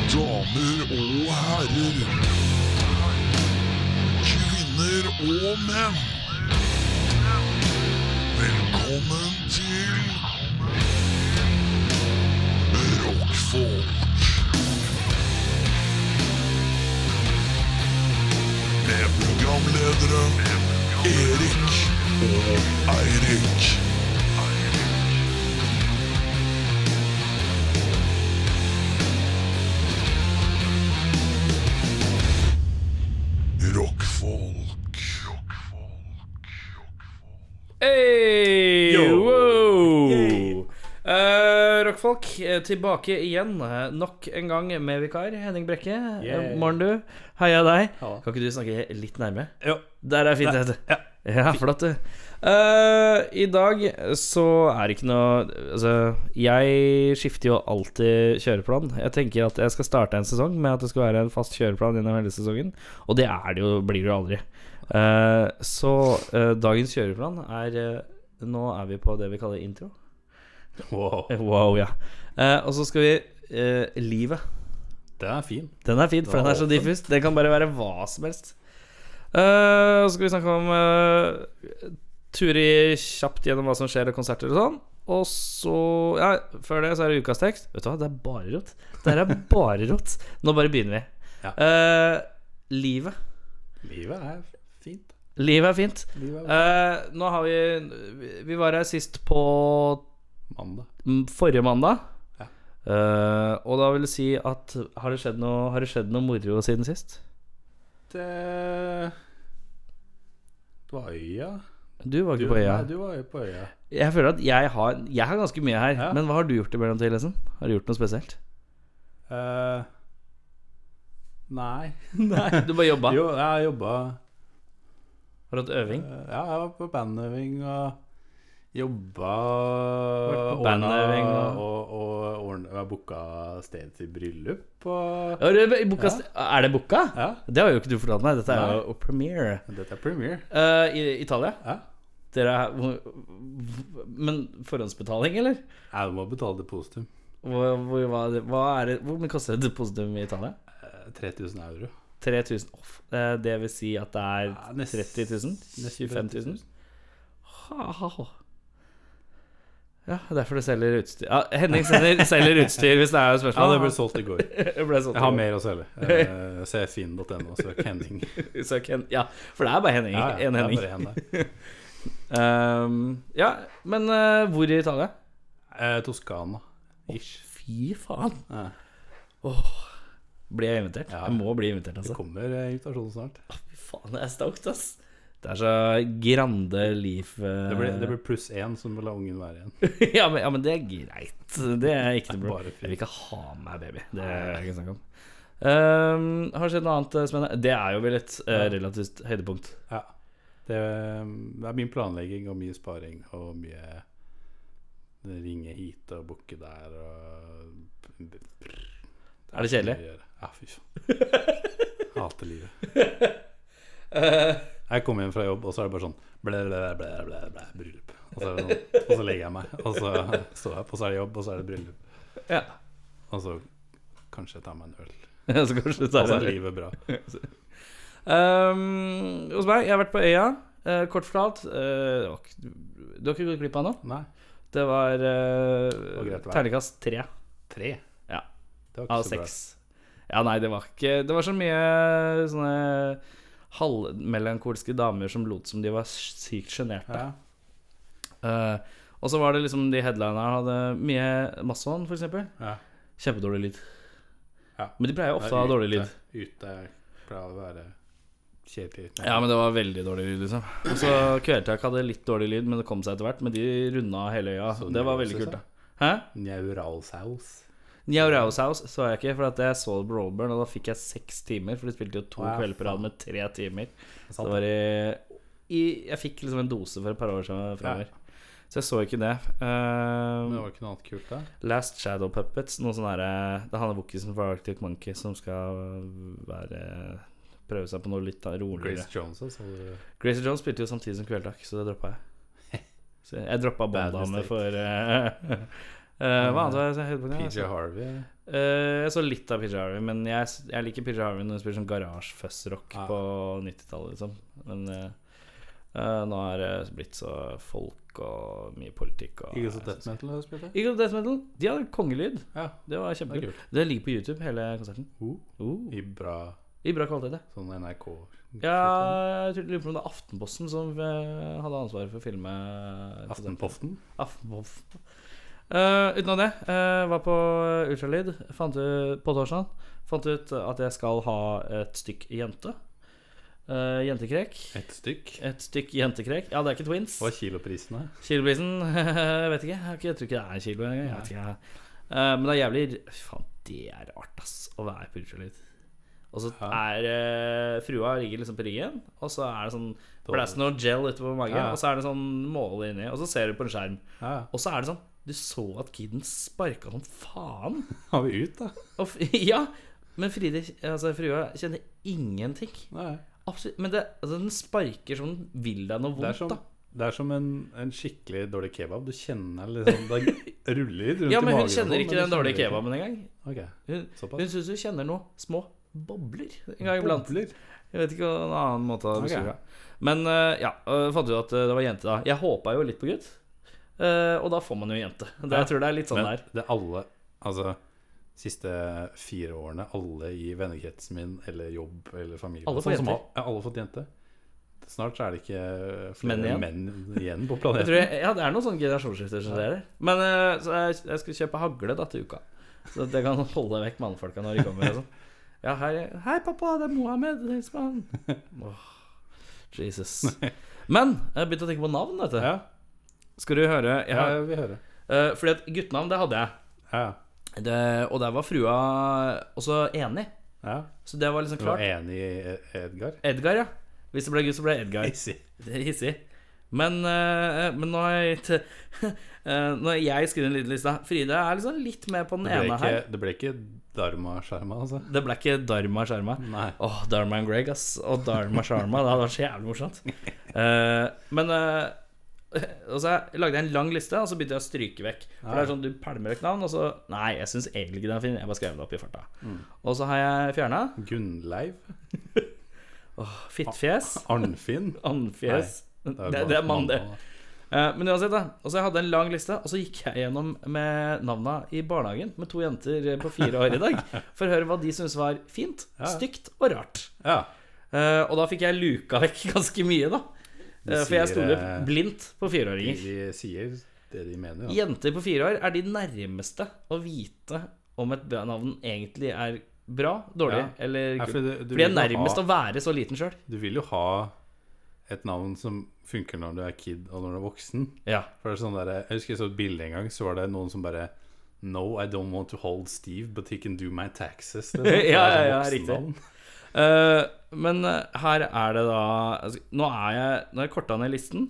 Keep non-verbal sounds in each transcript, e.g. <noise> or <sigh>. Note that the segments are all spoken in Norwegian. damer og herrer. Kvinner og menn. Velkommen til Rockfolk. Med programledere Erik og Eirik. Rockfolk. Rockfolk. Hey, Yo. wow. Yay. Eh, rockfolk, eh, tilbake igjen. eh, Nok en gang med vikar Henning Brekke. Yay. Eh, Morgen, du. Heia deg. Halla. Kan ikke du snakke litt nærme? Jo. Der er fint, Der, det. ja. ja, flott, du. Eh, I dag så er det ikke noe Altså, jeg skifter jo alltid kjøreplan. Jeg tenker at jeg skal starte en sesong med at det skal være en fast kjøreplan gjennom hele sesongen, og det er det jo, blir det jo aldri. Eh, så eh, dagens kjøreplan er eh, Nå er vi på det vi kaller intro. Wow. Eh, Wow, ja. Eh, og så skal vi eh, Livet. Den er fin. Den er fin, for den er så diffus. Den kan bare være hva som helst. Eh, og så skal vi snakke om eh, Turi kjapt gjennom hva som skjer, og konserter og sånn. Og så Ja, før det så er det ukas tekst. Vet du hva, det er bare rot. Det her er bare rot. Nå bare begynner vi. Ja. Eh, livet. Livet er fint. Livet er fint. Livet er Eh, nå har vi Vi var her sist på mandag. m- forrige mandag. Ja. Eh, og da vil det si at har det, skjedd noe, har det skjedd noe moro siden sist? Det Du var øya. Du var ikke på øya. Nei, du var jo på øya. Jeg føler at jeg har, jeg har ganske mye her. Ja. Men hva har du gjort i mellomtiden? Liksom? Har du gjort noe spesielt? Eh, nei. <laughs> Nei, <laughs> du bare jobba. Jo, Eh, jeg har jobba Har du hatt øving? Ja, jeg var på bandøving og jobba Vært på ordna- bandøving og- og, og, ordna- Jeg booka sted til bryllup og Har du, i boka, Er det boka? Ja. Det har jo ikke du fortalt meg. Dette er jo premiere. Dette er premiere. Eh, I Italia? Ja. Dere er, hvor- hvor- men forhåndsbetaling, eller? Jeg må betale depositum. Hvor, hvor, hva, er det- hva er det, hvor mye koster et depositum i Italia? Eh, 3000 euro. 3000 off. Eh, Det vil si at det er Ja, nest- 30 000? nesten 25 000? 30 000. Ha, ha, ha. Ja, derfor du selger utstyr ja, Henning selger, selger utstyr, hvis det er et Ja, spørsmål. det ble solgt i går. <laughs> Det ble sånn. Jeg har mer å <laughs> selge. Eh, Se finn.no, søk <laughs> Henning. Søk Hen ja, for det er bare Henning. Ja, ja, det er en Henning. bare en der. Ehm, ja, men eh, hvor i Italia? Eh, Toskana. Ish. Fy faen. Ja. Blir jeg invitert? Ja. Jeg må bli invitert, Det altså. kommer eh, invitasjon snart. Fy faen, det er stoked, ass. Det er så grande liv eh. Det blir, det blir pluss én, så må la ungen være <laughs> igjen. ja, men, ja, men det er greit. Det er ikke noe Det er problem. bare Jeg fint. vil ikke ha med meg baby. Det er jeg ikke snakk om. Ehm, har det skjedd noe annet eh, spennende? Det er jo vel et eh, relativt høydepunkt. Ja. Det eh, det er mye planlegging og mye sparing og mye eh, ringe hit og booke der og Er det kjedelig? Ja, fy faen. <laughs> Hater livet. Eh. Jeg kommer hjem fra jobb, og så er det bare sånn ble, ble, ble, ble, ble, Bryllup. Og så, er det sånn, og så legger jeg meg, og så står jeg opp, og så er det jobb, og så er det bryllup. Ja. Og så kanskje jeg tar meg en øl. <laughs> Så kanskje du Og tar så er en liv. livet bra. Ehm, hos meg, jeg har vært på øya. Eh, kort fortalt eh, det var ikke- Du har ikke gått glipp av noe? Nei, Det var uh, var greit vær. terningkast tre tre. Ja. Det var av ikke så bra. seks. Ja, nei, det var ikke Det var så mye sånne halvmelankolske damer som lot som de var sykt sjenerte. Ja. Eh, og så var det liksom de headlinerne hadde mye Masson, for eksempel. Ja. Kjempedårlig lyd. Ja. Men de pleier jo ofte å ha dårlig lyd. Ute pleier å være kjedelig. Ja, men det var veldig dårlig lyd, liksom. Og så Kvelertak hadde litt dårlig lyd, men det kom seg etter hvert. Men de runda hele øya. Så det var veldig Neurosis, kult, da. Hæ? Neuralsaus. Njauraushaus så jeg ikke, for at jeg så Broadburn, og da fikk jeg seks timer. For de spilte jo to Å, ja, kvelder på rad faen. med tre timer. Så Sant. det var i, i Jeg fikk liksom en dose for et par år siden framover. Så jeg så ikke det. Uh, Men det var ikke noe annet kult da? Last Shadow Puppets. Noen sånne der, eh, det er han vokisen fra Arctic Monkey som skal eh, være prøve seg på noe litt da, roligere. Grace Jones også. så- Gracie Jones spilte jo samtidig som Kvelertak, så det droppa jeg. <laughs> Så jeg droppa Bad banddame mistake. for <laughs> eh, eh, Hva annet var det? PJ høydepunktet? Harvey. Eh, jeg så litt av PJ Harvey, men jeg, jeg liker PJ Harvey når hun spiller sånn garasjefuzzrock Ja. på 90-tallet, liksom. Men eh, eh, nå er det blitt så folk og mye politikk og Eagles of Death Metal har du spilt det? Eagles of Death Metal. De hadde kongelyd. Ja. Det var Det er kjempekult. kult. Det ligger på YouTube, hele konserten. Oh, Oh, I bra I bra kvalitet, det. sånn NRK Ja, jeg tror- lurer på om det er Aftenposten som eh, hadde ansvaret for å filme eh, Aftenpoften? Aftenposten. Ah, Eh, utenom det, eh, var på ultralyd fant ut, på torsdag. Fant ut at jeg skal ha et stykk jente. Eh, jentekrek. Ett stykk? Et stykk jentekrek. Ja, det er ikke twins. Hva er kiloprisene? Kiloprisen <laughs> jeg vet ikke. Jeg har ikke- Jeg tror ikke det er en kilo engang. Jeg vet ikke. Eh, men det er jævlig Fy Faen, det er rart, ass, å være på ultralyd. Og så Ja. er eh, Frua ligger liksom på ryggen, og så er det sånn Blæs noe gel utover magen, Ja. og så er det sånn måle inni, og så ser du på en skjerm. Ja, ja. Og så er det sånn Du så at kiden sparka som faen. Har vi ut, da? Og f <laughs> ja, men Fride, altså frua, kjenner ingenting. Nei. Absolutt. Men det, altså, den sparker som den vil deg noe Det er vondt, som, da. det er som en, en skikkelig dårlig kebab. Du kjenner liksom <laughs> Det ruller litt rundt Ja, i magen. men hun og sånn, kjenner ikke men den du dårlige kjenner kebaben engang. ikke. Hun, Ok, såpass. hun syns hun kjenner noe små bobler en gang iblant. Bobler. Jeg vet ikke noen annen måte å Ok. beskrive det. Men eh, ja, eh, fant ut at eh, det var jente da. Jeg håpa jo litt på gutt, eh, og da får man jo jente. Det, Ja. jeg tror det er litt sånn Men der. det er alle Altså, siste fire årene, alle i vennekretsen min eller jobb eller familie Alle får sånn som jenter. har- Ja, alle har fått jente. Snart så er det ikke flere Menn igjen. menn igjen på Jeg planeten. tror jeg, ja, det er noen sånne generasjonsskifter som skjer. Men eh, så jeg, jeg skulle kjøpe hagle da til uka, så at jeg kan holde vekk mannfolka når de kommer. og sånn. Ja, hei, hei, pappa, det er Mohammed. Hils på han. Åh, Jesus. Men jeg begynte å tenke på navn, vet du. Ja, Skal du høre? Jeg ja, har, vi hører. eh, fordi at guttenavn, det hadde jeg. Ja, Det, og der var frua også enig. ja. Så det var liksom Du var klart. enig i Ed- Edgar? Edgar, ja. Hvis det ble gutt, så ble det Edgar. Easy. Det er hissig. Men, eh, men nå har jeg gitt <laughs> eh, Når jeg skriver en liten liste Fride er liksom litt med på den Det ble, ene her. ikke, det ble ikke Dharma Sharma, altså? Det ble ikke Dharma Sharma. Nei. Åh, Dharma and Greg, ass. Og Dharma Sharma. Det hadde vært så jævlig morsomt. Eh, men eh, Og så lagde jeg en lang liste, og så begynte jeg å stryke vekk. For det er sånn, Du pælmer vekk navn, og så Nei, jeg syns egentlig ikke den er fin. Jeg bare skrev det opp i farta. Mm. Og så har jeg fjerna Gunnleiv? Fittfjes. Arnfinn? Andfjes. bare <laughs> Det, det er mann, det. mandag. Eh, Men uansett, da. Og så jeg hadde en lang liste, og så gikk jeg gjennom med navna i barnehagen med to jenter på fire år i <laughs> dag, for å høre hva de syntes var fint, Ja. stygt og rart. Ja. Eh, Og da fikk jeg luka vekk <laughs> ganske mye, da. Eh, For jeg sier, stoler eh, blindt på De, fireåringer. de sier det de mener. Ja. Jenter på fire år er de nærmeste å vite om et bra navn egentlig er bra, dårlig Ja. eller Ja, kult. fordi du- For du de er vil jo nærmest ha- å være så liten sjøl. Du vil jo ha et navn som funker når du er kid og når du er voksen. Ja. For det er sånn der, Jeg husker jeg så et bilde en gang, så var det noen som bare No, I don't want to hold Steve, but he can do my taxes. <laughs> Det er sånn- Ja, det er ja, sånn ja, riktig. voksennavn. Eh, men eh, her er det da altså, Nå er jeg Nå har jeg korta ned listen.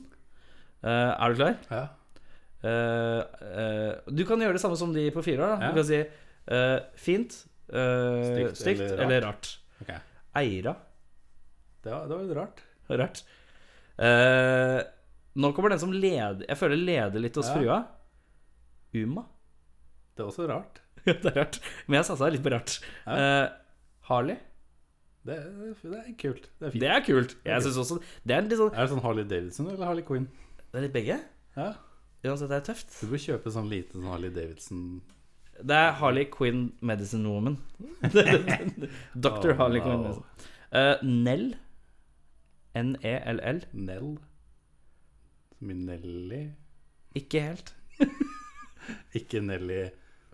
Eh, er du klar? Ja. Eh, eh, du kan gjøre det samme som de på fire år. Da. Ja. Du kan si eh, fint, eh, Stygt stygt eller eller rart. Ok. Eira. Det var, det var litt rart. Rart. Eh, nå kommer den som leder Jeg føler leder litt hos Ja. frua. Uma. <laughs> Det er også rart. Ja, det er rart. Men jeg satsa litt på rart. Ja. Eh, Harley. Det, er- det er kult. Det er fint. Det er kult. Jeg synes også Det er litt sånn Er det sånn Harley Davidson eller Harley Quinn? Det er litt begge. Ja. Uansett, det er tøft. Du bør kjøpe sånn liten sånn Harley Davidson Det er Harley Quinn Medicine Woman. <laughs> Dr. Oh, Harley no. Quinn Medicine. Eh, Nell. E N-e-l-l. Nell. Min Nelly. Ikke helt. Ikke Nelly Nelly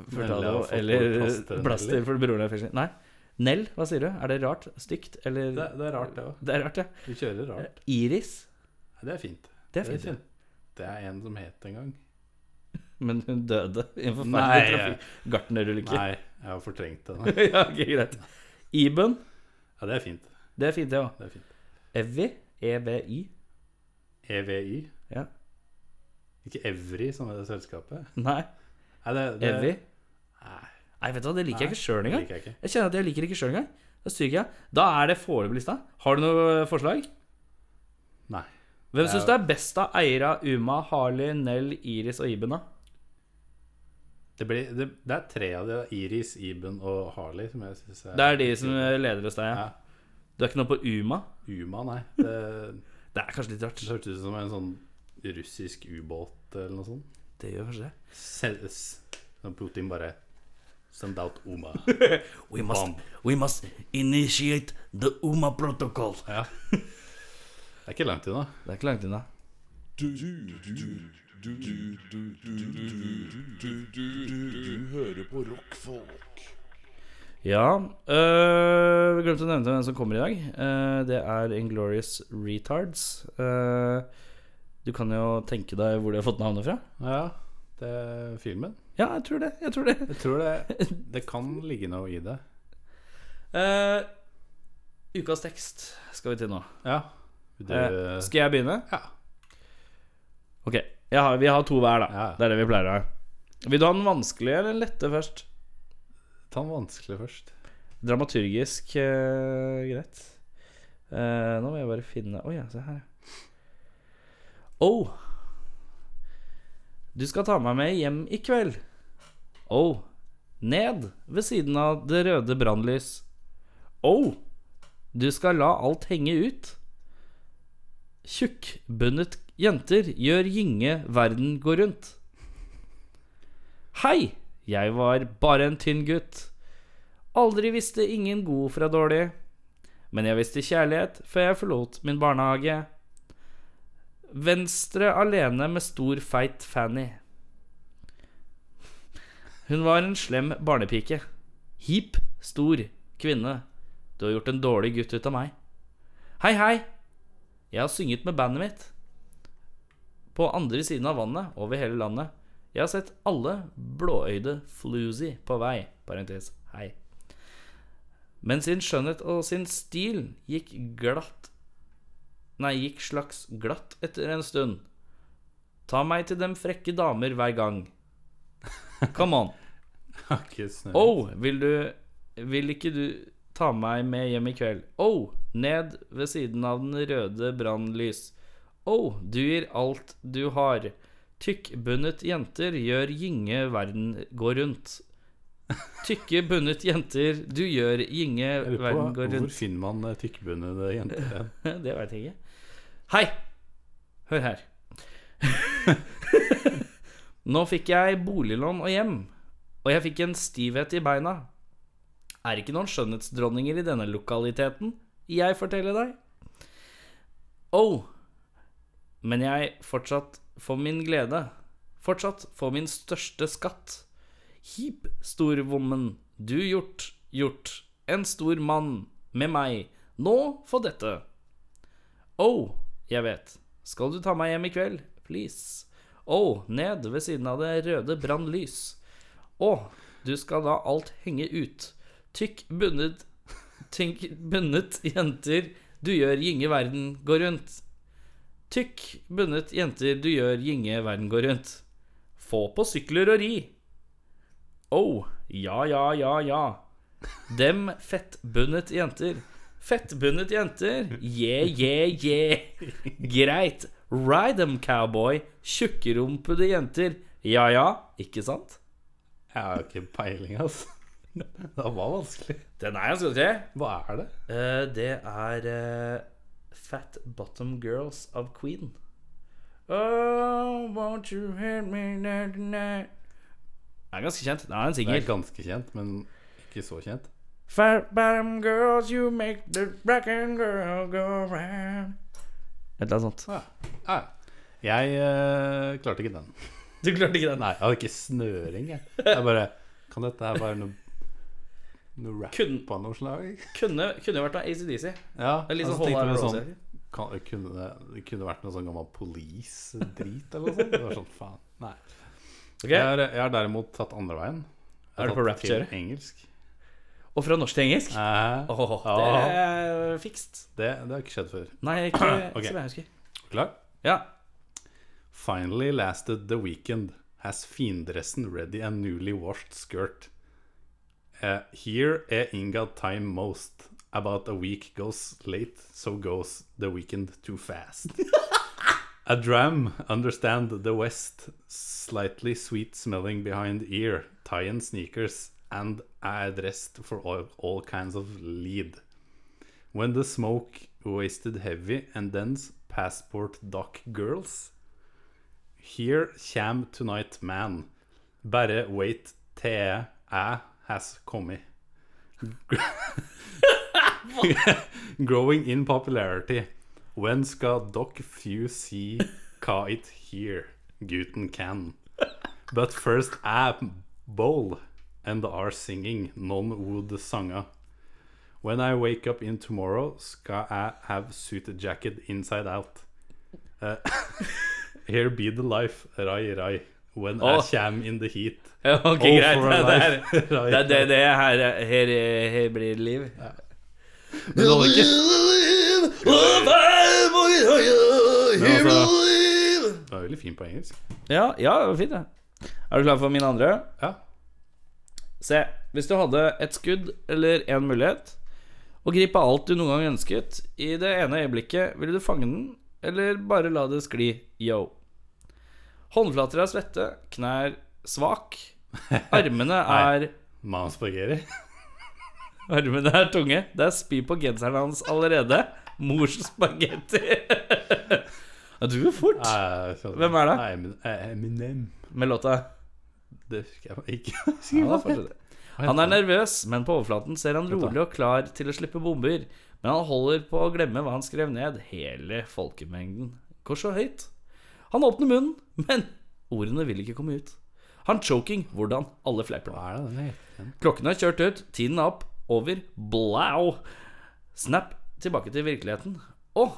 har Furtado fått eller plaster, plaster Nelly. for broren er fysisk. Nei. Nell, hva sier du? Er det rart? Stygt? Eller Det, det er rart, det òg. Det er rart, ja. Du kjører rart. Eh, Iris. Nei, Det er fint. Det er fint. kjent. Det er en som het en gang. Men hun døde i en Nei. forferdelig trafikk. Gartnerulykke. Nei, jeg har fortrengt det. da. <laughs> ja, ok, greit. Iben. Ja, det er fint. Det er fint, det òg. Det er fint. Evy. E-v-y. EVY. Ja. Ikke Evry, som er det selskapet. Nei. Nei, det, det Evy. Nei, Nei, vet du hva, det liker jeg Nei, ikke sjøl det engang. liker jeg ikke. Jeg kjenner at jeg liker det ikke sjøl engang. Da stryker jeg. Da er det foreløpig lista. Har du noe forslag? Nei. Hvem Ja. syns du er best av Eira, Uma, Harley, Nell, Iris og Iben, da? Det, blir, det, det er tre av de, da. Iris, Iben og Harley, som jeg syns er Det er de som leder hos deg, ja. Ja. Du er ikke noe på Uma? Uma, nei. Det, Det er kanskje litt rart. det hørtes ut som en sånn russisk ubåt eller noe sånt. Det gjør kanskje det. Sel- s- Sånn Putin bare Send out Uma. We must, we must initiate the Uma protocol. Ja. Det er ikke langt unna. Det er ikke langt unna. Du, du, du, du, du, du, du, du, du, du, du hører på rockfolk. Ja øh, Vi glemte å nevne hvem som kommer i dag. Eh, det er Inglorious Retards. Eh, du kan jo tenke deg hvor de har fått navnet fra? Ja, det er filmen. Ja, jeg tror det. Jeg tror det. Jeg tror det, det kan ligge noe i det. Eh, ukas tekst skal vi til nå. Ja. Vil du Eh, skal jeg begynne? Ja. Ok, jeg har, Vi har to hver, da. Ja. Det er det vi pleier å ha. Vil du ha den vanskelige eller den lette først? Ta den vanskelig først. <laughs> Dramaturgisk eh, greit. Eh, nå må jeg bare finne Å ja, se her. Oh. Du skal ta meg med hjem i kveld. Oh. Ned ved siden av det røde brannlys. Oh. Du skal la alt henge ut. Tjukkbundet jenter gjør gynge verden gå rundt. Hei, jeg var bare en tynn gutt. Aldri visste ingen god fra dårlig. Men jeg visste kjærlighet før jeg forlot min barnehage. Venstre alene med stor, feit Fanny. Hun var en slem barnepike. Hip, stor kvinne. Du har gjort en dårlig gutt ut av meg. Hei, hei. Jeg har synget med bandet mitt. På andre siden av vannet, over hele landet. Jeg har sett alle blåøyde flusy på vei. Parentes. Hei. Men sin skjønnhet og sin stil gikk glatt Nei, gikk slags glatt etter en stund. Ta meg til dem frekke damer hver gang. Come on. Ikke snø. Oh, vil du Vil ikke du ta meg med hjem i kveld? Oh, ned ved siden av den røde brannlys. Oh, du gir alt du har. Tykkbundet jenter gjør gynge verden gå rundt. Tykke bundet jenter, du gjør gynge Jeg lurer verden på går hvor rundt. finner man eh, tykkbunnede jenter hen? <laughs> Det veit jeg ikke. Hei! Hør her. <laughs> Nå fikk jeg boliglån og hjem, og jeg fikk en stivhet i beina. Er ikke noen skjønnhetsdronninger i denne lokaliteten, jeg forteller deg. Oh, men jeg fortsatt får min glede. Fortsatt får min største skatt. Hip, storvommen, du gjort, gjort, en stor mann, med meg, nå for dette. Oh, jeg vet. Skal du ta meg hjem i kveld? Please. Oh, ned ved siden av det røde brannlys. Å, du skal la alt henge ut. Tykk bundet Tynk bundet jenter, du gjør gynge verden gå rundt. Tykk bundet jenter, du gjør gynge verden gå rundt. Få på sykler og ri. Oh, ja, ja, ja, ja. Dem fettbundet jenter. Fettbundet jenter. Yeah, yeah, yeah. Greit. Ride them, cowboy. Tjukkerumpede jenter. Ja ja, ikke sant? Jeg har ikke peiling, altså. <laughs> Det var vanskelig. Den er ganske ok. Hva er det? Eh, det er eh, Fat Bottom Girls av Queen. Oh, won't you hear me tonight? Den er ganske kjent. Det er en Det er singel. ganske kjent, men ikke så kjent. Fat bottom girls, you make the blacken girl go round. Et eller annet sånt. Ja. Ja. Jeg eh, klarte ikke den. Du klarte ikke den? Nei, jeg hadde ikke snøring, jeg. Jeg bare Kan dette her være noe noe rap Kun- på noe slag? Kunne, kunne jo vært av ACDC. Ja. Det er litt altså, sånn tenkte jeg Hall meg of sånn, Roses. kan, kunne, det- det kunne vært noe sånn gammel police-drit eller noe sånt. Det var sånn, faen. Nei. Ok, Jeg har, jeg har derimot tatt andre veien. Jeg har Er du på tatt til rap-kjøret? Engelsk. Og fra norsk til engelsk? Eh, Åh, det ja, er fikst. det, det har ikke skjedd før. Nei, ikke <clears throat> Ok. som jeg husker. Klar? Ja. Finally lasted the weekend. Has fiendressen ready and newly washed skirt. Eh, here eh, Inga time most. About a week goes late, so goes the weekend too fast. A dram, understand the west, slightly sweet smelling behind ear, tie in sneakers, and are dressed for all, all kinds of lead. When the smoke wasted heavy and dense, passport dock girls. Here cam tonight man. Bare wait til jeg has kommet. <laughs> Growing in popularity. When skal dere few see hva it here gutten can? But first I bowl and are singing non wood sanga. When I wake up in tomorrow skal jeg have suit jacket inside out. Eh, here be the life, rai rai. When I Åh. come in the heat. Ja, ok, All greit. for a Det er, life, <laughs> rai, det, er det, rai. det er her, her, her blir det liv. Men det var ikke Here altså- we live. Det var veldig fint på engelsk. Ja, ja, det var fint, det. Er du klar for min andre? Ja. Se, hvis du hadde et skudd eller en mulighet, og gripe alt du noen gang ønsket, i det ene øyeblikket, ville du fange den, eller bare la det skli, yo. Håndflater er svette, knær svak, armene er Manspageri. Armene er tunge. Det er spy på genseren hans allerede. Mors spagetti. Ja, Du går fort Hvem er det? Eminem. med låta. Det husker jeg ikke. <laughs> Ja, da fortsetter jeg. Han er nervøs, men på overflaten ser han rolig og klar til å slippe bomber. Men han holder på å glemme hva han skrev ned. Hele folkemengden går så høyt. Han åpner munnen, men ordene vil ikke komme ut. Han choking. Hvordan? Alle fleiper nå. Hva er det den heter? igjen? Klokken er kjørt ut, tiden er opp, over, blau. Snap tilbake til virkeligheten. Å,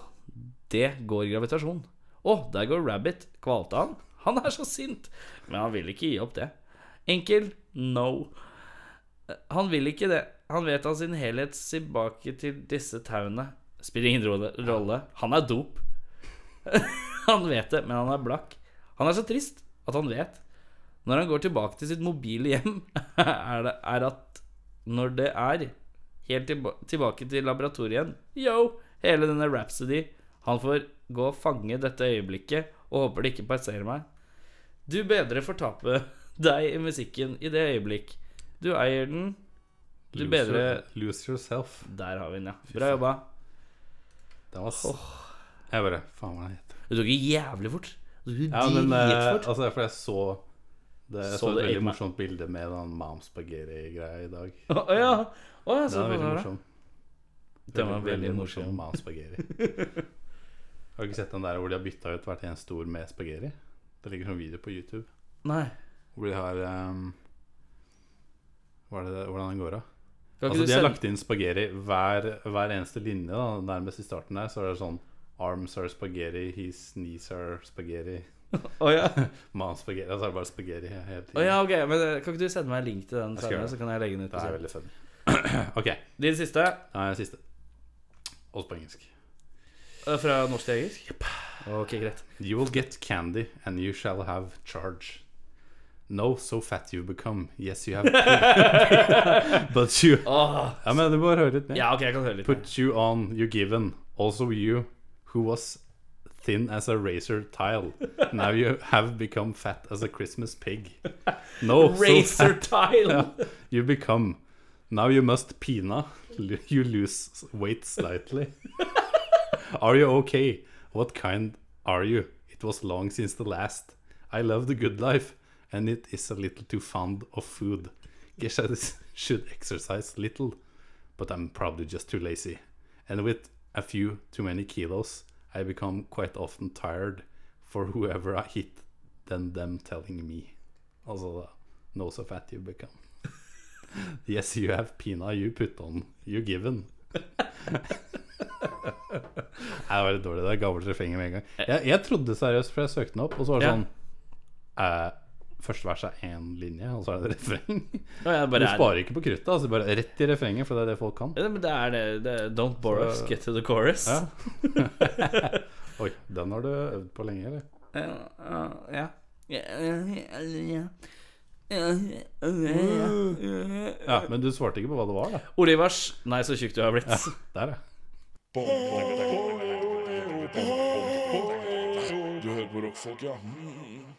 det går gravitasjon. Å, der går Rabbit. Kvalte han? Han er så sint. Men han vil ikke gi opp det. Enkel no. Han vil ikke det. Han vet av sin helhet tilbake til disse tauene. Spiller ingen rolle- rolle. Han er dop. <laughs> Han vet det, men han er blakk. Han er så trist at han vet. Når han går tilbake til sitt mobile hjem, <laughs> er det er at når det er helt tilba tilbake til laboratoriet igjen Yo! Hele denne Rhapsody. Han får gå og fange dette øyeblikket og håper det ikke passerer meg. Du bedre fortape <laughs> deg i musikken i det øyeblikk. Du eier den. Du Lose bedre your- Lose yourself. Der har vi den, ja. Bra jobba. Den var s... Jeg bare Faen, hva er det heter? Du tok jævlig fort. Du tok Ja, men eh, dritfort. altså, for jeg så det, jeg så, Så det et veldig Eggman. morsomt bilde med den mamspageri-greia i dag. Å ja. Å, jeg Den så er på veldig det. her. morsom. Den var veldig morsom. Mamspageri. <laughs> Har du ikke sett den der hvor de har bytta ut hvert en stor med spageri? Det ligger sånn video på YouTube. Nei. Hvor de har ehm, hva er det, det- Hvordan den går av? Kan ikke Altså, du de har sende- lagt inn spaghetti hver, hver eneste linje. da Nærmest i starten der så er det sånn Arms are spaghetti, his knees are spaghetti, Å ja. mom's spaghetti Og så altså er det bare spaghetti he- hele tiden. Å ja, ok, men eh, Kan ikke du sende meg en link til den, skal gjøre senere, så kan jeg legge den ut? Det er på veldig funny. <clears throat> OK, siden. Din siste, da er den siste. Også på engelsk. eh, fra norsk til engelsk? Ok, greit. You will get candy, and you shall have charge. No, so fat you become. Yes, you have But you Åh, Ja, men du må høre litt mer. Oh. ja, ok, jeg kan høre litt. Put you on, you given. Also you, who was thin as a razor tile. Now you have become fat as a Christmas pig. No, so <laughs> Racer fat tile! you become. Now you must pina. L- You lose weight slightly. <laughs> are you okay? What kind are you? It was long since the last. I love the good life, and it is a little too fond of food. Guess I s- <laughs> should exercise little, but I'm probably just too lazy. And with a few too many kilos, I become quite often tired for whoever I hit than them telling me. Also, uh, no so fat you become. <laughs> Yes, you have pina, you put on, you given. <laughs> Det var litt dårlig. Det er gammelt refrenget med en gang. Jeg, jeg trodde seriøst, for jeg søkte den opp, og så var det Eh. Ja. sånn eh, Første vers er én linje, og så er det refreng. Å, jeg Du bare er, sparer ikke på kruttet, altså bare rett i refrenget, for det er det folk kan. Ja, men det er det, det er, Don't borrow us, get to the chorus. Ja. Oi, den har du øvd på lenge, eller? Ja. Ja, men du svarte ikke på hva det var, da. Olivers, nei, så tjukk du har blitt. Der, ja. Du på rockfolk, ja. Mm. <laughs>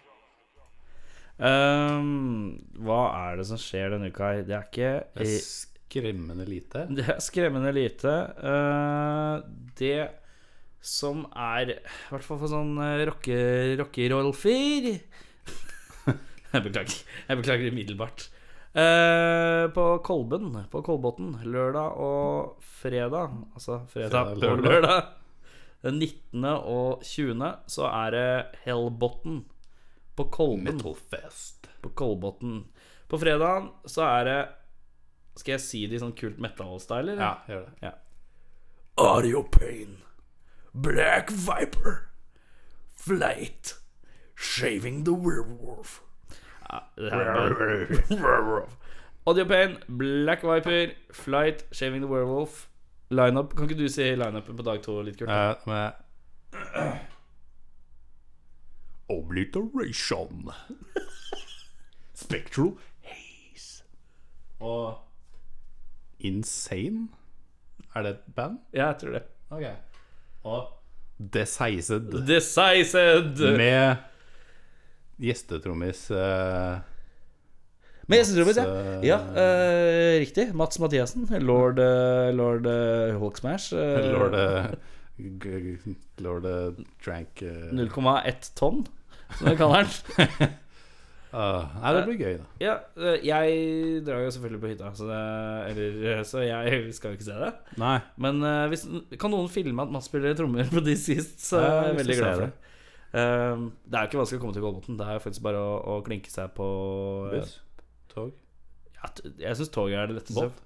Ehm, hva er det som skjer denne uka? her? Det er ikke Det er skremmende lite. Det er skremmende lite. Eh, det som er I hvert fall for sånn eh, rocke- rockerolfer <laughs> Jeg beklager. Jeg beklager umiddelbart. Eh, på Kolben, på Kolbotn, lørdag og fredag Altså fredag, Fredag, og lørdag. lørdag. Den 19. og 20. så er det Hellbotn på Kolben. Metalfest. På Kolbotn. På fredagen så er det Skal jeg si det i sånn kult metal-style, eller? Ja, gjør det. Audio Pain, Black Viper, Flight, Shaving the Werewolf. Werewolf. Audio Pain, Black Viper, Flight, Shaving the Werewolf. Lineup. Kan ikke du si lineupen på dag to litt kult? Eh, med Obliteration. <laughs> Spectral Haze. Og Insane? Er det et band? Ja, jeg tror det. Ok. Og Decised. Decised! Med gjestetrommis eh, Med gjestetrommet, ja. Mats, ja eh, riktig. Mats Mathiassen. Lord, eh, Lord eh, Hulksmash. eh, Lord eh, g- g- Lord eh, Drank eh, 0,1 tonn, som vi kaller den. ah, Nei, det blir gøy, da. <laughs> Ja, eh, jeg drar jo selvfølgelig på hytta, så, det, eller, eh, så jeg skal jo ikke se det. Nei. Men eh, hvis, kan noen filme at Mats spiller trommer på de sist, så er jeg Ja, vi skal veldig glad se for det. det. Eh, det er jo ikke vanskelig å komme til Kolbotn. Det er jo faktisk bare å, å klinke seg på eh, Buss? Tog? ja, t- Jeg syns toget er det letteste. Båt?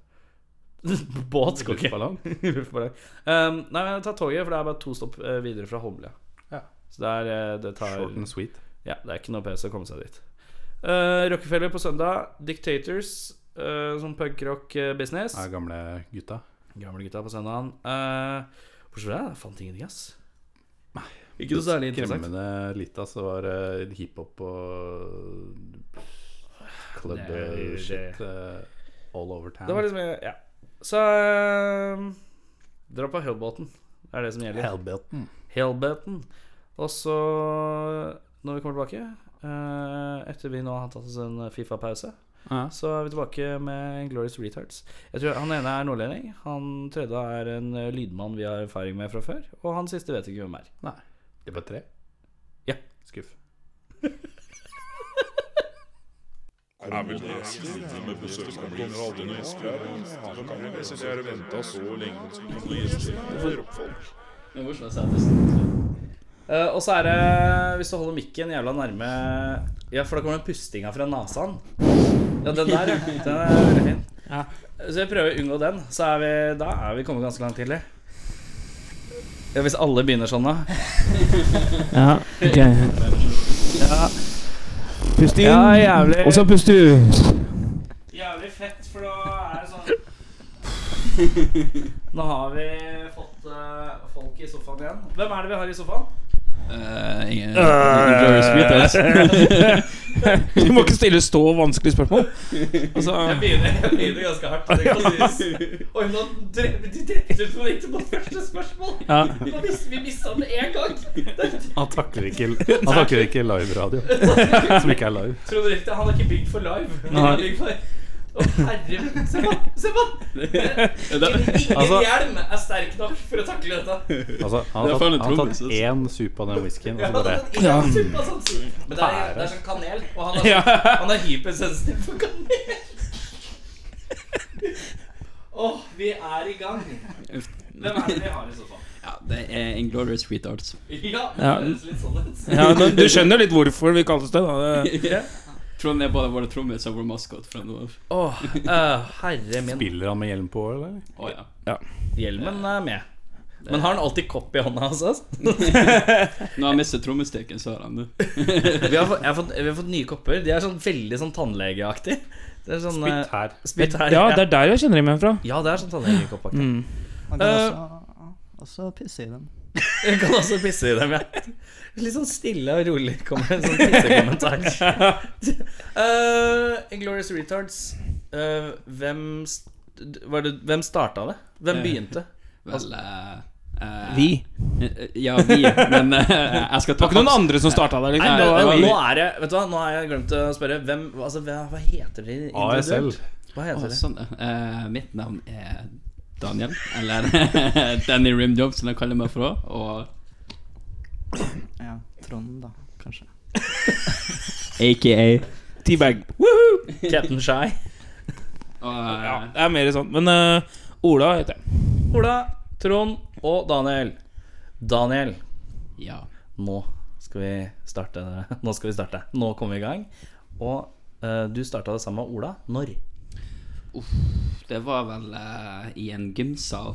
<laughs> Båt går ikke. Luftballong? <laughs> Luftballong. Um, nei, men ta toget, for det er bare to stopp eh, videre fra Holmlia. Ja. Så det er, eh, det tar Short and sweet. Ja, det er ikke noe pes å komme seg dit. Eh, Rockefeller på søndag. Dictators eh, som punkrock-business. Er gamle gutta. Gamle gutta på søndagen. Eh, Bortsett fra det, jeg fant ingenting, ass. Ikke noe særlig interessant. Skremmende lite, altså. Var eh, hiphop og club Det er- eh, det- shit eh, all over town. Det var liksom Ja. Så eh, Dra på Hellbåten. Det er det som gjelder. Hellbelten. Hellbeten. Og så, når vi kommer tilbake eh, Etter vi nå har tatt oss en Fifa-pause, Ja. så er vi tilbake med Glorious Retards. Jeg tror Han ene er nordlending, han tredje er en eh, lydmann vi har erfaring med fra før, og han siste vet ikke hvem er. Nei. Det var tre? Ja. Skuff. Er vel gjester med besøk som blir aldri noen gjester her? Han kan jo sitte her og vente så lenge på noen gjester. Det er rockfolk. Eh, og så er det, hvis du holder mikken jævla nærme Ja, for da kommer den pustinga fra nasaen. Ja, den der, ja. Den er veldig fin. Så jeg prøver å unngå den. Så er vi, da er vi kommet ganske langt tidlig. Ja, hvis alle begynner sånn, da. <laughs> Ja, ok. Pust inn, Ja, jævlig. og så pust ut. Jævlig fett, for da er det sånn Nå har vi fått eh, folk i sofaen igjen. Hvem er det vi har i sofaen? Eh. <laughs> Du må ikke stille så vanskelige spørsmål. Altså, Jeg begynner, jeg begynner ganske hardt. Det kan sies. Oi, nå drev, de drepte ut meg på første spørsmål! ja, Nå visste vi mista den med en gang! Han takler ikke, han takler ikke live-radio, <laughs> som ikke er live. Trond Riktig, han er ikke bygd for live. Men han er bygd for Å, herre min. Se på han! Se på <laughs> han! Ingen Altså- hjelm er sterk nok for å takle dette. Altså, han Det er har tatt, han har for en tatt trommis, altså. én sup av den whiskyen, og Ja, så bare den ene tuppen er sånn. Men det er, det er sånn kanel, og han er, så- han er hypersensitiv for kanel. Åh, vi er i gang. Hvem er det vi har i sofaen? Ja, det er Inglorious Sweethearts. Ja, det Ja. høres litt sånn ut. ja, men du skjønner litt hvorfor vi kalles det, da. Det- Trond er bare vår trommis og vår maskot fra nå av. Å, eh, herre min. Spiller han med hjelm på, eller? sånn- Å ja. Hjelmen er med. Men har han alltid kopp i hånda hans? altså? Når han mister trommestikken, så har han det. Vi har, fått, jeg har fått, vi har fått nye kopper. De er sånn veldig sånn tannlegeaktig. Det er sånn Spytt her. eh, spytt her. Ja, det er der jeg kjenner dem igjen fra. ja, det er sånn tannlegekoppaktig. Mm. Man Eh, kan også, også pisse i dem. <laughs> Jeg kan også pisse i dem, ja. Litt sånn stille og rolig kommer en sånn pissekommentar. <laughs> uh, Glorious Retards, eh, hvem, st- d- var det, hvem starta det? Hvem Eh, begynte? Vel, eh, Eh, Vi. eh, Ja, vi. Men eh, jeg skal Det ta var ikke noen andre som starta der. Nei, Liksom. nå, det var- nå er det Vet du hva, nå har jeg glemt å spørre. Hvem, altså, hva, hva heter de ASL. individuelt? Hva Å, heter de? sånn, ja. Eh, mitt navn er Daniel, eller <laughs> Danny Rimjob, som de kaller meg for. også, Og Ja, Trond, da, <laughs> kanskje. aka Teabag. Captain Shy. og, eh, Ja, det er mer sånn. Men eh, Ola heter jeg. Ola, Trond og Daniel. Daniel, ja. nå skal vi starte. Nå skal vi starte. Nå kommer vi i gang. Og eh, du starta det sammen med Ola. Når? Det var vel eh, i en gymsal.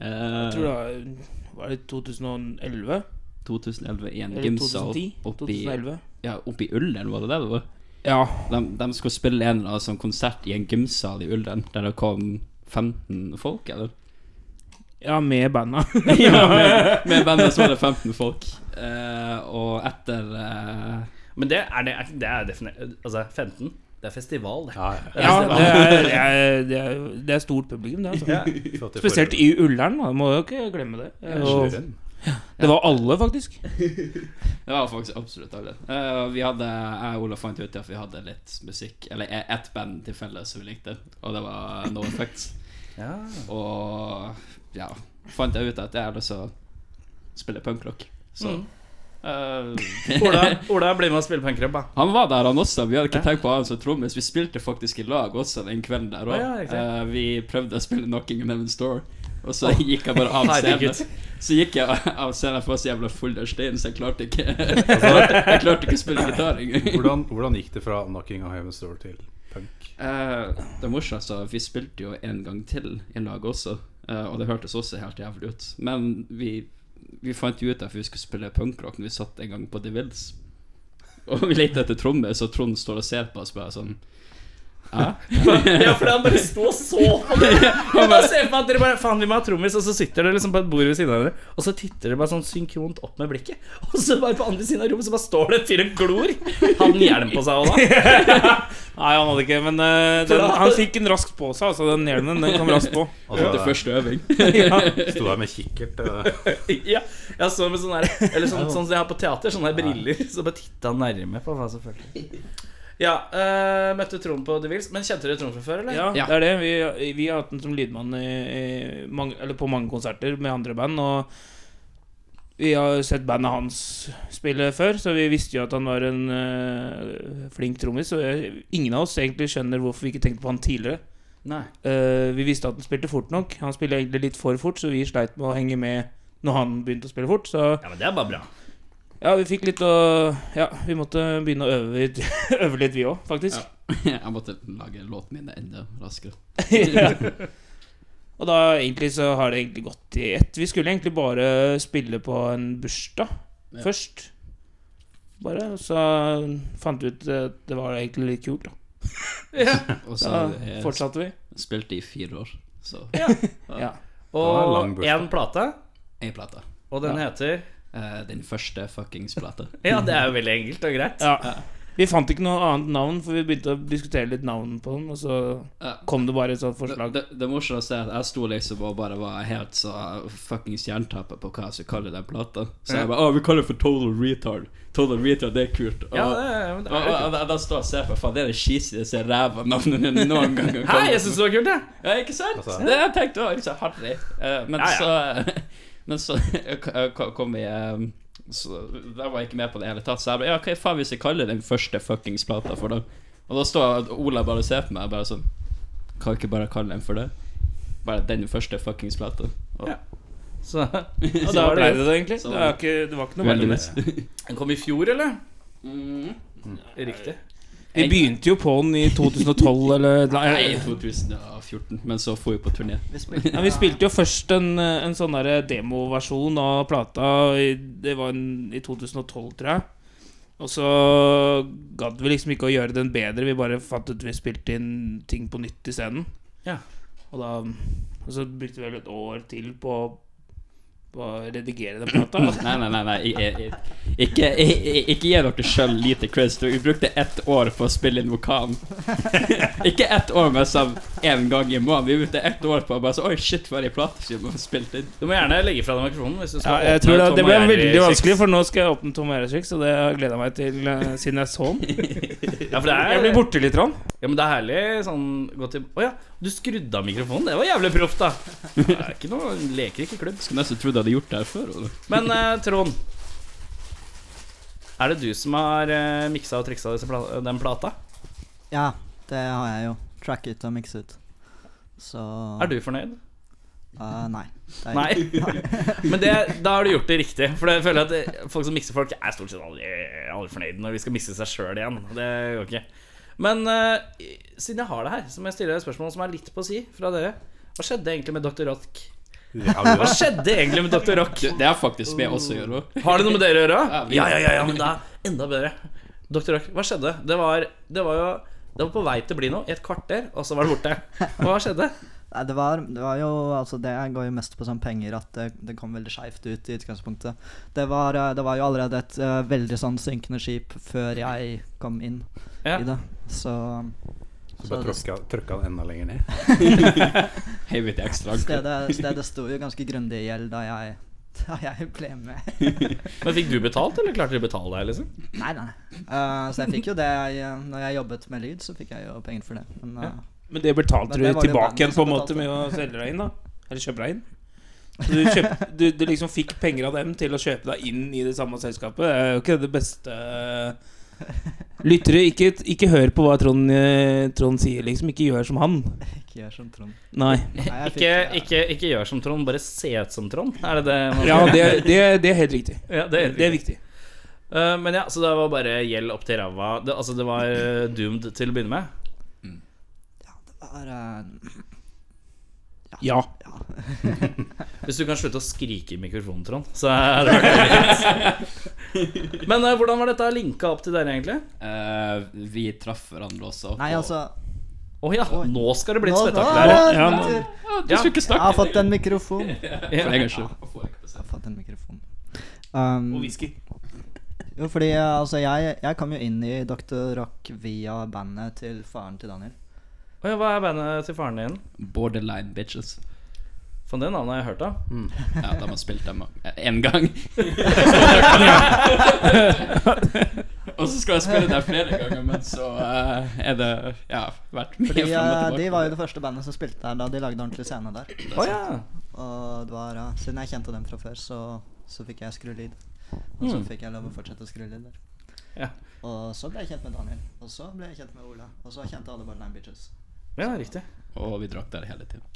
Eh, Jeg tror det var- var det 2011? 2011 i en Eller gymsal 2010? oppi, 2011? ja, oppi Ullern, var det det det var? Ja. De, de skulle spille en eller annen sånn konsert i en gymsal i Ullern, der det kom 15 folk, eller? Ja, med banda. <laughs> ja, med, med bandet så var det 15 folk. Eh, og etter eh, Men det er, det er, det er definert Altså, 15? Det er festival, det. Ja, <laughs> ja. Ja, det er, det, er, det, er, det er stort publikum, det. Altså. Spesielt i Ullern, da. Må jo ikke glemme det. Og, det var alle, faktisk. Det var faktisk absolutt alle. Eh, vi hadde, jeg og Ola fant ut at vi hadde litt musikk, eller eh, ett band til felles som vi likte, og det var No Effects. Ja. Og ja, fant jeg ut at jeg hadde lyst til å spille punkrock. Så eh, Ola, Ola blir med og spiller på en krøbb, da. Han var der, han også. Vi hadde ikke tenkt på han som trommis. Vi spilte faktisk i lag også den kvelden der Å, ja, òg. riktig. vi prøvde å spille 'Knocking on Heaven's Door', og så gikk jeg bare <laughs> av scenen. herregud. Så gikk jeg av scenen, for jeg var så jævla full av stein, så jeg klarte ikke <laughs> <laughs> Jeg klarte, jeg klarte ikke å spille gitar engang. Hvordan, hvordan gikk det fra Knocking on Heaven's Door til punk? Eh, det morsomste vi spilte jo en gang til i lag også, eh, og det hørtes også helt jævlig ut. Men vi, vi fant jo ut at vi skulle spille punkrock når vi satt en gang på The Wills. Og vi lette etter trommer, så Trond står og ser på oss bare sånn Hæ? Ja, for han bare sto og så på det. Og bare ser på at dere bare Faen, vi må ha trommis. Og så sitter dere liksom på et bord ved siden av dere, og så titter dere bare sånn synkront opp med blikket. Og så bare på andre siden av rommet så bare står det en fyr og glor. Hadde han hjelm på seg òg, da? Nei, han hadde ikke Men eh, den, han fikk den raskt på seg, altså. Den hjelmen den kom raskt på. Etter Altså, første øving. Sto der med kikkert. <laughs> eh, Ja, jeg så med sånn der Eller sånn, sånn som jeg har på teater, sånne der briller. Så bare titta han nærme på hva som føltes. Ja, eh, møtte Trond på The Wills. Men kjente dere Trond fra før, eller? Ja, Ja. det er det. Vi, vi har hatt den som lydmann i, i mange, eller på mange konserter med andre band. Og vi har sett bandet hans spille før, så vi visste jo at han var en eh, flink trommis. Og jeg, ingen av oss egentlig skjønner hvorfor vi ikke tenkte på han tidligere. Nei. Eh, vi visste at han spilte fort nok. Han spiller egentlig litt for fort, så vi sleit med å henge med når han begynte å spille fort. Så Ja, men det er bare bra. ja, vi fikk litt å Ja, vi måtte begynne å øve litt, <laughs> øve litt vi òg, faktisk. Ja. Jeg måtte lage låten min enda raskere. Ja. Og da egentlig så har det egentlig gått i ett. Vi skulle egentlig bare spille på en bursdag Ja. først. Bare, og så fant vi ut at det var egentlig litt kult, da. Og så Da eh, fortsatte vi. spilte jeg i fire år, så Ja. var en lang Og bursdag. én plate, ei plate. og den heter Eh, den første fuckings plata. Ja, det er jo veldig enkelt og greit. ja. Vi fant ikke noe annet navn, for vi begynte å diskutere litt navn på den, og så Ja. kom det bare et sånt Det, forslag. det, det morsomste er at jeg sto liksom og bare var helt så fuckings jerntappa på hva jeg skulle kalle den plata. Så jeg bare Å, vi kaller det for Total Retard. Total Retard, det er kult. Og, Ja, det, er- men det og, er jo og, kult. og, da står jeg og ser på, faen, det er det cheesieste ræva navnet min noen gang Hei, har kommet jeg syns det var kult, jeg! Ja, ikke sant? Altså- det jeg tenkte også, liksom, harry. Eh, men, Ja, Så, <laughs> men så eh, ko- kom vi eh, så, Der var jeg ikke med på det hele tatt. Så jeg bare Ja, hva i faen hvis jeg kaller den første fuckings plata for det? Og da står Ola bare og ser på meg bare sånn Kan vi ikke bare kalle den for det? Bare den første fuckings plata. Så, <laughs> og Og da da ble var det det det, egentlig. Det var ikke, det var ikke noe veldig Veldigvis. Den kom i fjor, eller? Mm. Riktig. Vi begynte jo på den <laughs> i 2012 eller Nei, 2014. Men så for vi på turné. Vi spilte Ja, vi spilte jo først en, en sånn der demoversjon av plata. i- Det var en, i 2012, tror jeg. Og så gadd vi liksom ikke å gjøre den bedre. Vi bare fant ut vi spilte inn ting på nytt isteden. Ja. Og da Og så brukte vi vel et år til på, på å redigere den plata. Nei, nei, nei, nei. Jeg, jeg, jeg, ikke, jeg, jeg, ikke gi dere sjøl lite credit. Vi brukte ett år på å spille inn vokalen. <laughs> ikke ett år med som én gang i måneden. Vi brukte ett år på å bare så, Oi, shit, hva er det i plata som har spilt inn? Du må gjerne legge fra deg mikrofonen. Hvis du skal Ja, jeg åpne tror det, Tom det ble og veldig Jerry-kjeks. vanskelig, for nå skal jeg åpne Tom Eireskjeks, og det har jeg gleda meg til eh, siden jeg så den. Ja, for det er, Jeg blir borte litt. Rann. Ja, men det er herlig sånn gå til Å ja, du skrudde av mikrofonen. Det var jævlig proft, <laughs> da. Det er ikke noe leker ikke klubb. Skulle nesten trodd jeg hadde gjort det her før. altså. Eller? Men eh, Trond, er det du som har eh, miksa og triksa disse pla den plata? Ja, det har jeg jo. Track it og mix it. Så Er du fornøyd? Eh, nei. Det er Nei. ikke- Men det, da har du gjort det riktig. For jeg føler at det- folk som mikser folk, er stort sett aldri, aldri fornøyd når de skal mikse seg sjøl igjen. Det går ikke. Men eh, siden jeg har det her, så må jeg stille deg et spørsmål som er litt på si fra dere. Hva skjedde egentlig med Dr. Rock? Hva skjedde egentlig med Dr. Rock? Det, det er faktisk med oss å gjøre òg. Har det noe med dere å gjøre? vi- Ja, ja, ja, ja, men da enda bedre. Dr. Rock, hva skjedde? Det var, det var jo det var på vei til å bli noe i et kvarter, og så var det borte. Hva skjedde? Nei, det var, det var jo Altså, det går jo mest på sånn penger at det, det kom veldig skeivt ut i utgangspunktet. Det var, eh, det var jo allerede et eh, veldig sånn synkende skip før jeg kom inn Ja. i det, så Så bare trøkka, trøkka den enda lenger ned. Heiv litt ekstra anker. stedet, stedet sto jo ganske grundig i gjeld da jeg, da jeg ble med. Men fikk du betalt, eller klarte de å betale deg, liksom? Nei, nei. Eh, så jeg fikk jo det jeg, Når jeg jobbet med lyd, så fikk jeg jo penger for det. Men eh, Men det betalte Men du det var det tilbake bandet igjen, på som en måte, betalte. med å selge deg inn, da? Eller kjøpe deg inn? Så du, kjøp, du, du liksom fikk penger av dem til å kjøpe deg inn i det samme selskapet. Det er jo ikke det beste eh, Lyttere, ikke, ikke hør på hva Trond, eh, Trond sier, liksom. Ikke gjør som han. ikke gjør som Trond. Nei. Nei, jeg fikk- Ikke, ikke, ikke gjør som Trond, bare se ut som Trond. Er det det man Ja, det, det, det er helt riktig. <laughs> Ja, det er Det helt er, riktig. viktig. Eh, men ja, så det var bare gjeld opp til ræva. Det, altså, det var eh, doomed til å begynne med. Det var, eh, Ja. Hvis du kan slutte å skrike i mikrofonen, Trond, så er det greit. Men eh, hvordan var dette linka opp til dere, egentlig? Eh, vi traff hverandre også. nei, på- altså Å ja, Oi. nå skal det bli et Nå- spetakkel nå her. er det Ja, min nå- tur. Ja, Du skulle ikke Jeg har snakke fått en for mikrofon. en gangs skyld. Jeg har fått en mikrofon. Um, Og whisky. jo, fordi eh, altså, jeg, jeg kom jo inn i Dr. Rock via bandet til faren til Daniel. Å ja, hva er bandet til faren din? Borderline bitches. Faen, det navnet har jeg hørt av. Ja, de har spilt dem én <laughs> gang. og så skal jeg spille der flere ganger, men så eh, er det Ja, vært mye Fordi frem eh, og De tilbake. var jo det første bandet som spilte der da de lagde ordentlig scene der. Å ja. Og det var, eh, siden jeg kjente dem fra før, så, så fikk jeg skru lyd. Og så fikk jeg lov å fortsette å skru lyd der. Ja. Og så ble jeg kjent med Daniel. Og så ble jeg kjent med Ola. Og så kjente alle bare Nine Bitches. ja, riktig. Og vi drakk der hele tiden.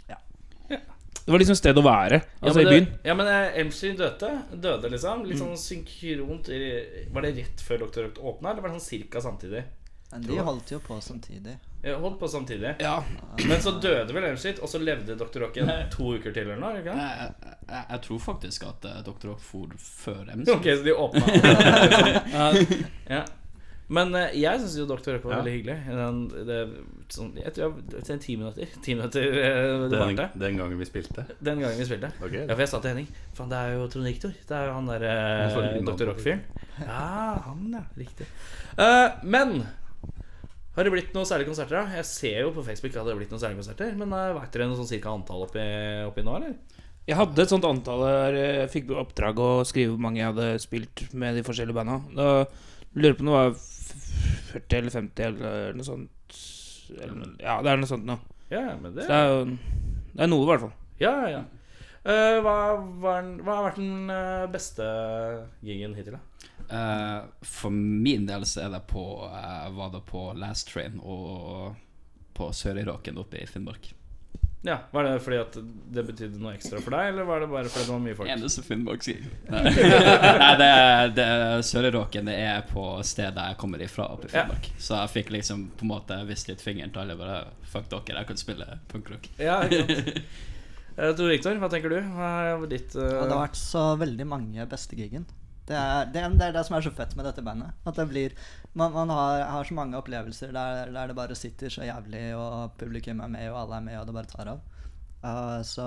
Det var liksom stedet å være, Ja, altså men i byen. det- Ja, men eh, Elmstreet døde, døde, liksom. Litt sånn synkront i- Var det rett før Dr. Rock åpna, eller var det sånn cirka samtidig? Men de holdt jo på samtidig. Jeg holdt på samtidig. Men så døde vel Elmstreet, og så levde Dr. Rock igjen to uker til, eller noe? er det Ikke? det? Jeg, jeg, jeg- jeg tror faktisk at uh, Dr. Rock for før MC. Ok, så de åpna. <laughs> ja. Men eh, jeg syns jo Dr. Rock var Ja. veldig hyggelig. Den, det, sånn, jeg tror jeg, til ti minutter. Ti minutter eh, det Den, varte. den gangen vi spilte. Den gangen vi spilte. Ok. Ja, for jeg sa til Henning Faen, det er jo Trond Riktor. Det er jo han der Jeg så eh, litt navn Dr. på Rock-fyren. Ja, han, ja. Riktig. Eh, men har det blitt noen særlige konserter? da? Jeg ser jo på Facebook at det har blitt noen særlige konserter. Men uh, veit dere noe sånn cirka antall oppi, oppi nå, eller? Jeg hadde et sånt antall der eh, jeg fikk i oppdrag å skrive hvor mange jeg hadde spilt med de forskjellige banda. Da lurer jeg på om det var f- 40 eller 50 eller noe sånt. Eller, ja, det er noe sånt nå. Ja, men det Så det er jo det er noe, i hvert fall. Ja, ja. ja. Eh, hva, hva, er den- hva har vært den eh, beste gigen hittil, da? Eh, for min del så er det på, eh, var det på Last Train og på Sør-Iraken oppe i Finnmark. Ja, Var det fordi at det betydde noe ekstra for deg, eller var det bare fordi det var mye folk? Eneste Finnmark sier. Nei, <laughs> Nei det, er- det er Sør-Iraken det er på stedet jeg kommer ifra oppe i Ja. Finnmark. Så jeg fikk liksom på en måte vist litt fingeren til alle bare Fuck dere, jeg kan spille punkrock. Ja, ikke sant. Eh, Tor Viktor, hva tenker du? Hva er ditt eh, Og det har vært så veldig mange bestegigen. Det er det, er- det er det som er så fett med dette bandet. At det blir Man, man har, har så mange opplevelser der, der det bare sitter så jævlig, og publikum er med, og alle er med, og det bare tar av. Eh, så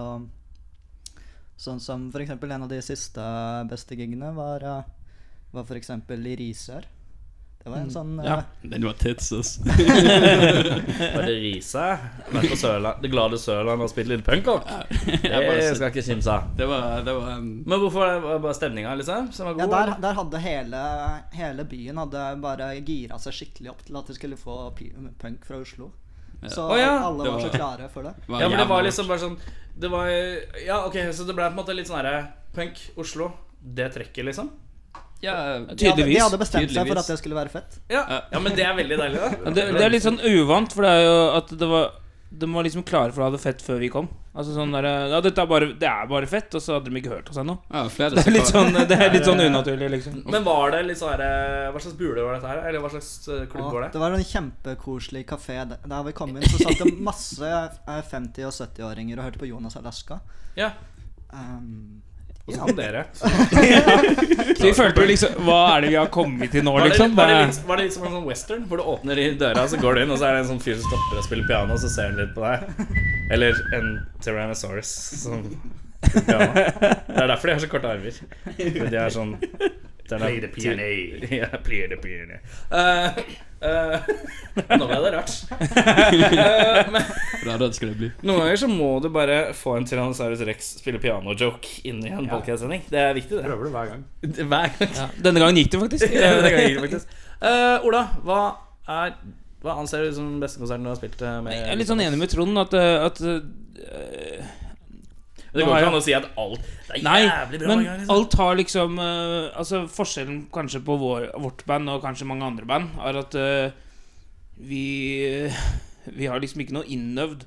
Sånn som for eksempel en av de siste beste gigene var, eh, var for eksempel i Risør. Det var en sånn eh, Ja, den var tits, ass. <laughs> Var det Riise? Vært på Sørland, Det glade Sørland og spilt litt punk òg? Jeg bare Det sy- skal ikke kimse av. Det var, det var um, Men hvorfor var det var det bare stemninga, liksom? Som var Ja, god? der, eller? der hadde hele, hele byen hadde bare gira seg skikkelig opp til at de skulle få pi- punk fra Oslo. Så Å ja, alle det var så var- klare for det. Ja, men det var liksom bare sånn Det var Ja, ok, så det ble på en måte litt sånn herre Punk, Oslo. Det trekker, liksom. ja, De hadde, de Tydeligvis, hadde bestemt seg tydeligvis. for at det skulle være fett. Ja. ja, men det er veldig deilig, <laughs> da. Det, det er litt sånn uvant, for det er jo at det var de var liksom klare for å ha det fett før vi kom. Altså sånn der, ja, dette er bare, Det er bare fett, og så hadde de ikke hørt oss <laughs> ennå. ja, flere Det er som litt var- sånn, det er litt sånn unaturlig, liksom. Men var det litt sånn herre Hva slags bule var dette her? Eller hva slags eh, klubb Og var det det? var en kjempekoselig kafé. Der der vi kom inn, så satt det masse eh, 50- og 70-åringer og hørte på Jonas Alaska. Ja. Um, Og så kom dere. Så vi følte jo liksom Hva er det vi har kommet til nå, Var det, liksom? var, det Hva- litt, var det litt som en sånn western, hvor du åpner i døra, så går du inn, og så er det en sånn fyr som stopper og spiller piano, og så ser han litt på deg? Eller en Tyrannosaurus som spiller piano. Det er derfor de har så korte armer. For de er sånn Play the piano. Ja, play the piano. Eh, eh, nå ble det rart. Eh, men Rarere skal det bli. noen ganger så må du bare få en Tyrannosaurus rex spille piano-joke inn i en podcast-sending. Det er viktig, det. Prøver det hver gang. <laughs> Hver gang. Denne gangen gikk det faktisk. <laughs> Ja, det kan jeg ikke, faktisk. Eh, Ola, hva er Hva anser du som beste konserten du har spilt eh, med? Jeg er litt sånn enig med Trond at, eh, at eh, Det går ikke an å si at alt Det er Nei, jævlig bra men hver gang, liksom. alt har liksom eh, Altså Forskjellen kanskje på vår, vårt band og kanskje mange andre band, er at eh, vi <laughs> Vi har liksom ikke noe innøvd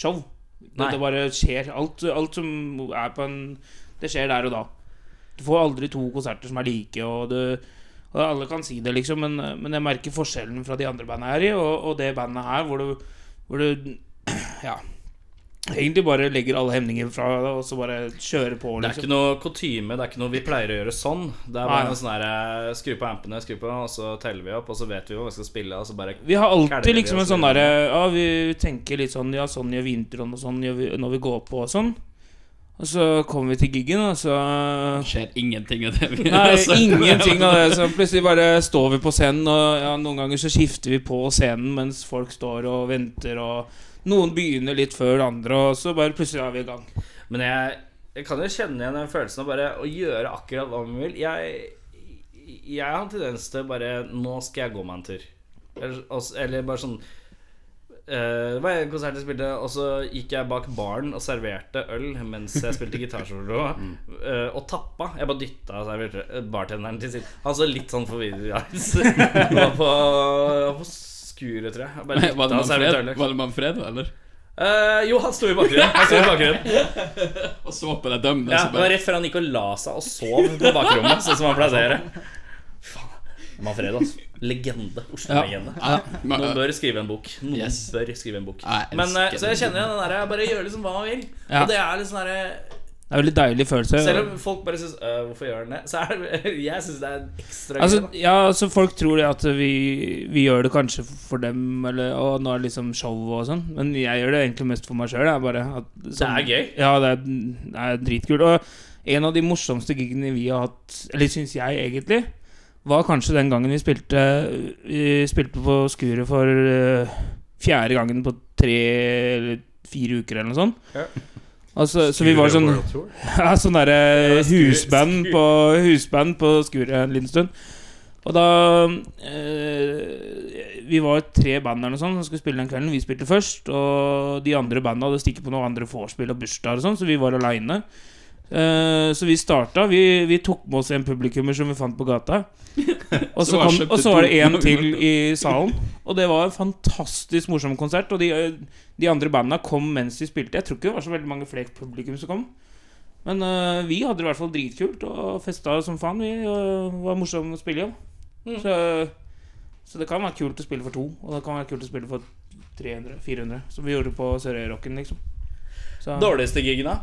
show. Det, Nei. det bare skjer. Alt, alt som er på en Det skjer der og da. Du får aldri to konserter som er like, og du og alle kan si det, liksom, men, men jeg merker forskjellen fra de andre bandene her i, og, og det bandet her, hvor du, hvor du <clears throat> Ja. Egentlig bare legger alle hemninger fra deg, og så bare kjører på, Det er liksom. ikke noe kutyme, det er ikke noe vi pleier å gjøre sånn. Det er Nei. altså, bare noe sånn her eh, Skru på ampene, skru på, og så teller vi opp, og så vet vi hva vi skal spille, og så bare Vi har Kælker alltid altså, vi liksom en oss sånn videre. derre Ja, vi tenker litt sånn Ja, sånn gjør vi introen, og sånn gjør vi når vi går på, og sånn. Og så kommer vi til giggen, og <laughs> så Skjer ingenting av det. vi- Nei, <laughs> altså. ingenting av det. Så <laughs> plutselig bare står vi på scenen, og ja, noen ganger så skifter vi på scenen mens folk står og venter, og noen begynner litt før det andre, og så bare plutselig er vi i gang. Men jeg, jeg kan jo kjenne igjen den følelsen av bare å gjøre akkurat hva man vil. Jeg, jeg har en tendens til bare Nå skal jeg gå meg en tur. Eller, og- eller bare sånn eh, Det var en konsert jeg spilte, og så gikk jeg bak baren og serverte øl mens jeg spilte gitarsolo. eh, og tappa. Jeg bare dytta serverte- eh, bartenderen til siden. Han så litt sånn forvirret eyes. Var på, på skuret, tror jeg. Jeg Bare Var det dytta og serverte Manfredo, øl. liksom. var det Manfredo, eller? Eh, jo, han sto i bakgrunnen. Han sto i bakgrunnen. Og så på deg dømme, Ja, så det var bare rett før han gikk og la seg og sov på bakrommet, sånn som han pleier å gjøre. Faen. Manfredo, altså. Legende. Oslo-legende. Ja, men, Noen bør skrive en bok. Noen Yes. bør skrive en bok. Nei, jeg Men, eh, elsker så jeg den. kjenner igjen den derre bare gjør liksom hva man vil. Ja. Og det er liksom sånn derre Det er en veldig deilig følelse. Selv om folk bare syns øh, Hvorfor gjør den det? Så er det <laughs> Jeg syns det er en ekstra Altså, gøy. ja, altså Folk tror det at vi, vi gjør det kanskje for dem, eller å, nå er det liksom show og sånn, men jeg gjør det egentlig mest for meg sjøl. Det sånn- er gøy. Ja, det er, det er dritkult. Og en av de morsomste gigene vi har hatt, eller syns jeg egentlig, var kanskje den gangen vi spilte Vi spilte på Skuret for eh, fjerde gangen på tre eller fire uker, eller noe sånt. Ja. Altså, så vi var sånn World Tour. <laughs> ja, sånn derre Ja, skur- husband, skur. på, husband på skuret en liten stund. Og da eh, Vi var tre band eller noe sånt som skulle spille den kvelden. Vi spilte først, og de andre banda hadde stikket på noen andre vorspiel og bursdager og sånn, så vi var aleine. så vi starta. Vi, vi tok med oss en publikummer som vi fant på <laughs> gata. Og Så så, var kom, kjøpte og så var det to. en til i salen. Og det var en fantastisk morsom konsert. Og de, eh, de andre banda kom mens de spilte. Jeg tror ikke det var så veldig mange flere publikum som kom. Men øh, vi hadde det i hvert fall dritkult og festa som faen. Vi og var morsomme å spille i. Mm. Så, så det kan være kult å spille for to, og det kan være kult å spille for 300-400, som vi gjorde på Sørøyrocken, liksom. Så, Dårligste gigen, da?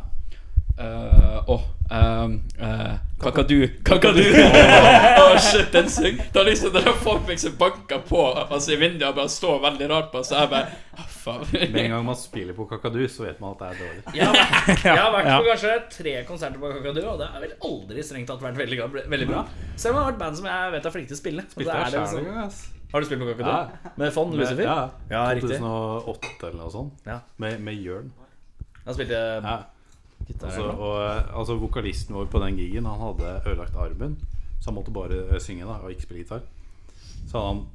Eh, Åh ehm, eh, Kakadu. Kakadu! <laughs> Åh, <laughs> shit, den syng. Da liksom det der folk liksom banker på altså i vinduet og bare står veldig rart på, så jeg bare ah, Med en Faen. gang man spiller på kakadu, så vet man at det er dårlig. Jeg har vært, jeg har vært på kanskje tre konserter på Kakadu, og det har vel aldri strengt tatt vært veldig, veldig bra. Selv om det har vært band som jeg vet er flinke til å spille. Og så Spilte er jeg det sjæl en liksom, gang, ass. har du spilt på Kakadu? Ja. Med Fond Med- Lucifer? Ja, Ja, riktig. 2008 eller noe sånt. Ja. Med, med Jørn. Han spilte Ja. gitar. Altså, og, eh, altså Vokalisten vår på den gigen Han hadde ødelagt armen, så han måtte bare eh, synge da og ikke spille gitar. Så hadde han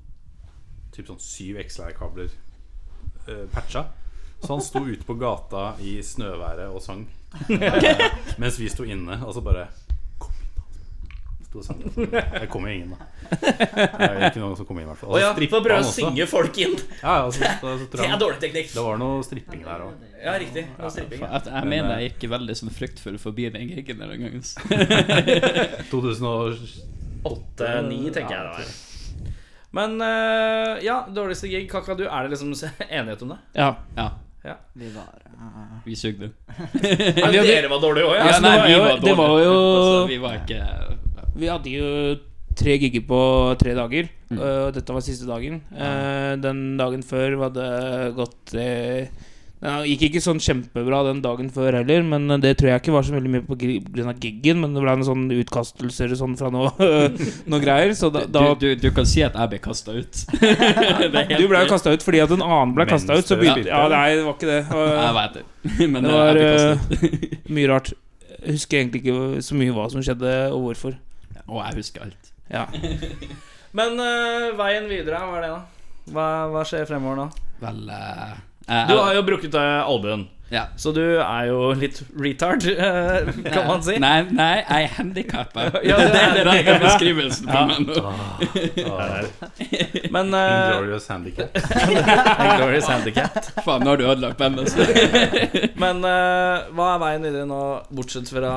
typ sånn syv XLR-kabler eh, patcha. Så han sto ute på gata i snøværet og sang. Eh, mens vi sto inne, og så bare Kom inn, da. Sto og sang. Jeg kom jo ingen, da. Det er ikke noen som kom inn, i hvert fall. Å ja, Og så strippa for å prøve han å også. synge folk inn. Ja, ja, så, så, så tror Det jeg er han- dårlig teknikk. det var noe stripping der òg. Ja, riktig. Det var stripping, ja. At jeg mener jeg gikk veldig sånn fryktfull forbi den gigen der en gang. så. 2007 Åtte-ni, tenker jeg det var. Men eh, ja, dårligste gig, Kakadu. Er det liksom <laughs> enighet om det? Ja. ja. Vi var eh, Vi sugde. Nei, vi- dere var dårlige òg, ja. så Ja, det nei, var vi jo- var det var dårlige. jo- altså, Vi var ikke Vi hadde jo tre gigger på tre dager, og dette var siste dagen. Eh, Den dagen før var det gått eh, Det gikk ikke sånn kjempebra den dagen før heller, men det tror jeg ikke var så veldig mye på grunn av giggen, men det ble en sånn utkastelser og sånn fra noe, <laughs> noe greier, så da, da du, du, du kan si at jeg ble kasta <laughs> ut. Du ble jo kasta ut fordi at en annen ble kasta ut, så Mens dere begynte Ja, nei, det var ikke det. Jeg Og, vet det. <laughs> Men Det det var, var, eh, jeg ble kastet ut. mye rart. Jeg husker egentlig ikke så mye hva som skjedde, og hvorfor. Og jeg husker alt. Ja. Men eh, veien videre, hva er det, da? Hva, hva skjer fremover nå? Vel eh, jeg- Du har jo brukket deg albuen, Ja. så du er jo litt retard, <laughs> eh, kan man si. Nei, nei, jeg er handikappa. Ja, det, du er er den rette beskrivelsen på meg nå. Men uh, Inglorious handicap. <laughs> Glorious handicap. Faen, nå har du ødelagt bandet. så. Men eh, hva er veien videre nå, bortsett fra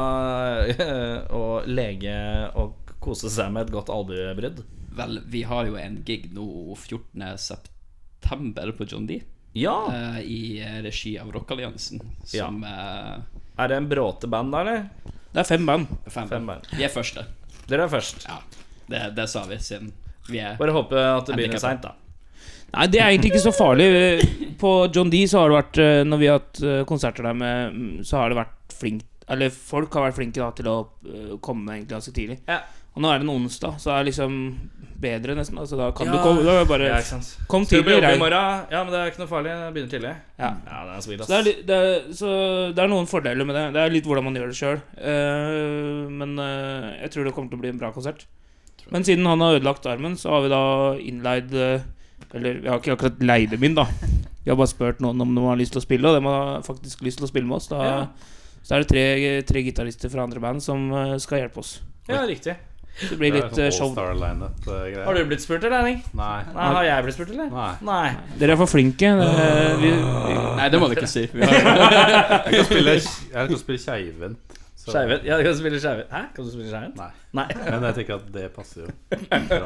eh, å lege og kose seg med et godt albuebrudd? Vel, vi har jo en gig nå 14. september på John D. Ja! eh, I eh, regi av Rockalliansen, som eh, Er det en bråte band, da, eller? Det er fem band. fem, Fem band. Vi er første. Dere er først. Ja, det, det sa vi siden vi er Bare håpe at det begynner Handicap. seint, da. Nei, det er egentlig ikke så farlig. På John D så har det vært eh, Når vi har hatt eh, konserter der med mm, Så har det vært flink Eller folk har vært flinke da til å eh, komme egentlig ganske tidlig. Ja. Og nå er det en onsdag, så det er liksom bedre, nesten. Altså, da kan Ja. du komme Da er det bare Ja, ikke sant. Kom Skal du på tidlig, jobb i rein. morgen? Ja, men det er ikke noe farlig. Jeg begynner tidlig. Ja. Ja, det er sweet, Så ass. det, er, li- det er, så det er noen fordeler med det. Det er litt hvordan man gjør det sjøl. men eh, jeg tror det kommer til å bli en bra konsert. Men siden han har ødelagt armen, så har vi da innleid eh, Eller vi har ikke akkurat leid dem inn, da. Vi har bare spurt noen om de har lyst til å spille, og de har faktisk lyst til å spille med oss. Da, Ja. Så er det tre, tre gitarister fra andre band som eh, skal hjelpe oss. Ja, riktig. Så det blir sånn litt eh, show. All-star lineup-greier. Har du blitt spurt, eller, Henning? eh, Nei. Nei, har jeg blitt spurt, eller? Nei. <laughs> Nei. Dere er for flinke. Dere, vi, vi, Nei, det må du ikke si. Vi har, Jeg kan spille, jeg kan spille keivhendt. så- Skeivet. Ja, kan du spille skeivet? Hæ? Kan du spille skeivet? Nei. Nei. Men jeg tenker at det passer jo.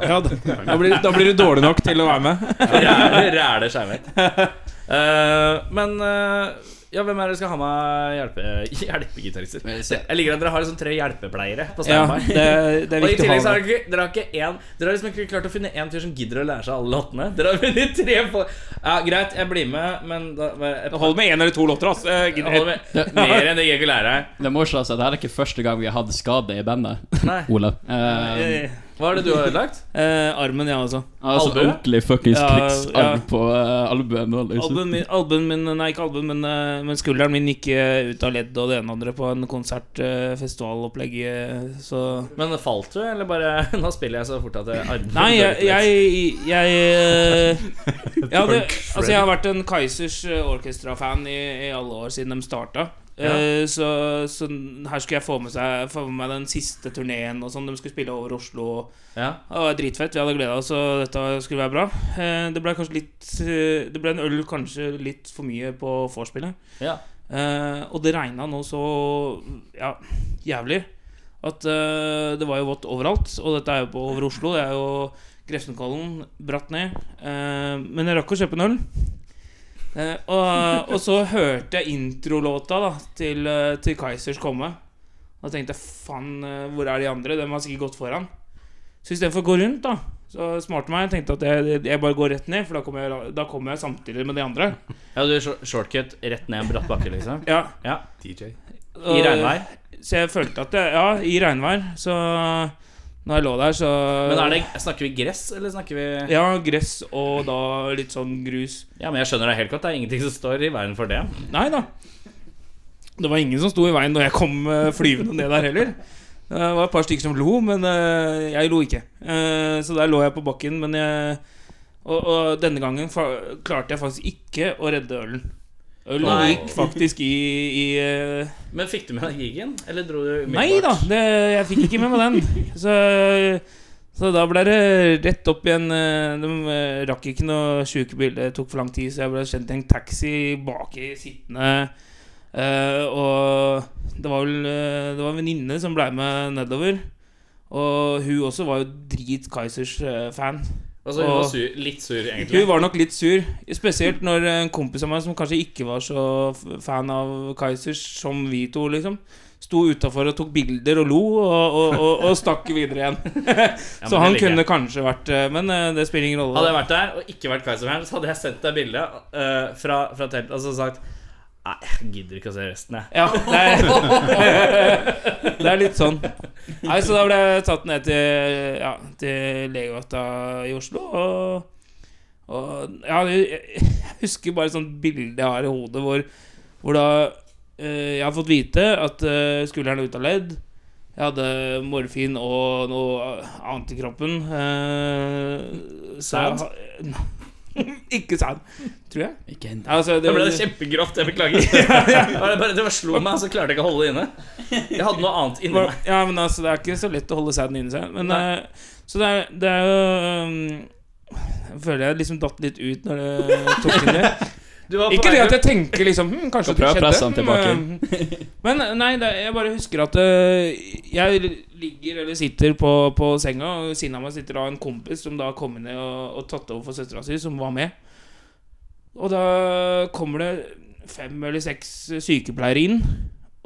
ja, da, da, blir, da blir du dårlig nok til å være med. Ræle, ræle skeivet. Eh, men eh, ja, hvem er det som skal ha med hjelpe, <laughs> hjelpegitarister? Jeg liker at dere har liksom tre hjelpepleiere på Ja, standby. det, det er Og i viktig å ha tillegg så med. har dere ikke, dere har ikke en, Dere har liksom ikke klart å finne én fyr som gidder å lære seg alle låtene. Dere har funnet tre på Ja, greit, jeg blir med, men da, jeg, Det holder med én eller to låter. ass. Jeg jeg gidder holder ikke. med. Mer enn det jeg ikke lærer deg. det må ikke altså, det her er ikke første gang vi har hatt skade i bandet. Nei. Olav. Eh, Eh, Hva er det du har ødelagt? eh, armen, ja, altså. altså albue? ordentlig fuckings Ja, krigsarm ja. på uh, albuen nå, liksom. Albuen min, albuen min Nei, ikke albuen, men, eh, men skulderen min gikk eh, ut av ledd og det ene og andre på en konsert, eh, festivalopplegg, eh, så <laughs> Men falt du, eller bare <laughs> Nå spiller jeg så fort at jeg armer Nei, jeg Jeg, jeg, eh, jeg hadde, Altså, jeg har vært en Kaizers eh, Orchestra-fan i, i alle år siden de starta. Eh, Så, så her skulle jeg få med, seg, få med meg den siste turneen og sånn. De skulle spille over Oslo. Og, Ja. Det var dritfett. Vi hadde gleda oss, og dette skulle være bra. Eh, Det ble kanskje litt eh, Det ble en øl kanskje litt for mye på vorspielet. Ja. Eh, Og det regna nå så ja, jævlig at eh, det var jo vått overalt. Og dette er jo på over Oslo. Det er jo Grefsenkollen, bratt ned. Eh, Men jeg rakk å kjøpe en øl. Eh, og, og så hørte jeg introlåta da til, eh, til Kaizers komme. Og tenkte jeg, faen, eh, hvor er de andre? De har sikkert gått foran. Så istedenfor å gå rundt, da, så smarte meg. Jeg tenkte at jeg, jeg bare går rett ned, for da kommer jeg, da kommer jeg samtidig med de andre. Ja, du shor- shortcut rett ned en bratt bakke, liksom? Ja, Ja, DJ. I regnvær? Så jeg følte at jeg, Ja, i regnvær. Så når jeg lå der, så Men er det, snakker vi gress, eller snakker vi Øh. Ja, gress og da litt sånn grus. Ja, men jeg skjønner deg helt godt. Det er ingenting som står i veien for det. Nei da. Det var ingen som sto i veien når jeg kom eh, flyvende ned der heller. Eh, Det var et par stykker som lo, men eh, jeg lo ikke. Eh, Så der lå jeg på bakken, men jeg Og, og denne gangen fa- klarte jeg faktisk ikke å redde ølen. Ølen Nei. gikk faktisk i, i eh, Men fikk du med deg gigen, eller dro du Nei da, det, jeg fikk ikke med meg den. Så, så da ble det rett opp igjen. eh, De eh, rakk ikke noe sjukebil, det tok for lang tid, så jeg ble sendt i en taxi bak i sittende. Eh, og det var vel eh, Det var en venninne som ble med nedover. Og hun også var jo drit eh, Kaizers-fan. Altså, hun var Og- sur, litt sur, egentlig. Hun var nok litt sur, spesielt når en kompis av meg som kanskje ikke var så f- fan av Kaizers, som vi to, liksom, sto utafor og tok bilder og lo, og, og, og, og stakk videre igjen. <laughs> Ja, men Så det han liker kunne jeg. kanskje vært eh, Men eh, det spiller ingen Hadde rolle. jeg vært der og ikke vært Kaiserfan, så hadde jeg sendt deg bilde eh, fra, fra teltet og så sagt Nei, jeg gidder ikke å se resten, jeg. Ja, det er, <laughs> det er litt sånn. Nei, så da ble jeg tatt ned til, ja, til legevakta i Oslo, og, og ja, jeg, jeg husker bare et sånt bilde jeg har i hodet, hvor, hvor da eh, jeg har fått vite at eh, skulderen er ute av ledd. Jeg hadde morfin og noe annet i kroppen. eh, så jeg har- <laughs> Ikke sand, tror jeg. Ikke hent Altså, Da ble det kjempegrovt. Jeg beklager. <laughs> Det var bare, det bare slo meg, så klarte jeg ikke å holde det inne. Jeg hadde noe annet inni meg. Ja, men altså, det er ikke så lett å holde sæden inni seg. Men, Nei. eh, så det er, det er jo um, Føler jeg liksom datt litt ut når <laughs> det tok inn det. Du var på Ikke vei det at til- jeg tenker liksom hm, Kanskje Skal det prøve å skjedde. presse han hm, eh, <laughs> Men nei, det, jeg bare husker at eh, jeg ligger eller sitter på, på senga, og ved siden av meg sitter da en kompis som da kom ned og, og tatt over for søstera si, som var med. Og da kommer det fem eller seks sykepleiere inn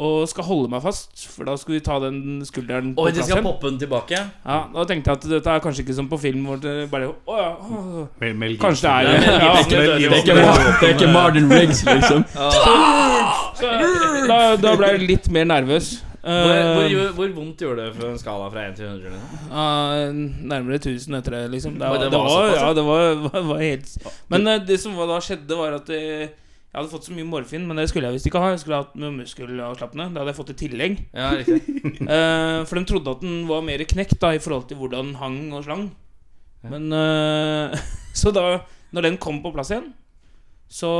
og skal holde meg fast, for da skal vi ta den skulderen på Oi, de plass skal igjen. poppe den tilbake. Ja, da tenkte jeg at dette er kanskje ikke som på film, hvor det bare Å ja. å, Mel, Mel Kanskje det Nei, er men- ja, Det er Det er ikke, Mar- det er ikke Martin Riggs, liksom. så, da, da ble jeg litt mer nervøs. Eh, Hvor, hvor, gjorde- hvor vondt gjorde det for en skala fra 1 til liksom? 100? eller noe? Ja, nærmere 1000 etter det, liksom. Det, Oi, var, det det, var var, såpass, ja, det var, <laughs> var, var helt Men eh, det som var, da skjedde, var at eh, jeg hadde fått så mye morfin, men det skulle jeg visst ikke ha. Jeg skulle hatt noe muskelavslappende. Det hadde jeg fått i tillegg. Ja, riktig. <laughs> Eh, for de trodde at den var mer knekt da i forhold til hvordan den hang og slang. Men eh, <laughs> Så da Når den kom på plass igjen, så,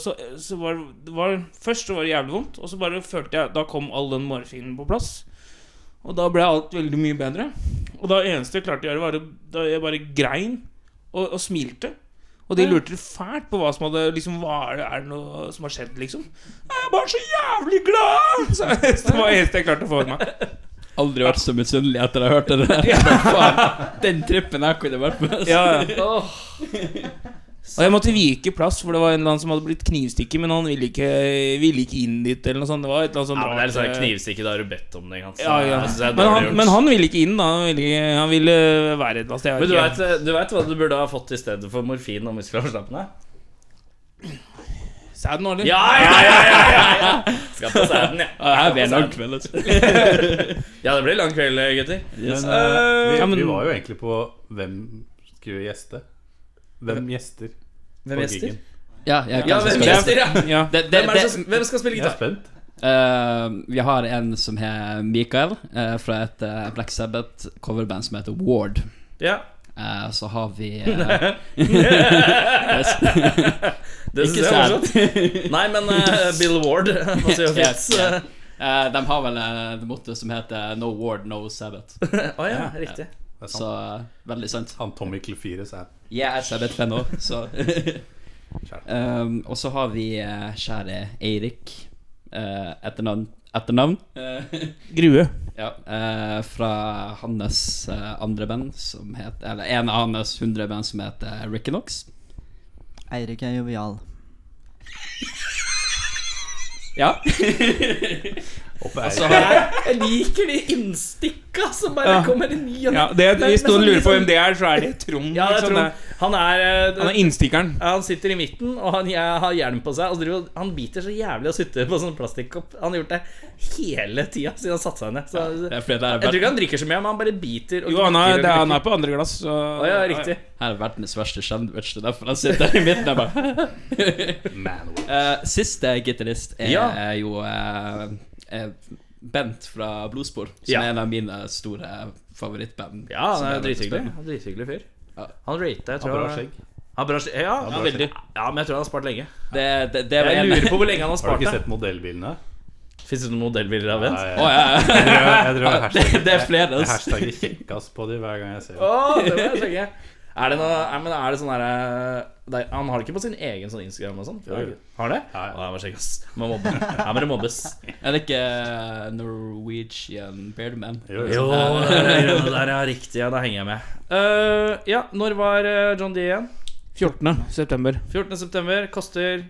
så, så var det var, Først så var det jævlig vondt, og så bare følte jeg Da kom all den morfinen på plass. Og da ble alt veldig mye bedre. Og da eneste jeg klarte å gjøre, var å- da jeg bare grein og, og smilte. Og de lurte fælt på hva som hadde liksom, hva er det, er det noe som har skjedd, liksom. Jeg er bare så jævlig glad! <laughs> Så det var det eneste jeg klarte å få ut meg. <laughs> Aldri vært så misunnelig etter å ha hørt det der. <laughs> Faen, Den trippen her kunne jeg vært med. Ja, <laughs> ja. Og jeg måtte vike plass, for det var en eller annen som hadde blitt knivstikket, men han ville ikke, ville ikke inn dit, eller noe sånt. Det var et eller annet sånt Ja, men det er litt rart, sånn eh, knivstikke, da har du bedt om det. Ikke sant? Så Ja, ja. jeg synes det er Men, dårlig han, gjort. men han ville ikke inn, da. Han ville, ikke, han ville være et eller annet sted. jeg Men du vet vet, eh, du vet hva du burde ha fått i stedet for morfin og muskelavslappende? ikke. Sæd nå, eller? Ja, ja, ja! ja, ja, ja. Skal på sæden, ja. Jeg blir en lang kveld. altså. Ja, det blir lang kveld, gutter. Yes. eh, Vi, Eh, Ja, men- vi var jo egentlig på hvem skulle gjeste. Hvem gjester? på Hvem gjester? gigen? Ja, jeg Ja, kan hvem spille. gjester, ja. Ja. Det, det, Hvem, er det som, hvem skal spille Jeg er gitar? spent. Eh, vi har en som heter Mikael, eh, fra et eh, Black Sabbath coverband som heter Ward. Ja. Eh, så har <laughs> vi eh, <laughs> Det Ikke synes jeg er sæd. morsomt. <laughs> Nei, men <laughs> eh, Bill Ward må si jo fint. Ja, ja. Eh, de har vel eh, det motto som heter 'No Ward, No Sabbath'. Å ja, riktig. Det er sant. Altså- Så eh, veldig sant. Han Tommy Clefiris er Jeg er Sabbath-fan òg, så Ehm, Og så har vi eh, kjære Eirik. eh, etternavn. etternavn. Eh, Grue. ja, eh, fra hans eh, andre band, som heter Eller en av hans 100 band som heter Rickenox. Eirik er jovial. Ja. Oppe Altså, altså, han- Jeg liker de innstikka som bare Ja. kommer i ny og ne. Ja, det, Det er hvis nesten noen lurer på liksom- hvem det er, så er det Trond. Ja, det Sånn er liksom. Trond. Han er eh, Han er innstikkeren. ja, han sitter i midten, og han jeg har hjelm på seg. Og så driver, han biter så jævlig og sutter på sånn plastikkopp. Han har gjort det hele tida siden han satte seg ned. Så, Det er fordi det jeg tror er, ikke han drikker så mye, men han bare biter. Og Jo, han er, gnikker og det er, han gnikker. er på andre glass. Så, Å, ja, riktig. ver- her er verdens verste sandwich. Det er derfor han sitter her i midten. Jeg bare <laughs> Eh, Siste gitarist er, Ja. er jo eh, eh, Bent fra Blodspor, som Ja. er en av mine store favorittband. Ja, han som er jeg vet å drithyggelig. spille. Han er Drithyggelig fyr. Ja. Han rata, jeg tror bra skjegg. Han har bra skjegg. Ja, bra veldig. Ja, men jeg tror han har spart lenge. Det, det, det var Jeg en- lurer <laughs> på hvor lenge han har Har du spart ikke det. sett modellbilene? Fins det noen modellbilder av Vent? Nei, Å, ja, ja. Jeg tror jeg- jeg <laughs> tror jeg Det, hashtagger- det er flere. jeg Altså. hashtagger kjekkas på de hver gang jeg ser dem. Å, <laughs> det må jeg sjekke. Er det noe Nei, men er det sånn derre Nei, Han har det ikke på sin egen sånn Instagram og sånn? Jo, jo. Har det? Ja, Å, ja. jeg må sjekke, ass. Må mobbe. Her må det mobbes. Er det ikke eh, Norwegian Beardman? Jo, Jo, jo. det er det grønne der, ja. Riktig, ja. Da henger jeg med. Eh, ja, når var eh, John D igjen? 14. 14.9. 14. september. Koster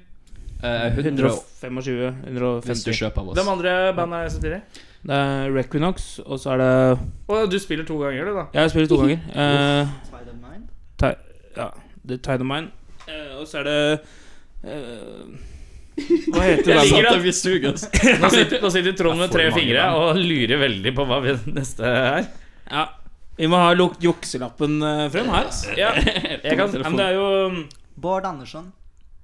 Eh, 100 125. hvis du 150. kjøper av oss. Hvem andre band er det som spiller? Det er Requinox, og så er det Og du spiller to ganger, du, da? Jeg har spilt to <laughs> ganger. Eh, Spider-Man? The Tide of Mine. Eh, og så er det eh, Hva heter Jeg det? liker Sant, at- at vi suger, altså. Nå sitter, nå sitter Trond med Det er for tre mange fingre band. og lurer veldig på hva vi neste er. Ja, vi må ha luk- jukselappen eh, frem her. ass. Ja, <laughs> jeg kan, men det er jo Bård Andersen.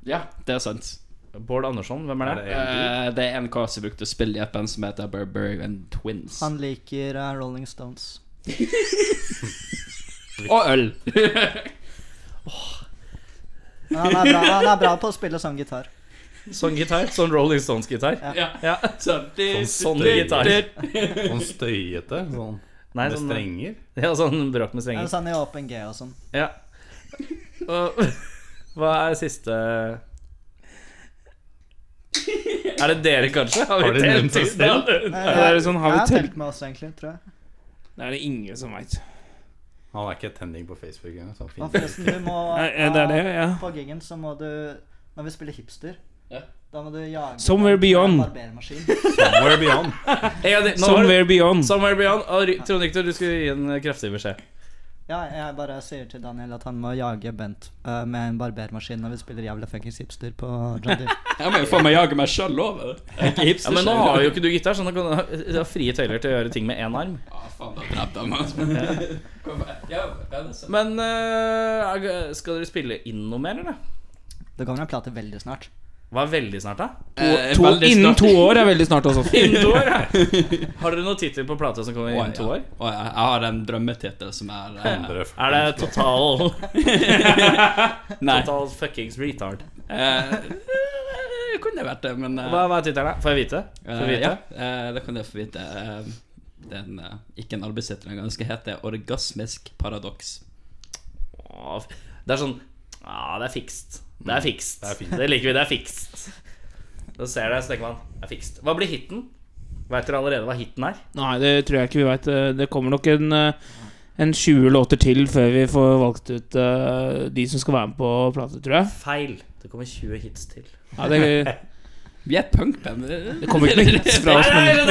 Ja, det er sant. Bård Andersson, hvem er Er det? det en bil? Eh, det er en kar som brukte å spille i et band som heter Burberry and Twins. Han liker eh, Rolling Stones. <laughs> Og <laughs> øl! Men han er bra, han er bra på å spille sånn gitar. Sånn gitar? Sånn Rolling Stones-gitar? ja. Ja. Sånn, Sånn, sånn gitar. Sånn støyete, sånn Nei, med sånn, strenger. ja, sånn bråk med Ja, strenger. Sånn i Open G og sånn. Ja. Og, <laughs> hva er siste Er det dere, kanskje? Har de nevnt telt seg selv? <laughs> tiden? Nei, det er sånn, har vi jeg har telt- telt med oss, egentlig, tror jeg. Det er det ingen som veit. Han er ikke tenning på Facebook engang. sånn så han Og finner- forresten, du må eh, Det er det, <laughs> ja. På giggen så må du Når vi spiller hipster, Ja. da må du jage Somewhere en Beyond. barbermaskin. Somewhere beyond. Ja, det- nå var det- Somewhere Beyond. Somewhere Beyond. Og Ry- Trond Victor, du skulle gi en kraftig beskjed. Ja, jeg bare sier til Daniel at han må jage Bent eh, med en barbermaskin når vi spiller jævla fuckings hipster på <laughs> John Deere. Jeg må jo faen meg jage meg sjøl òg. Jeg er ikke Ja, hipster. men nå selv. har jo ikke du gitar, så nå kan du ha- du har frie tøyler til å gjøre ting med én arm. Ja, faen, da drepte jeg meg. altså. Kom, ja, det er sant. Men eh, er- skal dere spille inn noe mer, eller? Det kommer en plate veldig snart. Hva er veldig snart, da? Eh, To, veldig innen snart- to år er veldig snart hos oss. Innen to år, ja! Har dere noen tittel på plata som kommer Å, innen to ja. år? Å, ja. Jeg har en drømmetittel som er eh, Andre Er det total, Nei. total fuckings retard? Eh, det kunne vært det, men eh, Hva, hva er tittelen, da? Får jeg vite? Får jeg eh, vite? ja, eh, det kan jeg få vite. Eh, det er en, eh, ikke en arbeidstittel engang. Den skal hete 'Orgasmisk paradoks'. Åh, Det er sånn Ja, det er fikst. Det er fikst. Det er fint. Det liker vi. Det er fikst. Da ser det, så tenker man det er fikst. Hva blir hiten? Veit dere allerede hva hiten er? Nei, det tror jeg ikke vi veit. Det kommer nok en, eh, en 20 låter til før vi får valgt ut eh, de som skal være med på plate, tror jeg. Feil. Det kommer 20 hits til. Ja, det, <laughs> Vi er et punkband. Det det kommer ikke noe hits fra <laughs> oss. Men,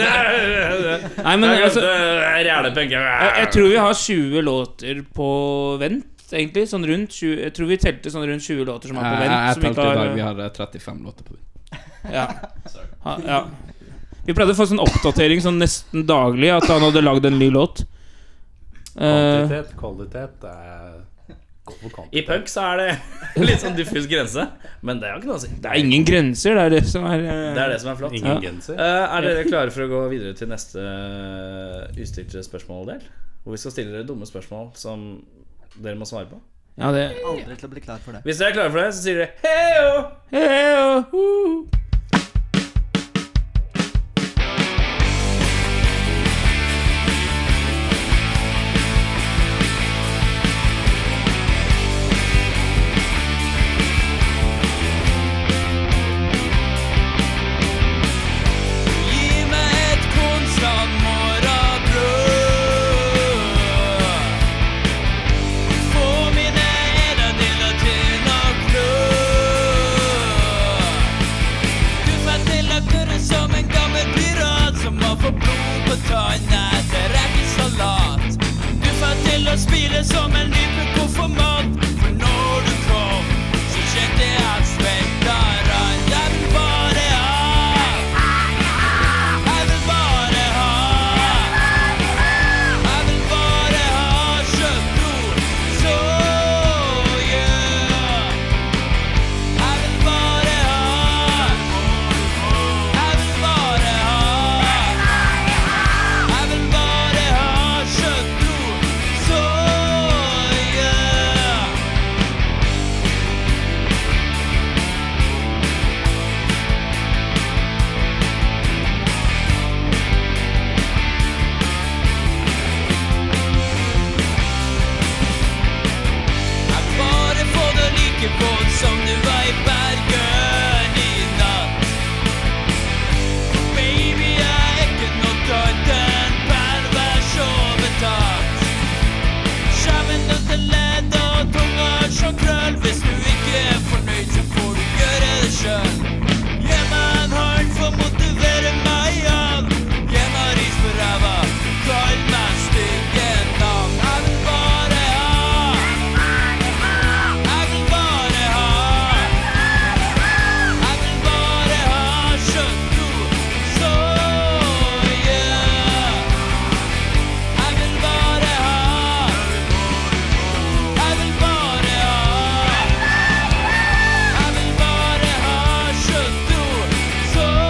nei, men Jeg altså, glemte rælepunk. Jeg, jeg tror vi har 20 låter på vent, egentlig. Sånn rundt 20, jeg tror vi telte sånn rundt 20 låter som er på jeg vent. jeg som ikke telte i dag. har- Vi har eh, 35 låter på den. ja. Ha, ja. Vi pleide å få sånn oppdatering sånn nesten daglig at han hadde lagd en ny låt. Eh, Kvantitet, kvalitet det er Gå for I kvantitet. punk så er det <laughs> litt sånn diffus grense, men det har ikke noe å si. det er ingen grenser, det er det som er eh, Det er det som er flott. Ingen Ja. genser. Eh, er dere klare for å gå videre til neste ustilte spørsmål-del? Hvor vi skal stille dere dumme spørsmål som dere må svare på. Ja, det Aldri til å bli klar for det. Hvis dere er klare for det, så sier dere heio! Hei, å, hu. Gi meg et konstant morgenbrød Få mine ender til å tjene klø begynte å spire som en nype konfirmant. For når du kom, så kjente jeg at svetta rant. Jeg vil bare ha. Jeg vil bare ha. Jeg vil bare ha kjøtt, blod, soje. Jeg vil bare ha. Jeg vil bare ha. Jeg vil bare ha kjøtt, blod, soje. Jeg bare får det like våt som du var i Bergen i natt. Baby, jeg er ikke noe annet enn pervers og betatt. Skjermen nødt til ledd og tunga som krøll. Hvis du ikke er fornøyd, så får du gjøre det sjøl. Gi meg en hånd for å motivere meg av. Gi meg ris på ræva. Kall meg stygge navn. Jeg vil bare ha. Jeg vil bare ha. Jeg vil bare ha kjøtt, blod, soje. Jeg vil bare ha. Jeg vil bare ha. Jeg vil bare ha kjøtt, blod, soje.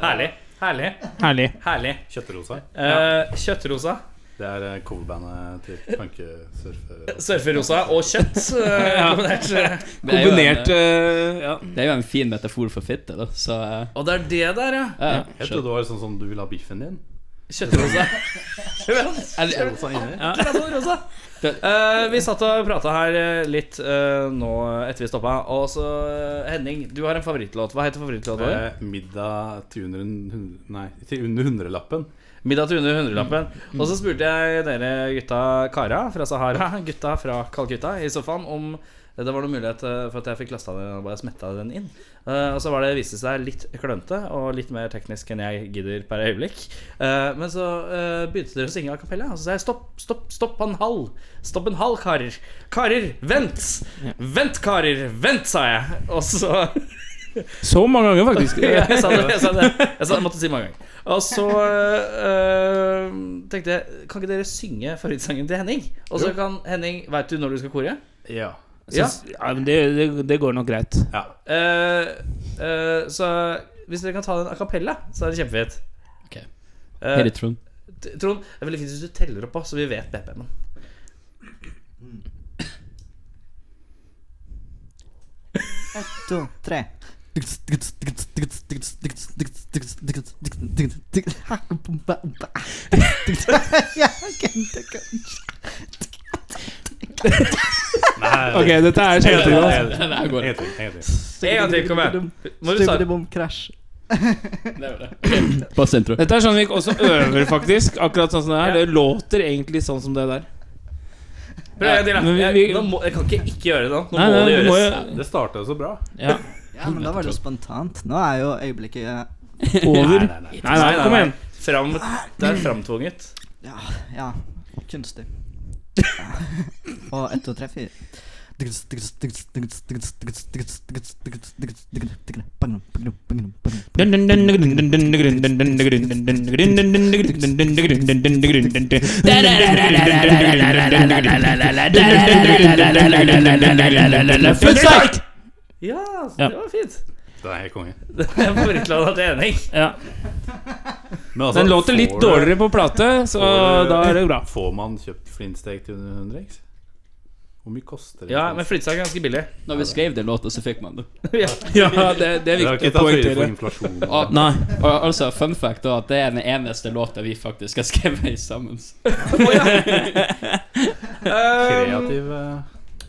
Herlig. Herlig. Herlig. herlig Kjøttrosa. Eh, Kjøttrosa, Det er eh, coverbandet til punkesurfere. surferosa og kjøtt. eh, kombinert. Men det er jo en- Kombinert eh, ja. Det er jo en fin metafor for fitte, da, så eh, Og det er det der, ja. ja, Jeg skjønner. trodde det var sånn som du ville ha biffen din. Kjøttrosa. Rosa inni. Eh, vi satt og prata her eh, litt eh, nå etter vi stoppa. Og så eh, Henning, du har en favorittlåt. Hva heter favorittlåta di? Eh, Middag til under, en hun- nei, til under hundrelappen. 'Middag til under hundrelappen'. Og så spurte jeg dere gutta kara fra Sahara, <laughs> gutta fra Calcutta, i sofaen om det var noen mulighet eh, for at jeg fikk lasta den og bare smetta den inn. Eh, og så var det, viste det seg litt klønete og litt mer teknisk enn jeg gidder per øyeblikk. Eh, men så eh, begynte dere å synge a cappella, og så sa jeg stopp, stopp, stopp en halv. Stopp en halv, karer. Karer, vent! Vent, karer, vent, sa jeg. Og så Så mange ganger, faktisk. <laughs> ja, jeg sa det, jeg sa det. Jeg, sa, jeg måtte si det mange ganger. Og så øh, tenkte jeg Kan ikke dere synge favorittsangen til Henning? Og så kan Henning Veit du når du skal kore? Ja. Ja. Ja, men det, det, det går nok greit. ja. Eh, eh, så hvis dere kan ta den a cappella, så er det kjempefint. Ok. Eh, Hei, Trond. T- Trond, det er veldig fint hvis du teller opp, også, så vi vet BPM-en. To, tre. Nei, Ok, dette er kjempebra. Helt Det her går. enig, helt enig. En gang til, kom igjen. Må du starte? Stubbedibom, krasj. Pass <laughs> intro. Dette er sånn vi også øver, faktisk. Akkurat sånn som det er. Det låter egentlig sånn som det der. Prøv en gang til, Men vi- da. vi- Jeg, nå må, jeg kan ikke ikke gjøre det nå. Nå Nei, må nei, det vi må gjøres. jo- Det starta jo så bra. ja. Ja, men da var det jo spontant. Nå er jo øyeblikket Over. Nei, nei, nei. Nei, nei, kom igjen. Fram, det er framtvunget. Ja, kunstig. Og ett, to, tre, fire. Dun, dun, dun, dun, dun, dun, dun, dun, dun, dun, dun, dun, dun, dun, dun, dun, dun, dun, dun, dun, dun, dun, dun, dun, dun, dun. Footfight! Ja, Ja. det var fint. Det er helt konge. Det er favorittlandet til Henning. Ja, Men altså, den låter litt får- dårligere på plate, så da er det bra. Får man kjøpt flintstek til under 100 X? Hvor mye koster det? Ja, men flyttsak er ganske billig. <laughs> Når vi skrev den låta, så fikk man det. <laughs> Ja. Ja, det, det er Vi har ikke viktig å tatt høyde for poengtere. inflasjon. Ah, Nei. Og altså, fun fact da, at det er den eneste låta vi faktisk har <laughs> skrevet sammen. Kreativ eh,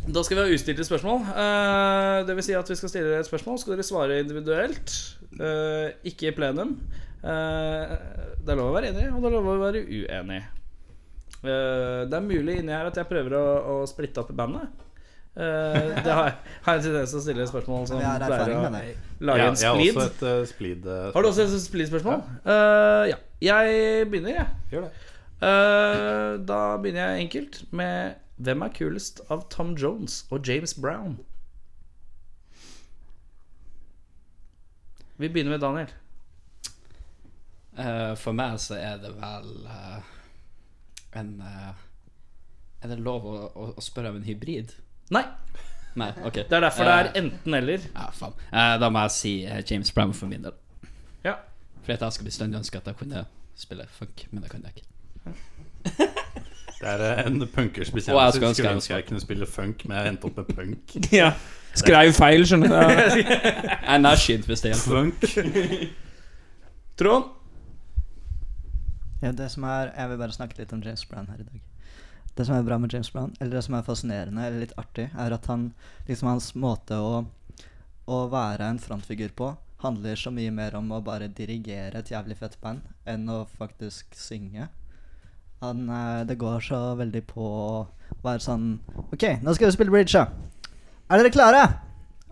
Da skal vi ha ustilte spørsmål. Eh, det vil si at vi skal stille dere et spørsmål. Skal dere svare individuelt? Eh, ikke i plenum. Eh, det er lov å være enig, og det er lov å være uenig. Eh, det er mulig inni her at jeg prøver å, å splitte opp bandet. Eh, det har jeg har jeg en tendens til å stille spørsmål som Vi har pleier erfaring å med det. lage ja, en Jeg har splid. også et eh, splid. eh, Har du også et splid-spørsmål? Eh, ja. Jeg begynner, jeg. Gjør det. Eh, da begynner jeg enkelt med Hvem er kulest av Tom Jones og James Brown? Vi begynner med Daniel. Eh, for meg så er det vel eh, en eh, Er det lov å, å, å spørre om en hybrid? Nei, Nei, ok. Eh, det er derfor det er enten-eller. Ja, faen. Eh, da må jeg si eh, James Brown for min del. Ja. For at jeg skal bestandig ønske at jeg kunne spille funk, men det kan jeg ikke. Det er eh, en punkers Og jeg bekjennelse. skal ønske Skulle jeg ønske jeg kunne spille funk, men jeg endte opp med punk. Ja. Skreiv feil, skjønner <laughs> du. Jeg er nærsynt hvis det hjelper. Funk Trond? Ja, det som er, jeg vil bare snakke litt om James Brown her i dag. Det som er bra med James Brown, eller det som er fascinerende eller litt artig, er at han, liksom hans måte å, å være en frontfigur på handler så mye mer om å bare dirigere et jævlig fett band enn å faktisk synge. Han, eh, det går så veldig på å være sånn OK, nå skal vi spille bridge. ja. Er dere klare?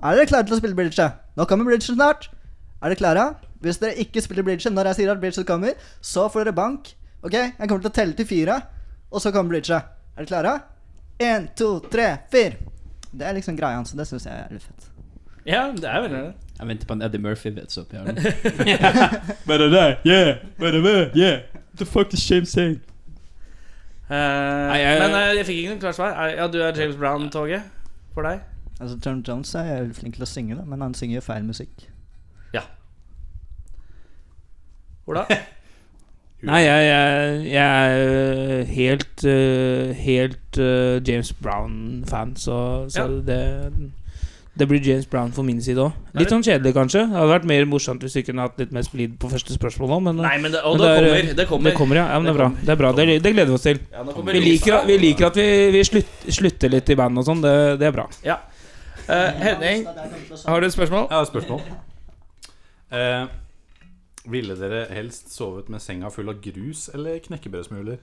Er dere klare til å spille bridge? ja? Nå kommer bridge snart. Er dere klare? Hvis dere ikke spiller bridge når jeg sier at bridge kommer, så får dere bank. Ok, jeg kommer til å telle til fire, og så kommer bridge. Er dere klare? Én, to, tre, fire. Det er liksom greia hans, og det syns jeg er litt fett. Ja, det er veldig det. Jeg venter på en Eddie Murphy-vits oppi her. nå. <laughs> Bare det, yeah, bare det, yeah. What the fuck is James saying? Nei, jeg- men eh, jeg fikk ikke noe klart svar. Er- Ja, du er James Brown-toget for deg? Altså, Tom Jones er jævlig flink til å synge, da, men han synger jo feil musikk. Ola? Nei, jeg, jeg, jeg er helt, eh, helt eh, James Brown-fan, så, så Ja. det, det blir James Brown for min side òg. Nei, Litt sånn kjedelig, kanskje. Det hadde vært mer morsomt hvis vi kunne hatt litt mer splid på første spørsmål òg, men eh, <laughs> Nei, men det, og men det, det er- kommer. Det kommer. det kommer, ja. ja men det, er bra. det er bra. Det, det gleder vi oss til. Ja, nå kommer Vi liker, vi liker at vi, vi slutt, slutter litt i band og sånn. Det, det er bra. Eh, Henning, har du et spørsmål? Jeg har et spørsmål. Eh, ville dere helst sovet med senga full av grus eller knekkebrødsmuler?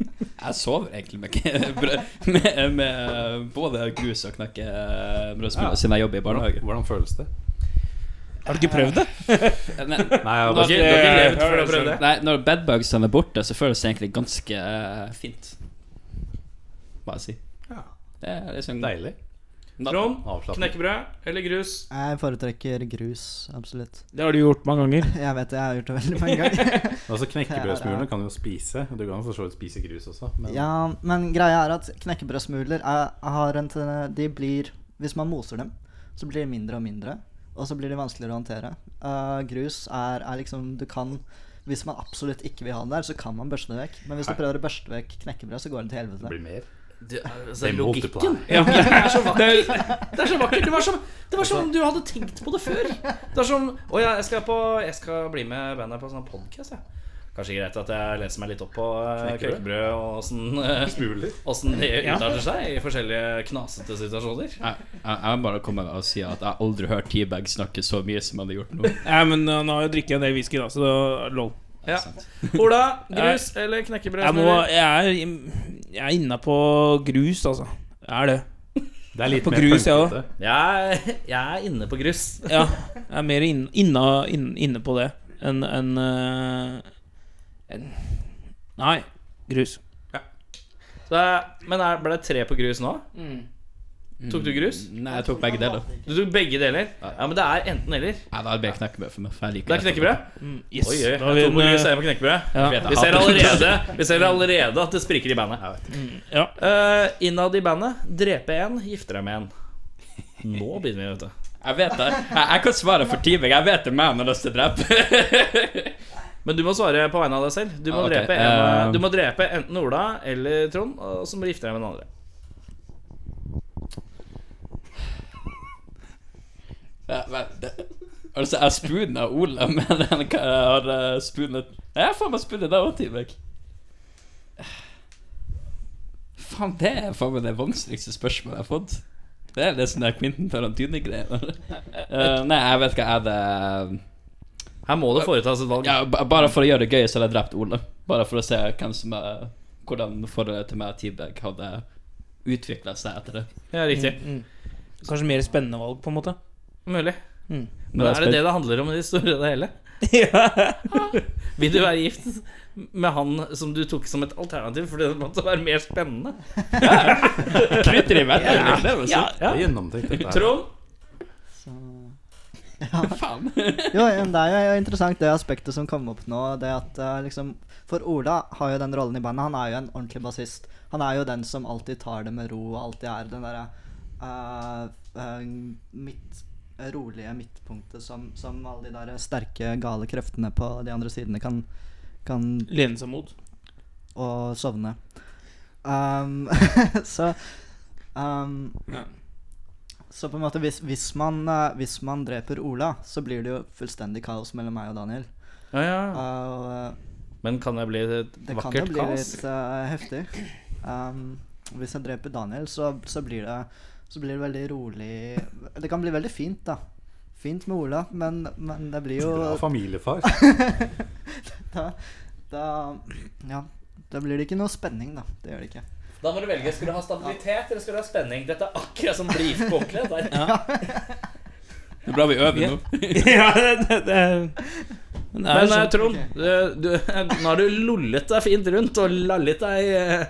Jeg sover egentlig med, <laughs> brød- med, med både grus og knekke brødsmuler Ja. siden jeg jobber i barnehage. Hvordan føles det? Har du ikke prøvd det? Nei, Nei, jeg har bare, når, Ok, du har ikke levd før du har prøvd det? nei, når bedbugsene er borte, så føles det egentlig ganske eh, fint. Bare si. Ja. Det er liksom Deilig. Trond, Avslappende. knekkebrød eller grus? Jeg foretrekker grus, absolutt. Det har du gjort mange ganger. Jeg vet det, jeg har gjort det veldig <laughs> mange ganger. Altså, knekkebrødsmulene kan du jo spise. Du kan jo for så vidt spise grus også. Men Ja, men greia er at knekkebrødsmuler er, har en tende- De blir Hvis man moser dem, så blir de mindre og mindre. Og så blir de vanskeligere å håndtere. Eh, grus er, er liksom Du kan Hvis man absolutt ikke vil ha det der, så kan man børste det vekk. Men hvis du prøver å børste vekk knekkebrød, så går det det til helvete. blir mer. Det, altså, Det logikken multiplier. Ja. er så vakkert. Det er så vakkert. Det var som, det var som om du hadde tenkt på det før. Det er som Å ja, jeg skal, på, jeg skal bli med bandet på en sånn podkast, jeg. Kanskje greit at jeg leser meg litt opp på eh, Knekkebrød. knekkebrød og åssen eh, Smuler. åssen det utarter seg i forskjellige knasete situasjoner. Jeg, jeg, jeg må bare komme og si at jeg har aldri hørt T-Bag snakke så mye som han har gjort nå. Ja, men uh, nå har jeg drukket en del whisky, da, så det er lov. Ja. Ola, grus eller knekkebrød? Jeg, må, jeg er, jeg er inne på grus, altså. Jeg er det. Det er litt På mer grus, jeg punkete. Jeg, er- jeg er inne på grus. Ja, jeg er mer inn, inna, inn, inne på det enn enn, eh, enn- Nei, grus. Så, jeg- men er, ble det tre på grus nå? Tok du grus? Nei, jeg tok begge deler. Du tok begge deler? Ja, men det er enten eller. Nei, da er det bare knekkebrød for meg. For jeg liker Det er knekkebrød? Mm, Yes, Oi, oi. da har To vi på grus, en, eh, en på knekkebrød. ja. Vi ser allerede, <laughs> vi ser allerede at det spriker i bandet. Mm, ja. Eh, innad i bandet drepe en, gifte deg med en. Nå begynner vi, vet du. Jeg vet det. Jeg, jeg kan svare for teaming. Jeg vet det er meg han har lyst til å drepe. Men du må svare på vegne av deg selv. Du må, Ah, ok. drepe, en, av- Eh. du må drepe enten Ola eller Trond, og så må du gifte deg med den andre. <laughs> Ja, men det- Altså, jeg spooner Ola, <laughs> men han kan- har eh, spoonet Nei, Jeg har faen meg spoonet deg òg, Tibek. Faen, det er faen meg det vanskeligste spørsmålet jeg har fått. Det er det sånn der Quentin Tarantino-greier. Eh, nei, jeg vet hva jeg hadde Her må det foretas et valg. ja, ba- Bare for å gjøre det gøy, så hadde jeg drept Ola. Bare for å se hvem som er, hvordan forholdet til meg og Tibek hadde utvikla seg etter det. Ja, riktig. Mm, Kanskje mer spennende valg, på en måte. Mulig. Men Men jeg er det det det handler om i det store og det <laughs> hele? Vil du være gift med han som du tok som et alternativ fordi det måtte være mer spennende? spør- Kryter i vennen, er det ikke det altså. man sier? Det er gjennomtenkt, dette her. Trond? Så ja. <laughs> jo, men det er jo interessant det aspektet som kom opp nå. Det at eh, liksom For Ola har jo den rollen i bandet. Han er jo en ordentlig bassist. Han er jo den som alltid tar det med ro og alltid er den derre eh, eh, midt rolige midtpunktet som, som alle de der sterke, gale kreftene på de andre sidene kan, kan Lene seg mot. og sovne. Um, <laughs> så um, Ja. Så på en måte, hvis, hvis, man, eh, hvis man dreper Ola, så blir det jo fullstendig kaos mellom meg og Daniel. Ja, ja. Og eh, Men kan det bli et det kan jo vakkert bli kaos? litt eh, heftig. Um, hvis jeg dreper Daniel, så, så, blir det, så blir det veldig rolig Det kan bli veldig fint, da. Fint med Ola, men, men det blir jo Bra familiefar. da, da Ja. Da blir det ikke noe spenning, da. Det gjør det ikke. Da må du velge. Skal du ha stabilitet, eller skal du ha spenning? Dette er akkurat som bli gift på ordentlig. dette her. Det er bra vi øver nå. <laughs> <laughs> ja, det, det, det er- Men det er Men sånn. eh, Trond, eh, du, nå har du lollet deg fint rundt og lallet deg eh,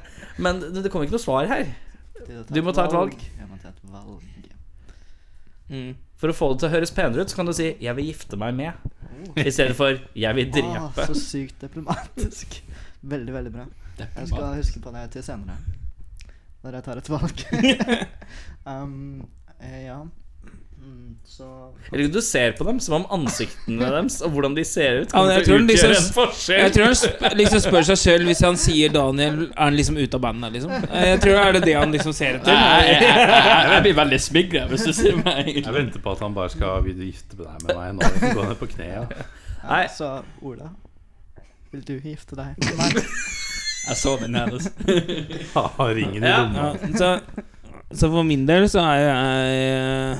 Men det det kommer ikke noe svar her. Du må ta et valg. Jeg må ta et valg. Mm. For å få det til å høres penere ut, så kan du si 'jeg vil gifte meg med'. Mm. I stedet for 'jeg vil Ah, drepe'. så sykt diplomatisk. <laughs> Veldig, veldig bra. Jeg skal huske på det til senere. Når jeg tar et valg. <laughs> um, eh, ja. Mm, så Eller du ser på dem som om <laughs> ansiktene deres og hvordan de ser ut, Ja, men kommer jeg til å tror utgjøre liksom- en forskjell. Jeg tror han sp liksom spør seg selv hvis han sier Daniel, er han liksom ute av bandet, liksom? Jeg tror er det det han liksom ser etter. Nei, jeg, jeg, jeg, <laughs> jeg blir veldig smigra hvis du sier meg Jeg venter på at han bare skal vil du gifte deg med meg nå. Jeg skal Gå ned på kne. Ja. Nei. ja, Så Ola, vil du gifte deg med meg? <laughs> Jeg så den hennes. Ha ringen i Ja. Ja, lomma. så, så for min del så er jeg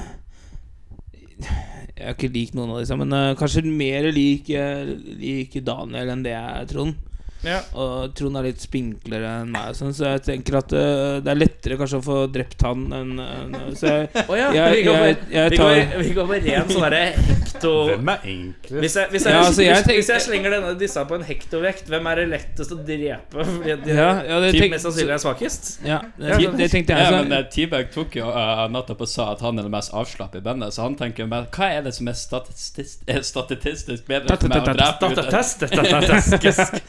eh, Jeg er ikke lik noen av disse, men eh, kanskje mer lik, eh, lik Daniel enn det jeg er Trond. Ja. Og Trond er litt spinklere enn meg, og sånn, så jeg tenker at eh, det er lettere kanskje å få drept han enn enn- eh, Så jeg, Å ja, Jeg- vi går jeg- for- jeg vi tar- går- vi går for ren sånn derre hekto... Hvem er enklest? Hvis jeg, hvis jeg, Ja, altså, jeg hvis- tenker- hvis jeg slenger denne, disse på en hektovekt, hvem er det lettest å drepe? Fordi at de ja, ja, det de tenk, mest sannsynlig er svakest? ja, det, det tenkte Ja, jeg. men Så, eh, T-Bag tok jo eh, nettopp og sa at han er den mest avslappet i bandet, så han tenker jo mer Hva er det som er statistisk, statistisk bedre for meg å drepe ut enn- Datatest, datatest.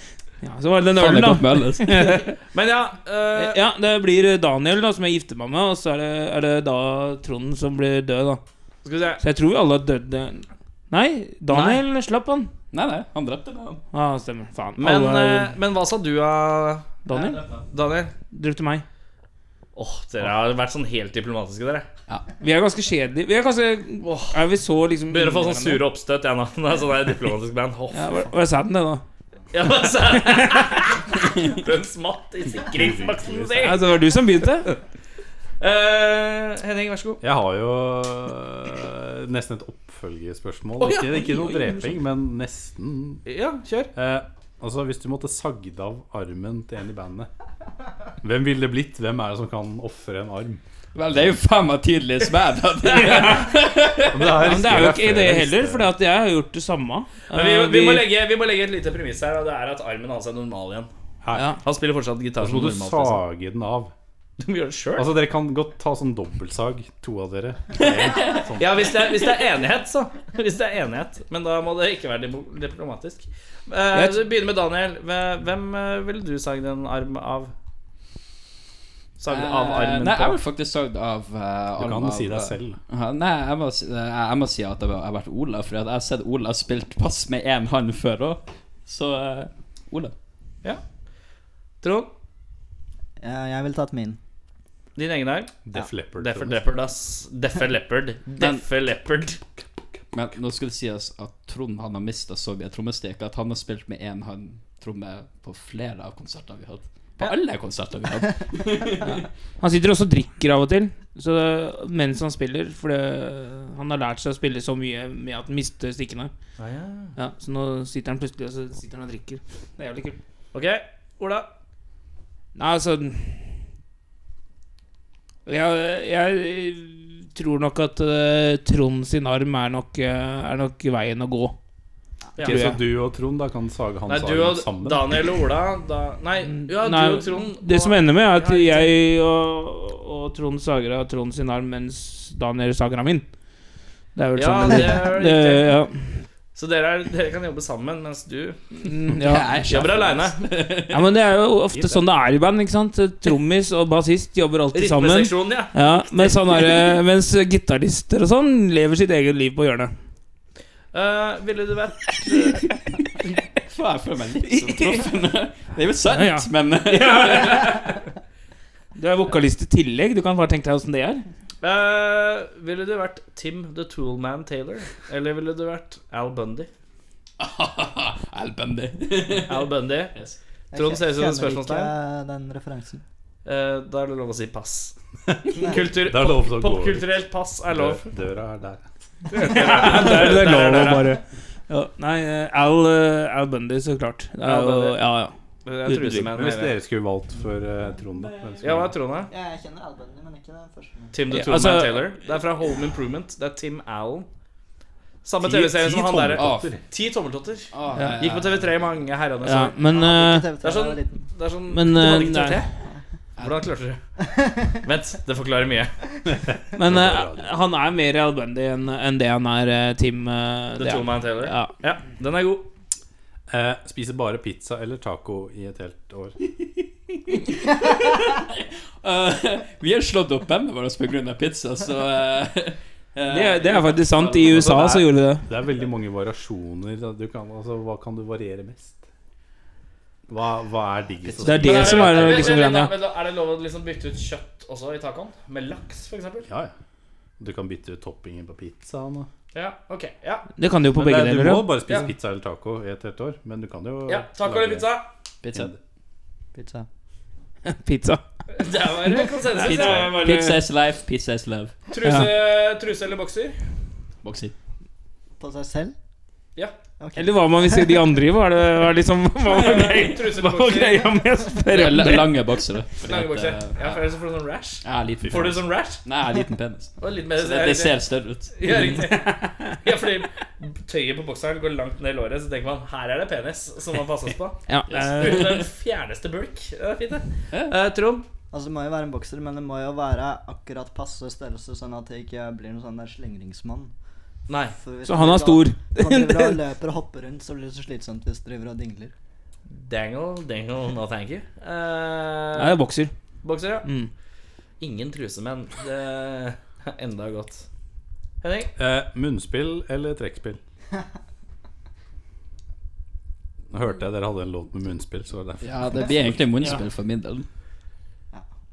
ja, så var det den Faen, jeg ølen, kom da. med Ellen. Men ja, eh, Ja, det blir Daniel da som jeg gifter meg med, og så er det, er det da Trond som blir død, da. skal vi se Så jeg tror vi alle har dødd eh, Nei, Daniel slapp han. Nei, nei, han drepte meg. han. Ja, ah, stemmer. Faen. men, alle, eh, men hva sa du, ah, Daniel Daniel? drepte meg. Åh, dere har vært sånn helt diplomatiske, dere. Vi er ganske kjedelige. Vi er ganske Er vi så liksom Begynner å få sånn sure oppstøt, jeg nå. <laughs> Det er sånn der diplomatisk band. Åh, Ja, var, var det sant, det, da? Ja, men så- <laughs> Den smatt i sikringsmaksen sin. Altså, det var du som begynte? <laughs> Eh, Henning, <laughs> vær så god. Jeg har jo øh, nesten et oppfølgespørsmål. Å, ja. Ikke, ikke noe Oi, oi, oi. dreping, men nesten. Ja, kjør. Eh, altså, hvis du måtte sagd av armen til en i bandet, hvem ville det blitt? Hvem er det som kan ofre en arm? Vel, det er jo faen meg tidlig smed. Men det, her Men det er jo skrev jeg ikke det før jeg heller, visste. for jeg har gjort det samme. Men vi, Eh, vi, må legge, vi må legge et lite premiss her, og det er at armen hans er normal igjen. Hei. Ja. Han spiller fortsatt gitar Så som må Altså, du normalt. liksom. sage den av. Du må gjøre det selv. Altså Dere kan godt ta sånn dobbeltsag, to av dere. Ja, hvis det, er, hvis det er enighet, så. Hvis det er enighet. Men da må det ikke være diplo- diplomatisk. Eh, Jeg- vi begynner med Daniel. Hve- Hvem eh, ville du sagd en arm av? Sagd av armen Eh, Nei, jeg på? vil faktisk sagt av eh, Du armen kan si av, deg eh, selv. Ja, Nei, jeg må, si- eh, jeg må si at det har vært Ola, for jeg har sett Ola spilt pass med én hånd før òg. Så eh, Ola. Trond, Eh, jeg ville tatt min. din egen arm? Def Leppard. Deffer Leppard, ass. Deffer Leppard. Deffer Leppard. Men nå skal det sies at Trond han har mista så mye trommestikk at han har spilt med én hånd tromme på flere av konsertene vi har hatt. På alle konserter vi <laughs> har hatt. Han sitter også og drikker av og til så det, mens han spiller. For det, han har lært seg å spille så mye med at han mister stikkene. Ah, Ja, så nå sitter han plutselig og så sitter han og drikker. Det er jævlig kult. Ok, Ola. Nei, altså Jeg, jeg tror nok at eh, Trond sin arm er nok, eh, er nok veien å gå. Ja. Tror Så jeg. du og Trond da kan sage hans Nei, du arm og sammen? Daniel og Ola da, Nei, ja, Mm. Nei, du og Trond Det som ender med, er at Ja, jeg og, og Trond sager av Trond sin arm, mens Daniel sager av min. Det er vel Ja, sånn det er det, riktig. ja. Så dere, er, dere kan jobbe sammen, mens du Mm, ja. Jeg er sjef. jobber aleine. ja, men det er jo ofte sånn det er i band. ikke sant? Trommis og bassist jobber alltid sammen. Rytmeseksjonen, ja. Ja, mens, han er, mens gitarister og sånn lever sitt eget liv på hjørnet. Eh, ville du vært Faen, Jeg føler meg litt som <laughs> Trond. Det er jo sant, Ja, ja. men <laughs> Du er vokalist i tillegg. Du kan bare tenke deg åssen det er. eh, Ville du vært Tim The Toolman Taylor? Eller ville du vært Al Bundy? Al Bundy. <laughs> Al <laughs> Bundy Yes. Jeg Trond ser ut som et kjenner ikke spørsmålstegn. den referansen. eh, Da er det lov å si pass. <laughs> Kultur, Det er lov til å gå ut. Popkulturelt pass er lov. Døra er der. Det er, det er lov å Der, der, bare ja, Nei, eh, Al, eh, Al Bundy, så klart. Det er Al jo, Bundy. ja, ja. Jeg tror ikke Men hvis dere skulle valgt for eh, Trond, da? hvem skulle- Ja, hva er Trond, da? Ja, jeg kjenner albumene, men ikke den første. Tim the Ja, Toolman altså- Taylor. Det er fra Home Improvement. Det er Tim Allen. Samme Ti- TV-serie ti som han derre tommeltotter. Å, Ti tommeltotter. Ah, Ja. eh, Gikk på TV3 i mange herrenes ja år. men eh, Det er sånn, det er sånn Men, Du hadde eh, ikke TV3? Hvordan klarte du det? <laughs> Vent, det forklarer mye. Men eh, han er mer Al Bundy enn enn det han er eh, Tim. eh, The det er han. Toolman Taylor. ja. Ja, den er god. Eh, spise bare pizza eller taco i et helt år? eh, vi har slått opp bandet vårt pga. pizza, så eh, eh, det, er- det er faktisk sant. I USA så gjorde de det. Det er veldig mange variasjoner. da. Du kan, altså, hva kan du variere mest? Hva, hva er diggest? å Det er spise? det som er Vent, vent, liksom vent, greia. vent, vent, Er det lov å liksom bytte ut kjøtt også i tacoen? Med laks, for eksempel? Ja, ja. Du kan bytte ut toppingen på pizzaen og Ja, ok. Ja, Det kan de jo på Men begge det er- deler. Du ja. må bare spise Ja. pizza eller taco i et helt år, men du kan jo ja taco eller lage- pizza? pizza. Pizza. Pizza. Der var det konsensus. Pizza. ja. Pizza is life, pizza is love. Truse, truse eller <laughs> bokser? Boxy. På seg selv? Ja. Ok. Eller hva man vil si de andre i. Hva er det hva er liksom Hva var greia- Truse hva eller var bokser? greia med å spørre om det? Lange boksere. Lange bokser. Ja, for ellers så får du sånn rash. eh, Jeg er litt Får du sånn rash? Nei, jeg er liten <laughs> penis. Og litt mer Så det, det ser større ut. Ja, riktig. <laughs> Ja, fordi tøyet på bokseren går langt ned i låret, så tenker man her er det penis som må passes <laughs> på. Ja, eh, Uten den fjerneste bulk. Det er fint, det. Eh, Trond? Altså, det må jo være en bokser, men det må jo være akkurat passe størrelse, sånn at jeg ikke blir noen sånn der slingringsmann. Nei. For hvis så man han er driver og- stor. Hvis man driver <laughs> og løper og hopper rundt, så blir det så slitsomt hvis du driver og dingler. Dangle, dangle, no thank you. Nei, det Eh, er bokser. bokser, ja. Mm. Ingen trusemenn. Det er enda godt. Henning? Eh, munnspill eller <laughs> trekkspill? Nå hørte jeg dere hadde en låt med munnspill, så det er Ja, det blir egentlig munnspill for min del.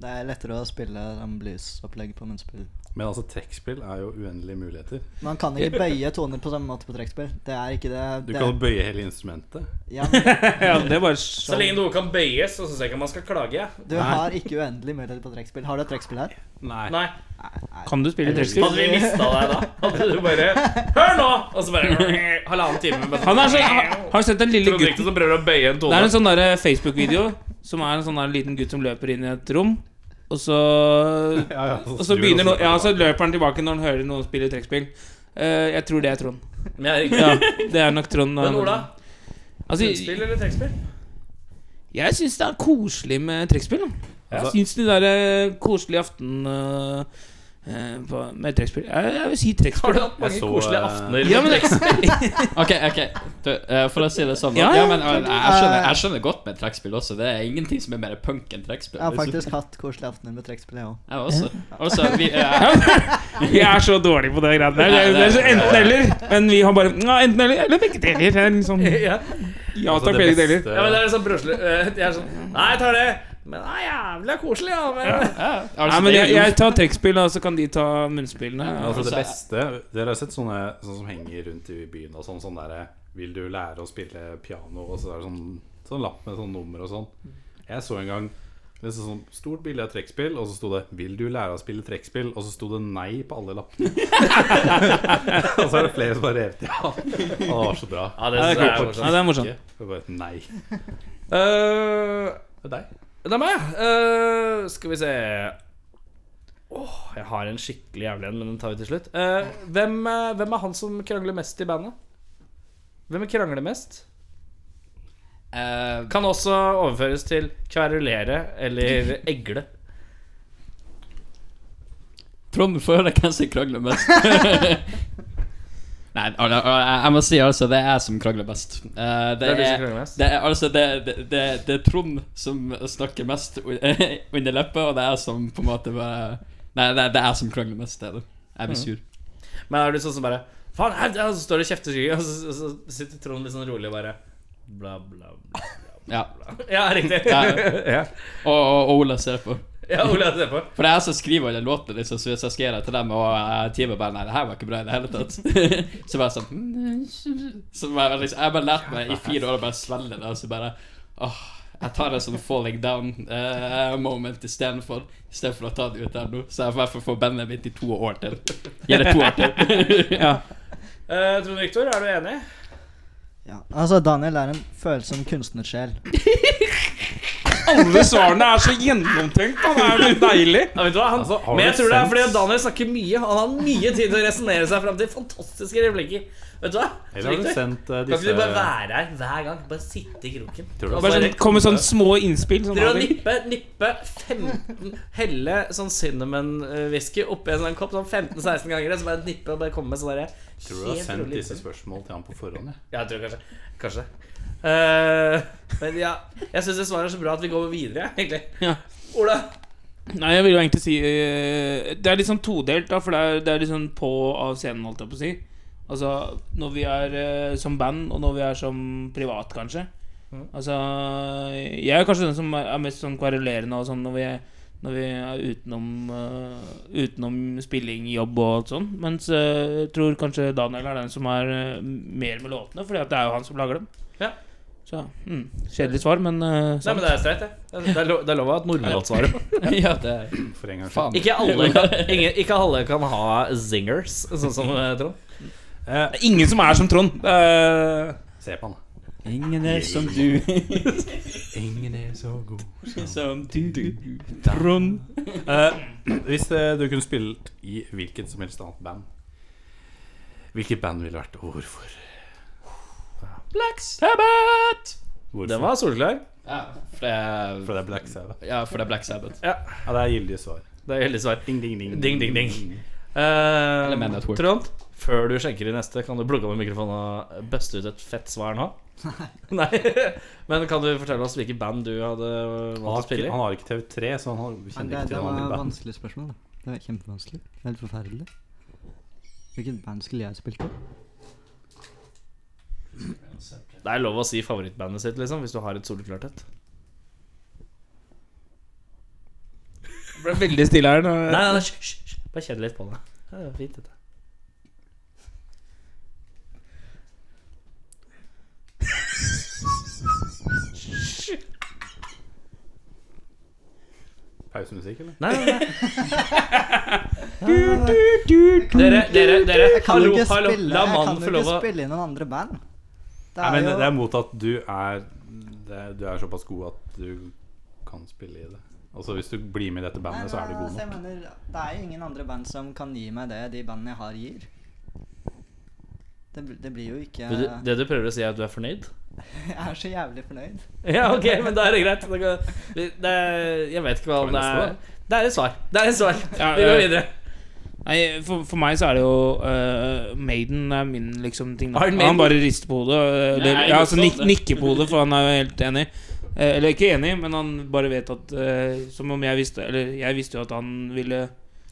Det er lettere å spille sånn bluesopplegg på munnspill. Men altså, trekkspill er jo uendelige muligheter. Man kan <laughs> ikke bøye toner på samme måte på trekkspill. Det er ikke det. Du det kan bøye hele instrumentet. ja, men Ja, det er bare Så lenge sånn. noe kan bøyes, så syns jeg ikke man skal klage. jeg. <laughs> du har ikke uendelig mulighet på trekkspill. Har du et trekkspill her? Nei. Nei. Kan du spille trekkspill? Hadde vi mista deg da? Hadde du bare Hør nå! Og så bare <laughs> halvannen time med Han er sånn Har du sett den lille gutten Trond-Viktor som prøver å bøye en Det tone. er en sånn der Facebook-video som er en sånn der liten gutt som løper inn i et rom. Og så, Ja, <laughs> ja, og så snur begynner og no, ja, så løper han tilbake når han hører noen spille trekkspill. Eh, jeg tror det er Trond. Men jeg, Ja, <laughs> det er nok Trond. men Ola, altså, spill eller <laughs> trekkspill? jeg syns det er koselig med trekkspill. da. Altså, Jeg syns de der eh, koselige aften eh, eh, på- med trekkspill Jeg, jeg vil si <laughs> Har trekkspill. du hatt mange Jeg så, koselige eh, aftener? Ja, <laughs> sånn- men Ok, ok, du, eh, for å si det sånn Ja, Ja, ja, men eh, jeg skjønner, jeg skjønner godt med trekkspill også. Det er ingenting som er mer punk enn trekkspill. liksom. Jeg har faktisk hatt koselige aftener med trekkspill, jeg òg. Jeg også. Altså, vi, eh, Vi er så dårlige på det greiene der. Det er- Det er så enten eller. Men vi har bare ja, enten eller eller begge deler. Det er liksom, Ja. ja Altså, det takk, begge deler. beste- ja, men det er liksom brøsle... eh, Jeg er sånn Nei, jeg tar det. Men det er jævla koselig, ja. Men, altså, Nei, men det er jeg, jo- jeg tar trekkspill, og så kan de ta munnspillene. Altså det Altså, jeg- beste Dere har sett sånne, sånne som henger rundt i byen og sånn, sånn derre Vil du lære å spille piano? Og så er det sånn, sånn lapp med sånn nummer og sånn. Jeg så en gang det så sånn stort bilde av trekkspill, og så sto det 'Vil du lære å spille trekkspill?' Og så sto det nei på alle lappene. <laughs> og så er det flere som har revet i av. Å, Det var så bra. Ja, det synes jeg er Nei, morsomt. det er morsomt. Det var bare et nei. Det Eh, er deg. det er meg. Eh, skal vi se Åh, jeg har en skikkelig jævlig en, men den tar vi til slutt. Eh, hvem, eh, hvem er han som krangler mest i bandet? Hvem krangler mest? eh, Kan også overføres til kverulere eller egle. Trond, få høre hvem som krangler <laughs> mest. Nei, al- al- jeg må si altså det er jeg som krangler mest. Eh, det, Hvem er det som er, krangler mest? det er altså det, det, det, det er Trond som snakker mest u- <laughs> under leppa, og det er jeg som på en måte bare Nei, det, det er jeg som krangler mest. Det er det. Mm. Jeg blir sur. Men er du sånn som bare Faen, her, der!» og så står det kjefter skygge, og så, så så sitter Trond litt sånn rolig og bare Bla, bla, bla. <laughs> Ja. Ja, riktig. Ja. ja. Og, og, og Ola ser på. <laughs> ja Ole, se på. For det er jeg som skriver alle låtene, liksom, så hvis jeg skal gjøre det til dem, og jeg timer bare Nei, det her var ikke bra i det hele tatt. <laughs> så bare sånn mm, Så bare, liksom, Jeg bare lærte meg i fire år å bare svelge det, og så bare Åh, jeg tar en sånn falling eh, down-moment istedenfor. Istedenfor å ta det ut der nå. Så jeg i hvert fall får bandet mitt i to år til. Gjerne to år til. <laughs> Eh, Trond Viktor, er du enig? Ja. Altså, Daniel er en følsom kunstnersjel. Alle svarene er så gjennomtenkt. da. Det er jo deilig. Ja, vet du hva? Han, Altså, har men jeg du tror det er sens? fordi Daniel snakker mye. Han har mye tid til å resonnere seg fram til fantastiske replikker. Vet du hva? Eller har du Victor, sendt eh, Kan disse ikke du bare være her hver gang? Bare sitte i kroken. Tror du- Og Bare sånn, Kommer sånne små innspill. Sånn, Dere å Adil. nippe, nippe 15 Helle sånn cinnamon-whisky oppi en sånn kopp sånn 15-16 ganger, og så bare nippe og bare komme med sånn derre Tror du har helt sendt rolig disse innspill. spørsmål til han på forhånd? jeg? Ja, jeg tror kanskje Kanskje. Eh, men ja, jeg syns det svaret er så bra at vi går videre, jeg, egentlig. Ja. Ola, Nei, jeg vil jo egentlig si eh, Det er litt sånn todelt, da, for det er, det er litt sånn på og av scenen, holdt jeg på å si. Altså når vi er eh, som band, og når vi er som privat, kanskje. Altså Jeg er kanskje den som er er mest sånn kvarulerende og sånn når vi er, når vi er utenom eh, Utenom spilling, jobb og alt sånn. Mens eh, jeg tror kanskje Daniel er den som er eh, mer med låtene, fordi at det er jo han som lager dem. Ja. Så mm, Kjedelig svar, men eh, Nei, men det er streit, det. Det er- Det er lov, det er lov at nordmenn svarer. <laughs> ja, det er For en gang faen. Ikke alle kan, ingen, ikke alle kan ha zingers, sånn som eh, Trond. Eh, Det er ingen som er som Trond. Eh, se på han, da. Ingen er som du, <laughs> Ingen er så god. som du. Trond Eh, hvis eh, du kunne spilt i hvilket som helst annet band, hvilket band ville vært, og hvorfor? Black Sabbath! hvorfor? Den var solklar. Ja, for det For er, det er Black Sabbath. ja, for det er Black Sabbath. Ja, det er gyldig svar. Det er heldig svar. Ding, ding, ding. Ding, ding, ding. Eller Eh, Man at Work. Trond, før du skjenker i neste, kan du plukke opp mikrofonen og buste ut et fett svar <laughs> nå? Nei. <laughs> Men kan du fortelle oss hvilket band du hadde Han valgt å har, ikke, spille i? han har ikke TV3, så han har, kjenner det, ikke til var andre band. vanskelig spørsmål. da. Det var Kjempevanskelig. Helt forferdelig. Hvilket band skulle jeg spilt i? Det er lov å si favorittbandet sitt, liksom, hvis du har et soleklart et. ble veldig stille her. Nå. Nei, nei, nei, hysj, hysj, hysj. bare kjenn litt på det. Ja, Det er fint, dette. Pausemusikk, eller? Nei, nei, nei. Dere, dere, dere. Jeg kan Hallo, jo ikke hallo. spille, La jeg kan mannen jo få ikke lov å spille i noen andre band. Det Nei, er men jo det er mot at du er det, Du er såpass god at du kan spille i det. Altså Hvis du blir med i dette bandet, så er du god altså, jeg nok. mener, det er jo ingen andre band som kan gi meg det de bandene jeg har, gir. Det, bl- det blir jo ikke Du- du- Det du prøver å si, er at du er fornøyd? <laughs> Jeg er så jævlig fornøyd. Ja, ok, men da er det greit. Da kan- vi- Det er, jeg vet ikke hva vi det neste, er. Det er et svar. Det er et svar. Ja, eh, Vi går ja. videre. Nei, for, for meg så er det jo eh, Maiden er min liksom ting. da. Iron Maiden? Han bare rister på hodet. eh, Eller, Nei, ja, altså motsatt, nik det. nikker på hodet, for han er jo helt enig. Eh, eller ikke enig, men han bare vet at eh, Som om jeg visste Eller jeg visste jo at han ville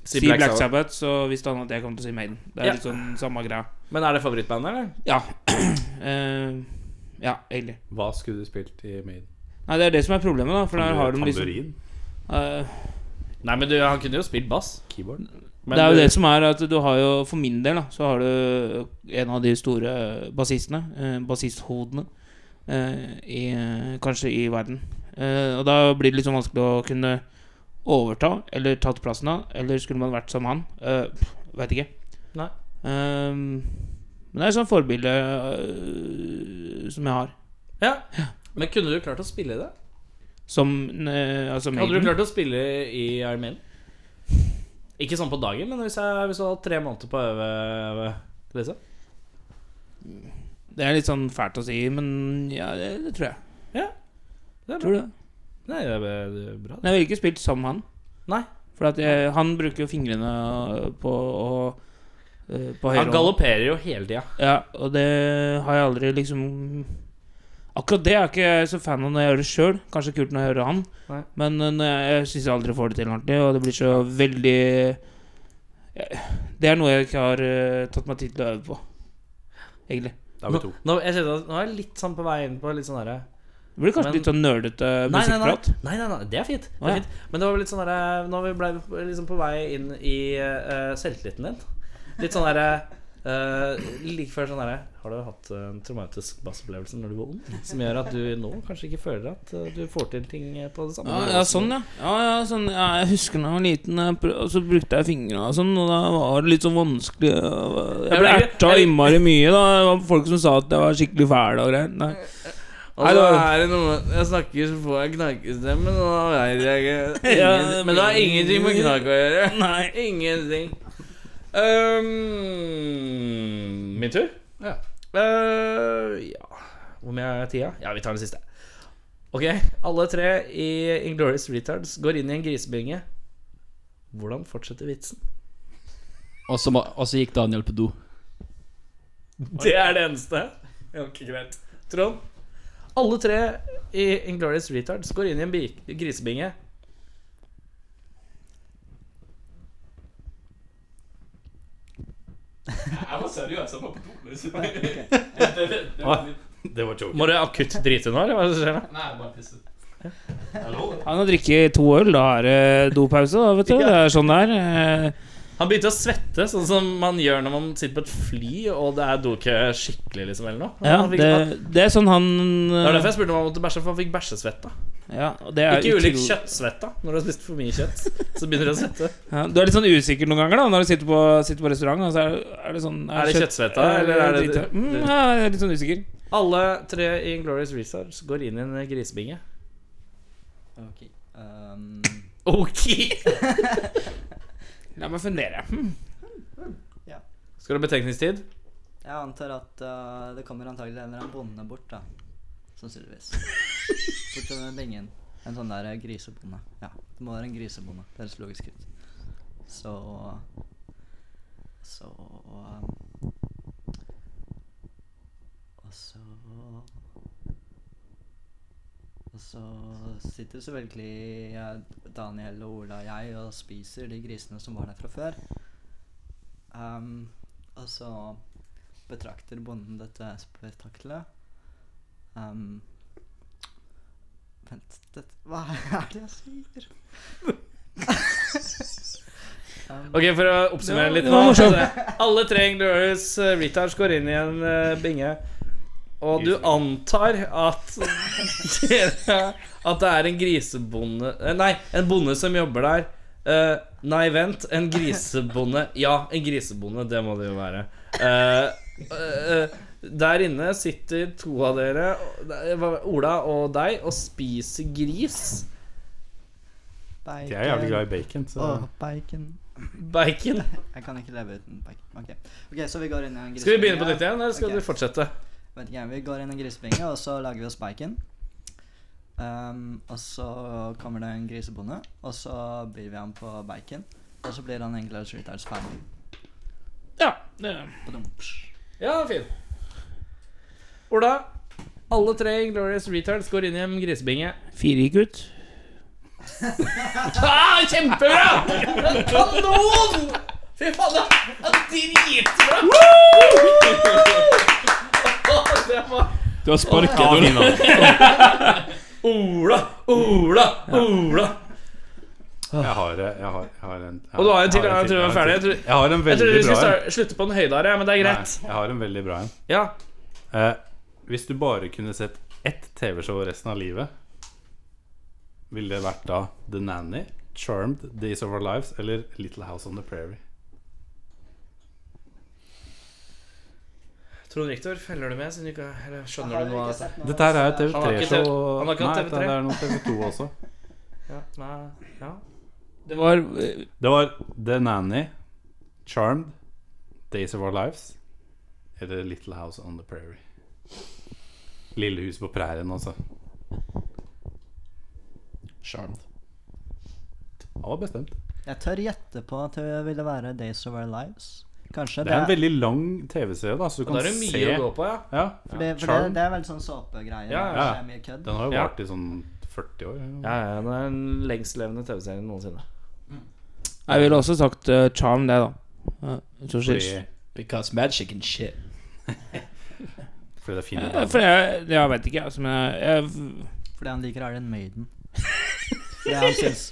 si Black, Sabbath, så visste han at jeg kom til å si Maiden. Det er Ja. litt sånn samme greia. Men er det favorittbandet, eller? Ja. Eh, ja, egentlig. Hva skulle du spilt i Maiden? Nei, det er det som er problemet, da. For der har de liksom Tamburin? eh, Nei, men du, han kunne jo spilt bass. Keyboard? Men det er jo du- det som er at du har jo For min del da så har du en av de store bassistene, eh, bassisthodene, eh, i, kanskje i verden. Eh, og da blir det liksom vanskelig å kunne overta eller tatt plassen av. Eller skulle man vært som han? Eh, pff, Vet ikke. Nei. Eh, men det er et sånt forbilde eh, som jeg har. Ja. Men kunne du klart å spille det? Som eh, altså Hadde du Maiden. klart å spille i Iron Maiden? Ikke sånn på dagen, men hvis, jeg, hvis du hadde hatt tre måneder på å øve liksom. øve disse. Det er litt sånn fælt å si, men ja, det, det tror jeg. Det er bra. Tror du det? Nei, det er bra- det er bra. det. Men jeg ville ikke spilt som han. Nei. For at jeg, han bruker jo fingrene øh, på å øh, På høyre Han hånd. galopperer jo hele tida. Ja, og det har jeg aldri liksom Akkurat det er jeg ikke så fan av når jeg gjør det sjøl. Kanskje kult når jeg hører han, Nei. men øh, når jeg, jeg syns jeg aldri får det til ordentlig, og det blir så veldig jeg- Det er noe jeg ikke har øh, tatt meg tid til å øve på, egentlig. Da er vi to. Nå, jeg kjenner at- nå er jeg litt sånn på vei inn på litt sånn derre Det blir kanskje Men- litt sånn nerdete Nei, nei, nei. musikkprat. nei, nei, nei, det er fint. Det Å, er ja. fint. Men det var vel litt sånn derre Nå ble vi ble liksom på vei inn i eh, selvtilliten din. Litt sånn derre eh, like før sånn derre Har du hatt en traumatisk bassopplevelse når du var ung? Som gjør at du nå kanskje ikke føler at eh, du får til ting på det samme Ja, nivået ja, som- sånn, ja. ja, ja sånn, ja jeg husker da jeg var liten, jeg prø- og så brukte jeg fingra og sånn, og da var det litt sånn vanskelig og- Jeg ble Jeg ble- erta jeg- innmari mye, da. Det var folk som sa at jeg var skikkelig fæl og greier. <laughs> Nei. Nei, Altså, det var- er det noe Jeg snakker, så får jeg knakkestemme. Nå har jeg reagert. Ja, Ingen- Men det har ingenting med knakk å gjøre. Nei. Ingenting. Um, Ehm, Min tur? Ja. Eh, ja Hvor mye er tida? Ja, vi tar den siste. Ok, alle tre i Inglorious Retards går inn i en grisebinge. Hvordan fortsetter vitsen? Og så, ma- og så gikk Daniel på do. Det er det eneste. Ok, greit. Trond? Alle tre i Inglorious Retards går inn i en bi- grisebinge. Jeg var seriøs, jeg var på do. liksom. var- Det var joke. Må du akutt drite nå, eller hva er det som skjer? da? <laughs> Nei, bare pisse. Han har drukket to øl, da er det dopause, da, vet du. Det er sånn det er. Eh, Han begynte å svette, sånn som man gjør når man sitter på et fly og det er dokø skikkelig, liksom, eller noe. Ja, Han fikk- han- det, det er sånn han det var derfor jeg spurte om han måtte bæsje, for han fikk bæsjesvette. ja, og det er Ikke ulik utro- kjøttsvett, da. Når du har spist for mye kjøtt, så begynner du å svette. Ja, du er litt sånn usikker noen ganger da når du sitter på, sitter på restaurant. Og så er, er det sånn Er det kjøttsvetta, eller er det- dritt- mm, ja, Jeg er litt sånn usikker. Alle tre i Glorious Research går inn i en grisebinge. Ok. Um, Ok! La meg fundere. Hm. Skal du ha betenkningstid? jeg antar at uh, det kommer antagelig en eller annen bonde bort, da. Sannsynligvis. Bort til den bingen. En sånn der eh, grisebonde. Ja, det må være en grisebonde. Det høres logisk ut. Så Så um, Og så Og så sitter selvfølgelig eh, Daniel og Ola og jeg og spiser de grisene som var der fra før. Um, og så betrakter bonden dette spetakkelet. Um, vent dette, Hva er det jeg sier? um, Ok, for å oppsummere litt det var morsomt. altså, Alle tre i Glorious eh, Research går inn i en eh, binge. Og du antar at <laughs> At det er en grisebonde eh, Nei, en bonde som jobber der. Eh, nei, vent. En grisebonde. <laughs> Ja, en grisebonde. Det må det jo være. Eh, eh, eh, der inne sitter to av dere, og- Ola og deg, og spiser gris. Bacon. Jeg er jævlig glad i bacon, så Åh, bacon. Bacon. Jeg kan ikke leve uten bacon. Ok, Ok, så vi går inn i en Skal vi begynne på nytt grisebinge. igjen, eller skal Ok. du fortsette? Vet ikke, vi går inn i en grisebinge, og så lager vi oss bacon. Ehm, og så kommer det en grisebonde, og så byr vi ham på bacon. Og så blir han egentlig og skyter oss ferdig. Ja, det er Ja, fin. Ola, alle tre Glorious Retards går inn i en grisebinge. Fire gikk ut. Ah, kjempebra! Kanon! Fy faen, det er dritbra! Det var Du har sparket Ola. Ola, Ola, Ola. jeg har, eh, jeg har, jeg har en Og du har en til, jeg har jeg tror vi er ferdig. Jeg tror- Jeg har en Jeg veldig trodde vi skulle bra en. starte- slutte på en høydare, men det er greit. Nei, Jeg har en veldig bra en. Ja. Eh, hvis du bare kunne sett ett TV-show resten av livet, ville det vært da The Nanny, Charmed, Days of Our Lives eller Little House on the Prairie? Trond Riktor, følger du med? Siden du ikke, eller skjønner du noe av dette? Dette her er Han har ikke TV3-show. TV han har ikke hatt TV3. Det er noe TV2 også. Ja, nei, ja. Det var eh, Det var The Nanny, Charmed, Days of Our Lives eller Little House on the Prairie. Lille hus på prærien, altså. Charmed. Han var bestemt. Jeg tør gjette på at det ville være Days of Our Lives. Kanskje Det er en veldig lang TV-serie, da, så Og du kan da er det mye se å gå på, ja. Ja, for det, for det, Charmed. det er vel sånn såpegreie. Ja, der ja. det er mye kødd. Den har jo Ja. vart i sånn 40 år. eller noe. Ja, ja, Det er den lengstlevende TV-serien noensinne. Jeg ville også sagt eh, charm, det, da. Ja, så skjer- Fordi, Because magic and <laughs> shit. fordi det er fine Eh, For jeg, jeg vet ikke, altså, men jeg, jeg Fordi han liker Iron Maiden. <laughs> Fordi han syns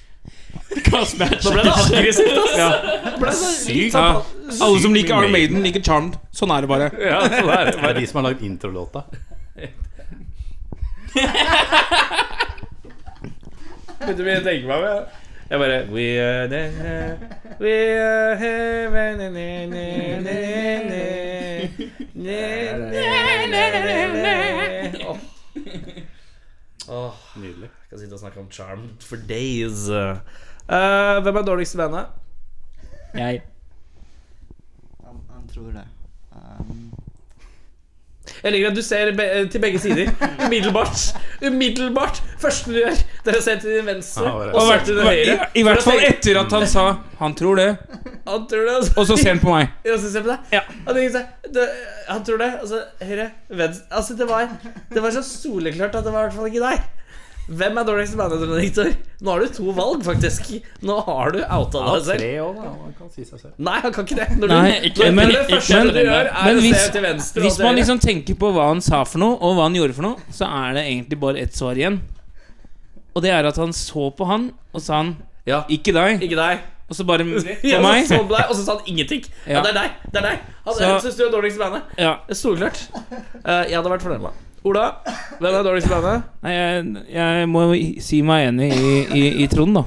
Because magic ble det aggressivt, ass! Sykt! Ja. Alle som liker mye Iron Maiden, liker Charmed. Sånn er det bare. Ja, sånn er Det er de som har lagd introlåta. Begynte vi å tenke meg med Jeg bare We are the We are heaven ne, ne, ne, ne, ne, ne, ne, ne, ne, ne. Åh. Åh, Nydelig. jeg kan sitte og snakke om Charmed for days. Eh, hvem er dårligst i bandet? Jeg. han, han tror det. Um, Jeg liker at du ser be til begge sider. Umiddelbart. Umiddelbart. Første du gjør, det er å se til din venstre, Ja, det er og så sant. til din høyre. I hvert fall etter at han sa 'han tror det', Han tror det, og så ser han på meg. Og så ser på deg? Ja. Han, tenker seg, det, han tror det. Altså, høyre, venstre Altså, det var, det var så soleklart at det var i hvert fall ikke deg. Hvem er dårligst manager, Victor? Nå har du to valg, faktisk. Nå har du outa Ja, deg selv. tre år, da. Man kan si seg selv. Nei, han kan ikke det. Når du, Nei, ikke- når, men- når det første men- du gjør, er men å se hvis- til venstre. og Hvis til man høyre. liksom tenker på hva han sa for noe, og hva han gjorde for noe, så er det egentlig bare ett svar igjen. Og det er at han så på han, og sa han Ja. 'ikke deg', Ikke deg. og så bare <laughs> Ja, på så meg. så på deg, og så sa han ingenting. Ja, Ja. det er deg. Det er deg. Han Så- syns du er dårligst i bandet. Ja. Soleklart. Eh, jeg hadde vært fornærma. Ola, hvem er dårligst i bandet? Nei, jeg, jeg må si meg enig i, i, i Trond, da.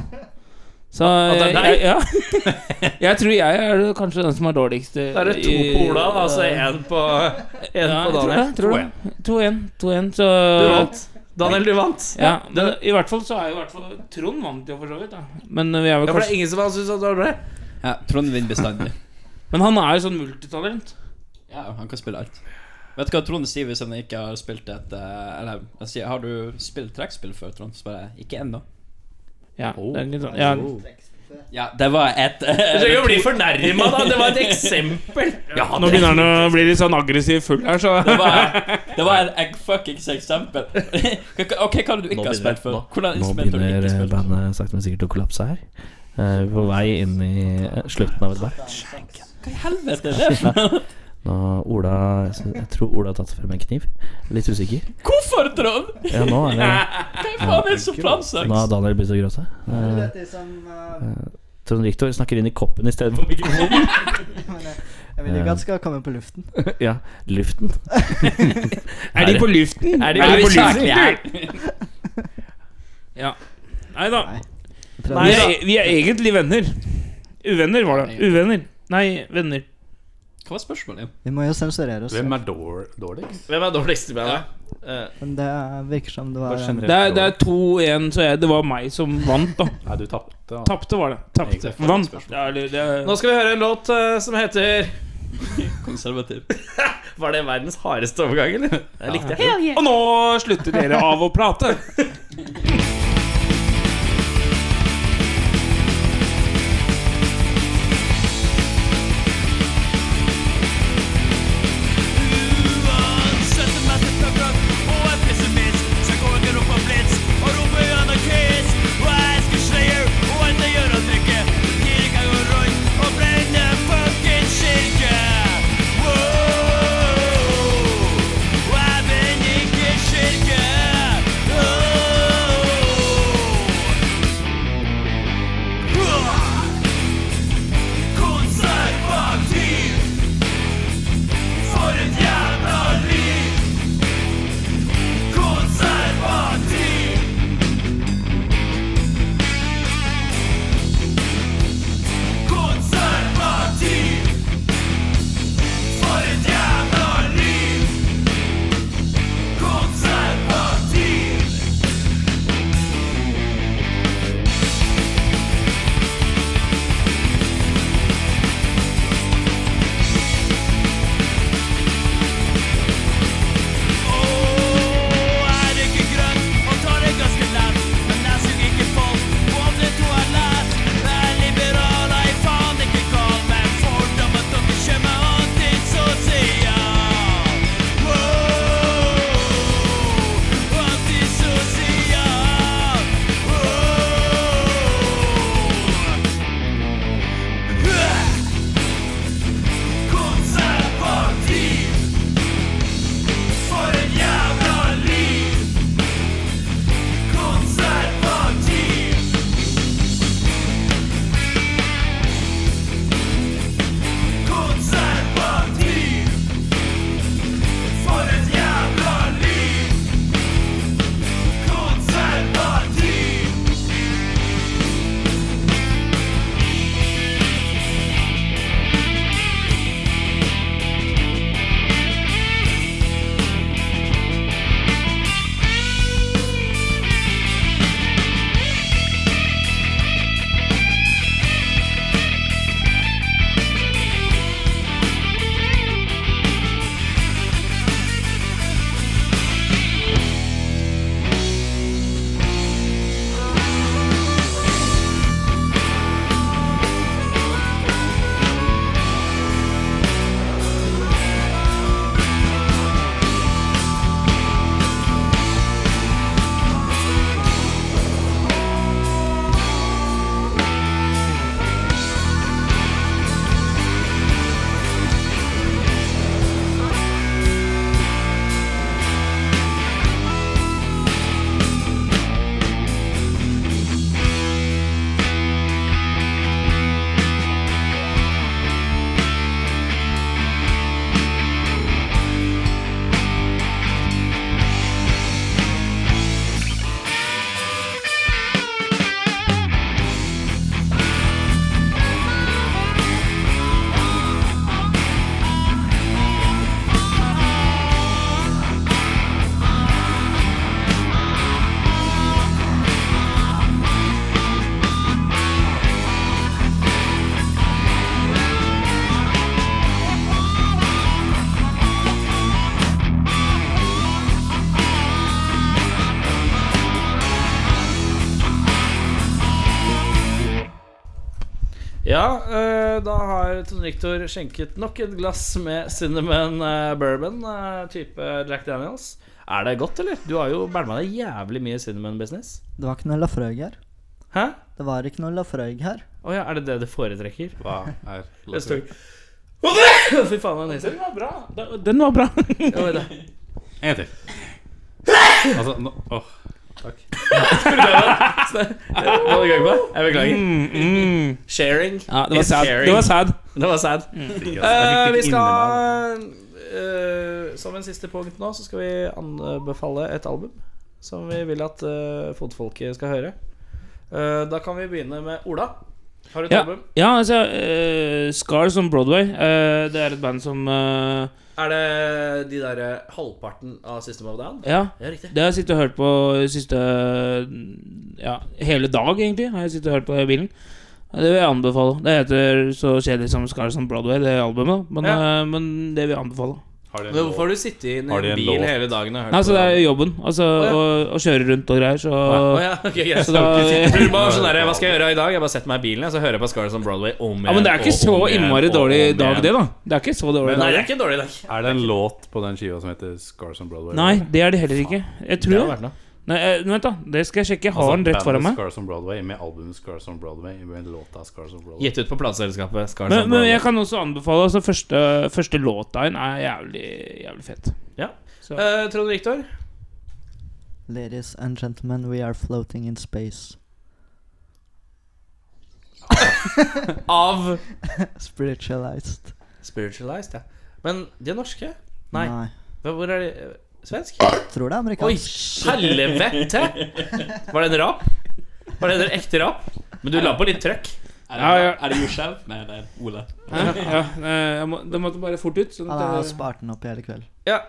Så At det er deg? jeg, ja. <laughs> jeg tror jeg er kanskje den som er dårligst. eh, Da er det to i- på Ola, da, altså én på, en Ja, på jeg tror Daniel. det. Tror det. 2-1. 2-1, så Du vant. Daniel, du vant. Ja, men i hvert fall så er jo i hvert fall Trond vant jo for så vidt, da. Men vi er vel Ja, for det kanskje er ingen som har syntes at det var bra. Ja, Trond <laughs> vinner bestandig. Men han er jo sånn multitalent. Ja, han kan spille alt. Vet du hva Trond sier hvis han ikke har spilt et eh, Eller jeg sier, har du spilt trekkspill før, Trond? Så bare ikke ennå. Ja, Oh, det er litt sånn ja. Ja, det var et eh, <laughs> Du trenger ikke å bli fornærma, da. Det var et eksempel. <laughs> Nå begynner han å bli litt sånn aggressiv full her, <laughs> så Det var, det var et egg fuckings eksempel. <laughs> Ok, hva er det du ikke har spilt før? Hvordan instrument har du ikke spilt? bandet sakte, eh, men sikkert å kollapse her. Eh, på vei inn i eh, slutten av et verk. Hva i <laughs> helvete er det for noe? Ola, jeg tror Ola har tatt frem en kniv. Litt usikker. Hvorfor, Trond? Ja, nå er det Hva faen er det som Nå plansaks? har Daniel begynt å gråte. du Eh, vet de som eh, Trond Riktor snakker inn i koppen istedenfor mikrofonen. men <laughs> jeg, jeg vil ikke at skal komme på luften. ja, luften. Er de på luften? Er de på Er vi luften? saklige her? Nei da. Prøv- Vi er, vi er egentlig venner. Uvenner var det. Uvenner. Nei, venner. Hva var spørsmålet? Vi må jo sensurere oss. Hvem er dår, dårligst? Hvem er dårligst i bandet? Eh, Men det virker som det var Bare en generelt Det er, det dårlig. er 2-1, så jeg, det var meg som vant, da. Nei, du tapte. ja. Tapte var det. Tapte. Vant. Ja, eller det Nå skal vi høre en låt eh, som <laughs> heter Konservativ. <laughs> Var det verdens hardeste overgang, eller? Jeg likte det. Og nå slutter dere av å prate. Uansett om jeg sitter brakk og er pessimist, så går jeg rundt på blitz og roper anarkist. Og jeg elsker Slayer og alt det gjør og drikker. Gir ikke jeg å rundt og brenne fuckings kirke. Wow. Og jeg brenner ikke kirke. Oh. Ah. Konservativ for et jævla liv Konservativ Konservativ For et jævla liv Konservativ Åh, er ikke grønn og tar det ganske lett. Men jeg suger ikke folk på andre toalett. Jeg er liberal, jeg er faen ikke gal, men fordommer dere kjører meg antisosial. Wow, antisosial. Wow. Konservativ. For et jævla liv Konservativ Konservativ For et jævla liv Konservativ Ja, eh, da har Trond Riktor skjenket nok et glass med cinnamon eh, bourbon, eh, type Jack Daniels. Er det godt, eller? Du har jo bælma deg jævlig mye cinnamon business. Det var ikke noe Lafroig her. Hæ? Det var ikke noe Lafroig her. Å ja, er det det du foretrekker? Hva er <laughs> Jeg står- <laughs> Fy faen, hva nyser. Den var bra. Den- Den var bra. Ja, vet du. En til. Altså, nå åh. Hva er det i gang med? Jeg beklager. Mm. <laughs> Sharing. Mm, Ja, det var It's sad. scary. Det var sad. Det var sad. Yes, Eh, jeg vi fikk det inni meg. skal eh, Som en siste punkt nå, så skal vi anbefale et album som vi vil at eh, fotfolket skal høre. Eh, da kan vi begynne med Ola. Har du et Ja. album? Ja, altså eh, Scars on Broadway. eh, det er et band som eh, Er det de derre halvparten av System of a Down? Ja. Ja, riktig. Det har jeg sittet og hørt på siste Ja, hele dag, egentlig. Har jeg sittet og hørt på i bilen. Det vil jeg anbefale. Det heter så kjedelig som Scars on Broadway, det albumet. Men, eh, men det vil jeg anbefale. Har det en Men låt? hvorfor har du sittet i en Har de en bil låt? hele dagen og hørt Nei, så det er på det? jobben. Altså ja. å, å kjøre rundt og greier, så Å ja, ok, greit. Så da- Jeg tror du bare var sånn der, Hva skal jeg gjøre i dag? Jeg bare setter meg i bilen, jeg, så hører jeg på Scars on Broadway om igjen. Ja, men det er ikke og så om igjen, innmari og dårlig om dag, igjen. det, da. Det er ikke så dårlig Nei, dag. det er ikke en dårlig dag. Er det en låt på den skiva som heter Scars on Broadway? Nei, det er det heller ikke. Jeg tror Det Altså, det. hadde vært noe. Nei, eh, vent, da. Det skal jeg sjekke. Jeg har den rett foran meg. Altså, Scars on Broadway med albumet Scars on Broadway med låta Scars on Broadway. Gitt ut på plateselskapet Scars Men, on men Broadway. jeg kan også anbefale altså, første, første låta inn er jævlig, jævlig fett. Ja. Så. Eh, Trond Viktor? Ladies and gentlemen, we are floating in space. Av Spiritualized. Spiritualized, ja. Men de er norske? Nei. Hva- Hvor er de? eh, Svensk? Ah, Tror det er Oi, amerikansk. helvete! Var det en rap? Var det en ekte rap? Men du la på litt trøkk. Er Ja, ja. det, er det Yourself? Nei, det er Ole. Hæ? Ja, eh, jeg må, det måtte bare fort ut. Sånn Han har at jeg, spart den opp i hele kveld. Ja.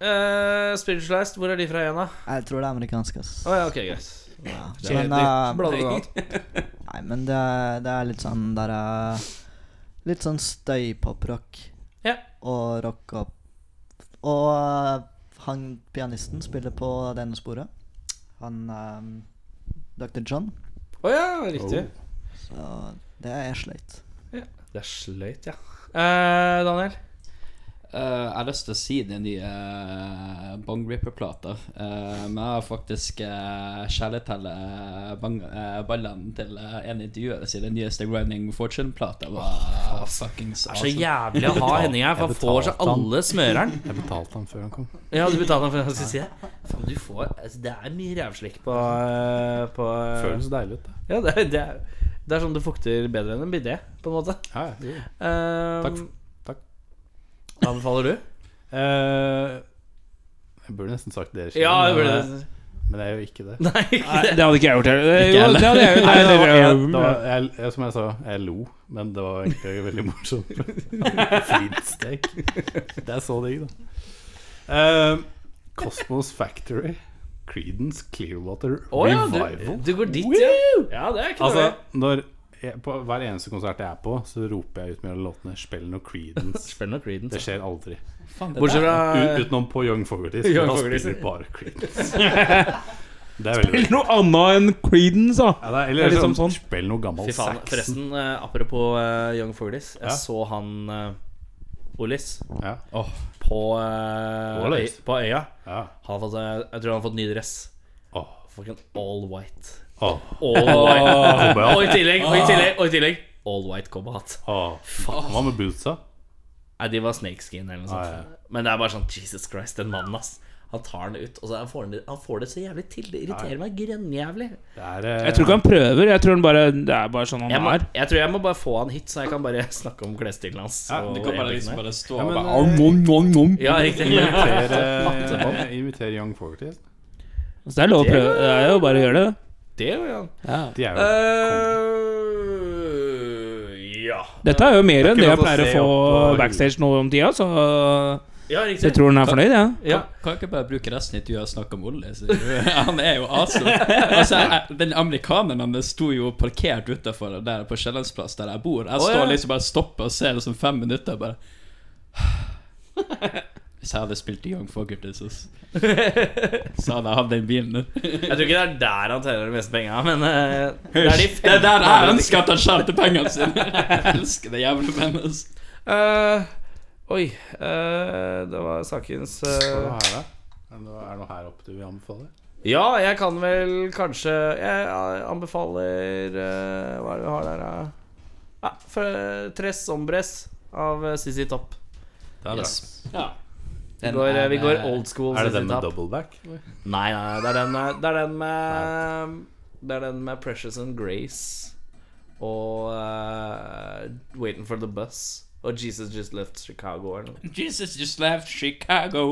Eh, Spiritualized, hvor er de fra igjen, da? Jeg tror det er amerikansk, ass. Å ja, ok, greit. Ja. Kjedelig. Men, eh, Bladet noe annet. <laughs> nei, men det er, det er litt sånn der eh, Litt sånn støypoprock. Ja. Og rock og Og eh, han pianisten spiller på det ene sporet. Han eh, Dr. John. Å ja, riktig. Så det er sløyt. Det er sløyt, ja. Oh. Eh, Daniel? Eh, jeg har lyst til å si den nye uh, Bong Ripper-plata, eh, men jeg har faktisk uh, skjeletellet bang- eh, ballene til eh, en intervjuer sin. Den nyeste Running Fortune-plata var fuckings Det er så awesome. jævlig å ha Henning her, for Jeg han får så betalte han. alle smøreren. Jeg betalte han før han kom. Ja, du betalte han for det jeg skulle si det. Faen, du får altså, Det er mye rævslikk på, eh, på eh, Føles så deilig ut, det. Ja, det, er- det, er, det er sånn du fukter bedre enn en bidé, på en måte. Ja, jo. Eh, Takk for- takk. Hva anbefaler du? Eh, jeg burde nesten sagt dere selv, Ja, det men, burde du. eh, men det er jo ikke det. Nei, ikke Nei, det. det hadde ikke jeg gjort heller. Ikke Jo, heller. det hadde <laughs> jeg gjort. Nei, det var, jeg, det det var, jeg, jeg, som jeg sa, jeg lo, men det var egentlig veldig morsomt. Flintstek. Det er så digg, da. Eh, Cosmos Factory, Creedence Clearwater Å ja, du, Revival. du går dit, ja. Ja, det er ikke Altså, dårlig. når jeg, på hver eneste konsert jeg er på, så roper jeg ut mellom låtene 'Spill noe <laughs> Creedence'. Spill noe Creedence. Det skjer aldri. Faen, det Bortsett der. fra U utenom på Young Fogertys, Young for da Fogertys. spiller bare Creedence. <laughs> Det er veldig Eller noe annet enn Creedence, da. ja, det er, Det eller er liksom sånn, sånn. Spill noe gammel Fy faen, Saxon. Forresten, eh, apropos eh, Young Foolies. Jeg Ja. så han uh, Ollis Ja, på, eh, Ollis? øy- på øya. ja. Han har fått, eh, jeg tror han har fått ny dress. Åh, Fucking all white. åh, All white. Cowboyhatt. og i tillegg, og i tillegg, og i tillegg all white cowboyhatt. åh. Faen, Ah. hva med bootsa? Nei, de var snakeskin eller noe sånt. Ah, ja. Men det er bare sånn Jesus Christ, den mannen, ass. Han tar den ut, og så han får, den, han får det så jævlig til. Det irriterer meg grenjævlig. Det er, eh, Jeg tror ikke han prøver. Jeg tror han bare Det er bare sånn han Jeg, må, er. jeg tror jeg må bare få han hit, så jeg kan bare <laughs> snakke om klesstilen hans. Ja, og Du kan bare epiken liksom her. bare stå Ja, og men, bare eh, Altså, Ja, riktig. inviterer, eh, inviterer Young Fogerty. Så det er lov å prøve. Det er jo bare å gjøre det. Det gjør han. De er jo Eh. ja. Dette er jo mer enn Det det er ikke jeg lov å pleier å se få opp på- backstage nå om tida, så ja, jeg riktig. tror han er fornøyd, jeg. Ja. Kan- Kan ikke bare bruke resten av intervjuet og snakke om Olle? sier du? <laughs> Han er jo awesome. Altså, jeg- den amerikaneren han sto jo parkert utafor der på Sjællandsplass, der jeg bor. Jeg Å, ja. står liksom bare og stopper og ser liksom fem minutter og bare <sighs> Hvis jeg hadde spilt i Young Fogerty, så så hadde jeg hatt den bilen nå. Jeg tror ikke det er der han tjener de meste penga, men eh, det er de Det er der jeg ønsker at han skjærte pengene sine. <laughs> Jeg elsker det jævla mennesket. Eh, Oi. eh, det var sakens Hva er det eh, her, da? Er det noe- Er det noe her oppe du vil anbefale? Ja, jeg kan vel kanskje Jeg anbefaler eh, Hva er det vi har der, da? Ja, for- Tres Ombres av eh, Sissy Topp. Det er, bra. Vi går, eh, vi går old school. er det ZZ den med Top. double back? Nei, nei, nei, det er den med Det er den med, det er den med Precious and Grace og eh, Waiting for the Bus og Jesus Just Left Chicago eller noe. Jesus just left Chicago.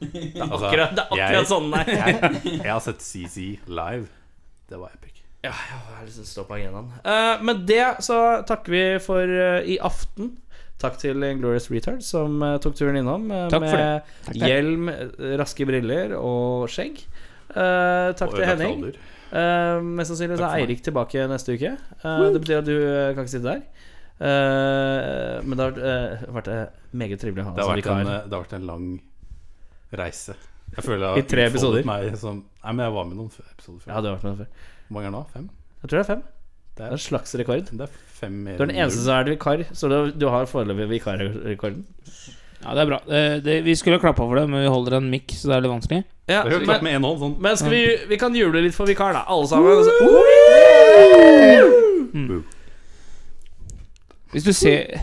Altså, Akkurat, det er akkurat jeg, sånn, nei. jeg, jeg har sett CC live. Det var epic. <laughs> Ja, ja, jeg har lyst til å stå på agendaen. Eh, med det så takker vi for eh, i aften. Takk til Glorious Retard som eh, tok turen innom eh, Takk for med hjelm, eh, raske briller og skjegg. Eh, takk Og til ødelagt Henning. alder. Eh, mest sannsynlig så Takk er for meg. Eirik tilbake neste uke. Eh, det betyr at du eh, kan ikke sitte der. Eh, men det har vært, eh, vært eh, meget trivelig å ha Det deg som har, vært en, eh, vikar. det har vært en lang reise. Jeg føler jeg I tre utfoldet episoder. Meg som, nei, men jeg var med i noen f- episoder før. Ja, du har vært med før. Hvor mange er det nå? Fem? Jeg tror det er fem. Det Det er, er en slags rekord. det er fem mer Du er den enn eneste som er vikar, så du, du har foreløpig vikarrekorden. Ja, det er bra. Eh, det, vi skulle ha klappa for det, men vi holder en mikk, så det er litt vanskelig. Ja, null. Jeg har men- klart med en hånd, sånn. Men skal vi, vi kan juble litt for vikar, da. Alle sammen. Og så, Hmm. Hvis du ser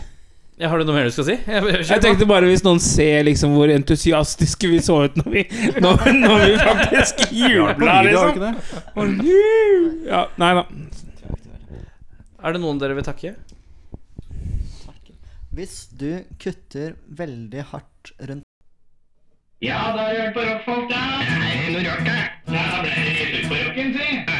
Ja, har du noe mer du skal si? Jeg, jeg, Jeg tenkte bare hvis noen ser liksom hvor entusiastiske vi så ut når vi, når, når vi faktisk jubla, Blir det, har du liksom. ikke det? Ja, nei da. Er det noen dere vil takke? Hvis du kutter veldig hardt rundt Ja, da har du hørt på rockfolk, da. Det er noe rart, da. Da ble det rett ut på rocken, si.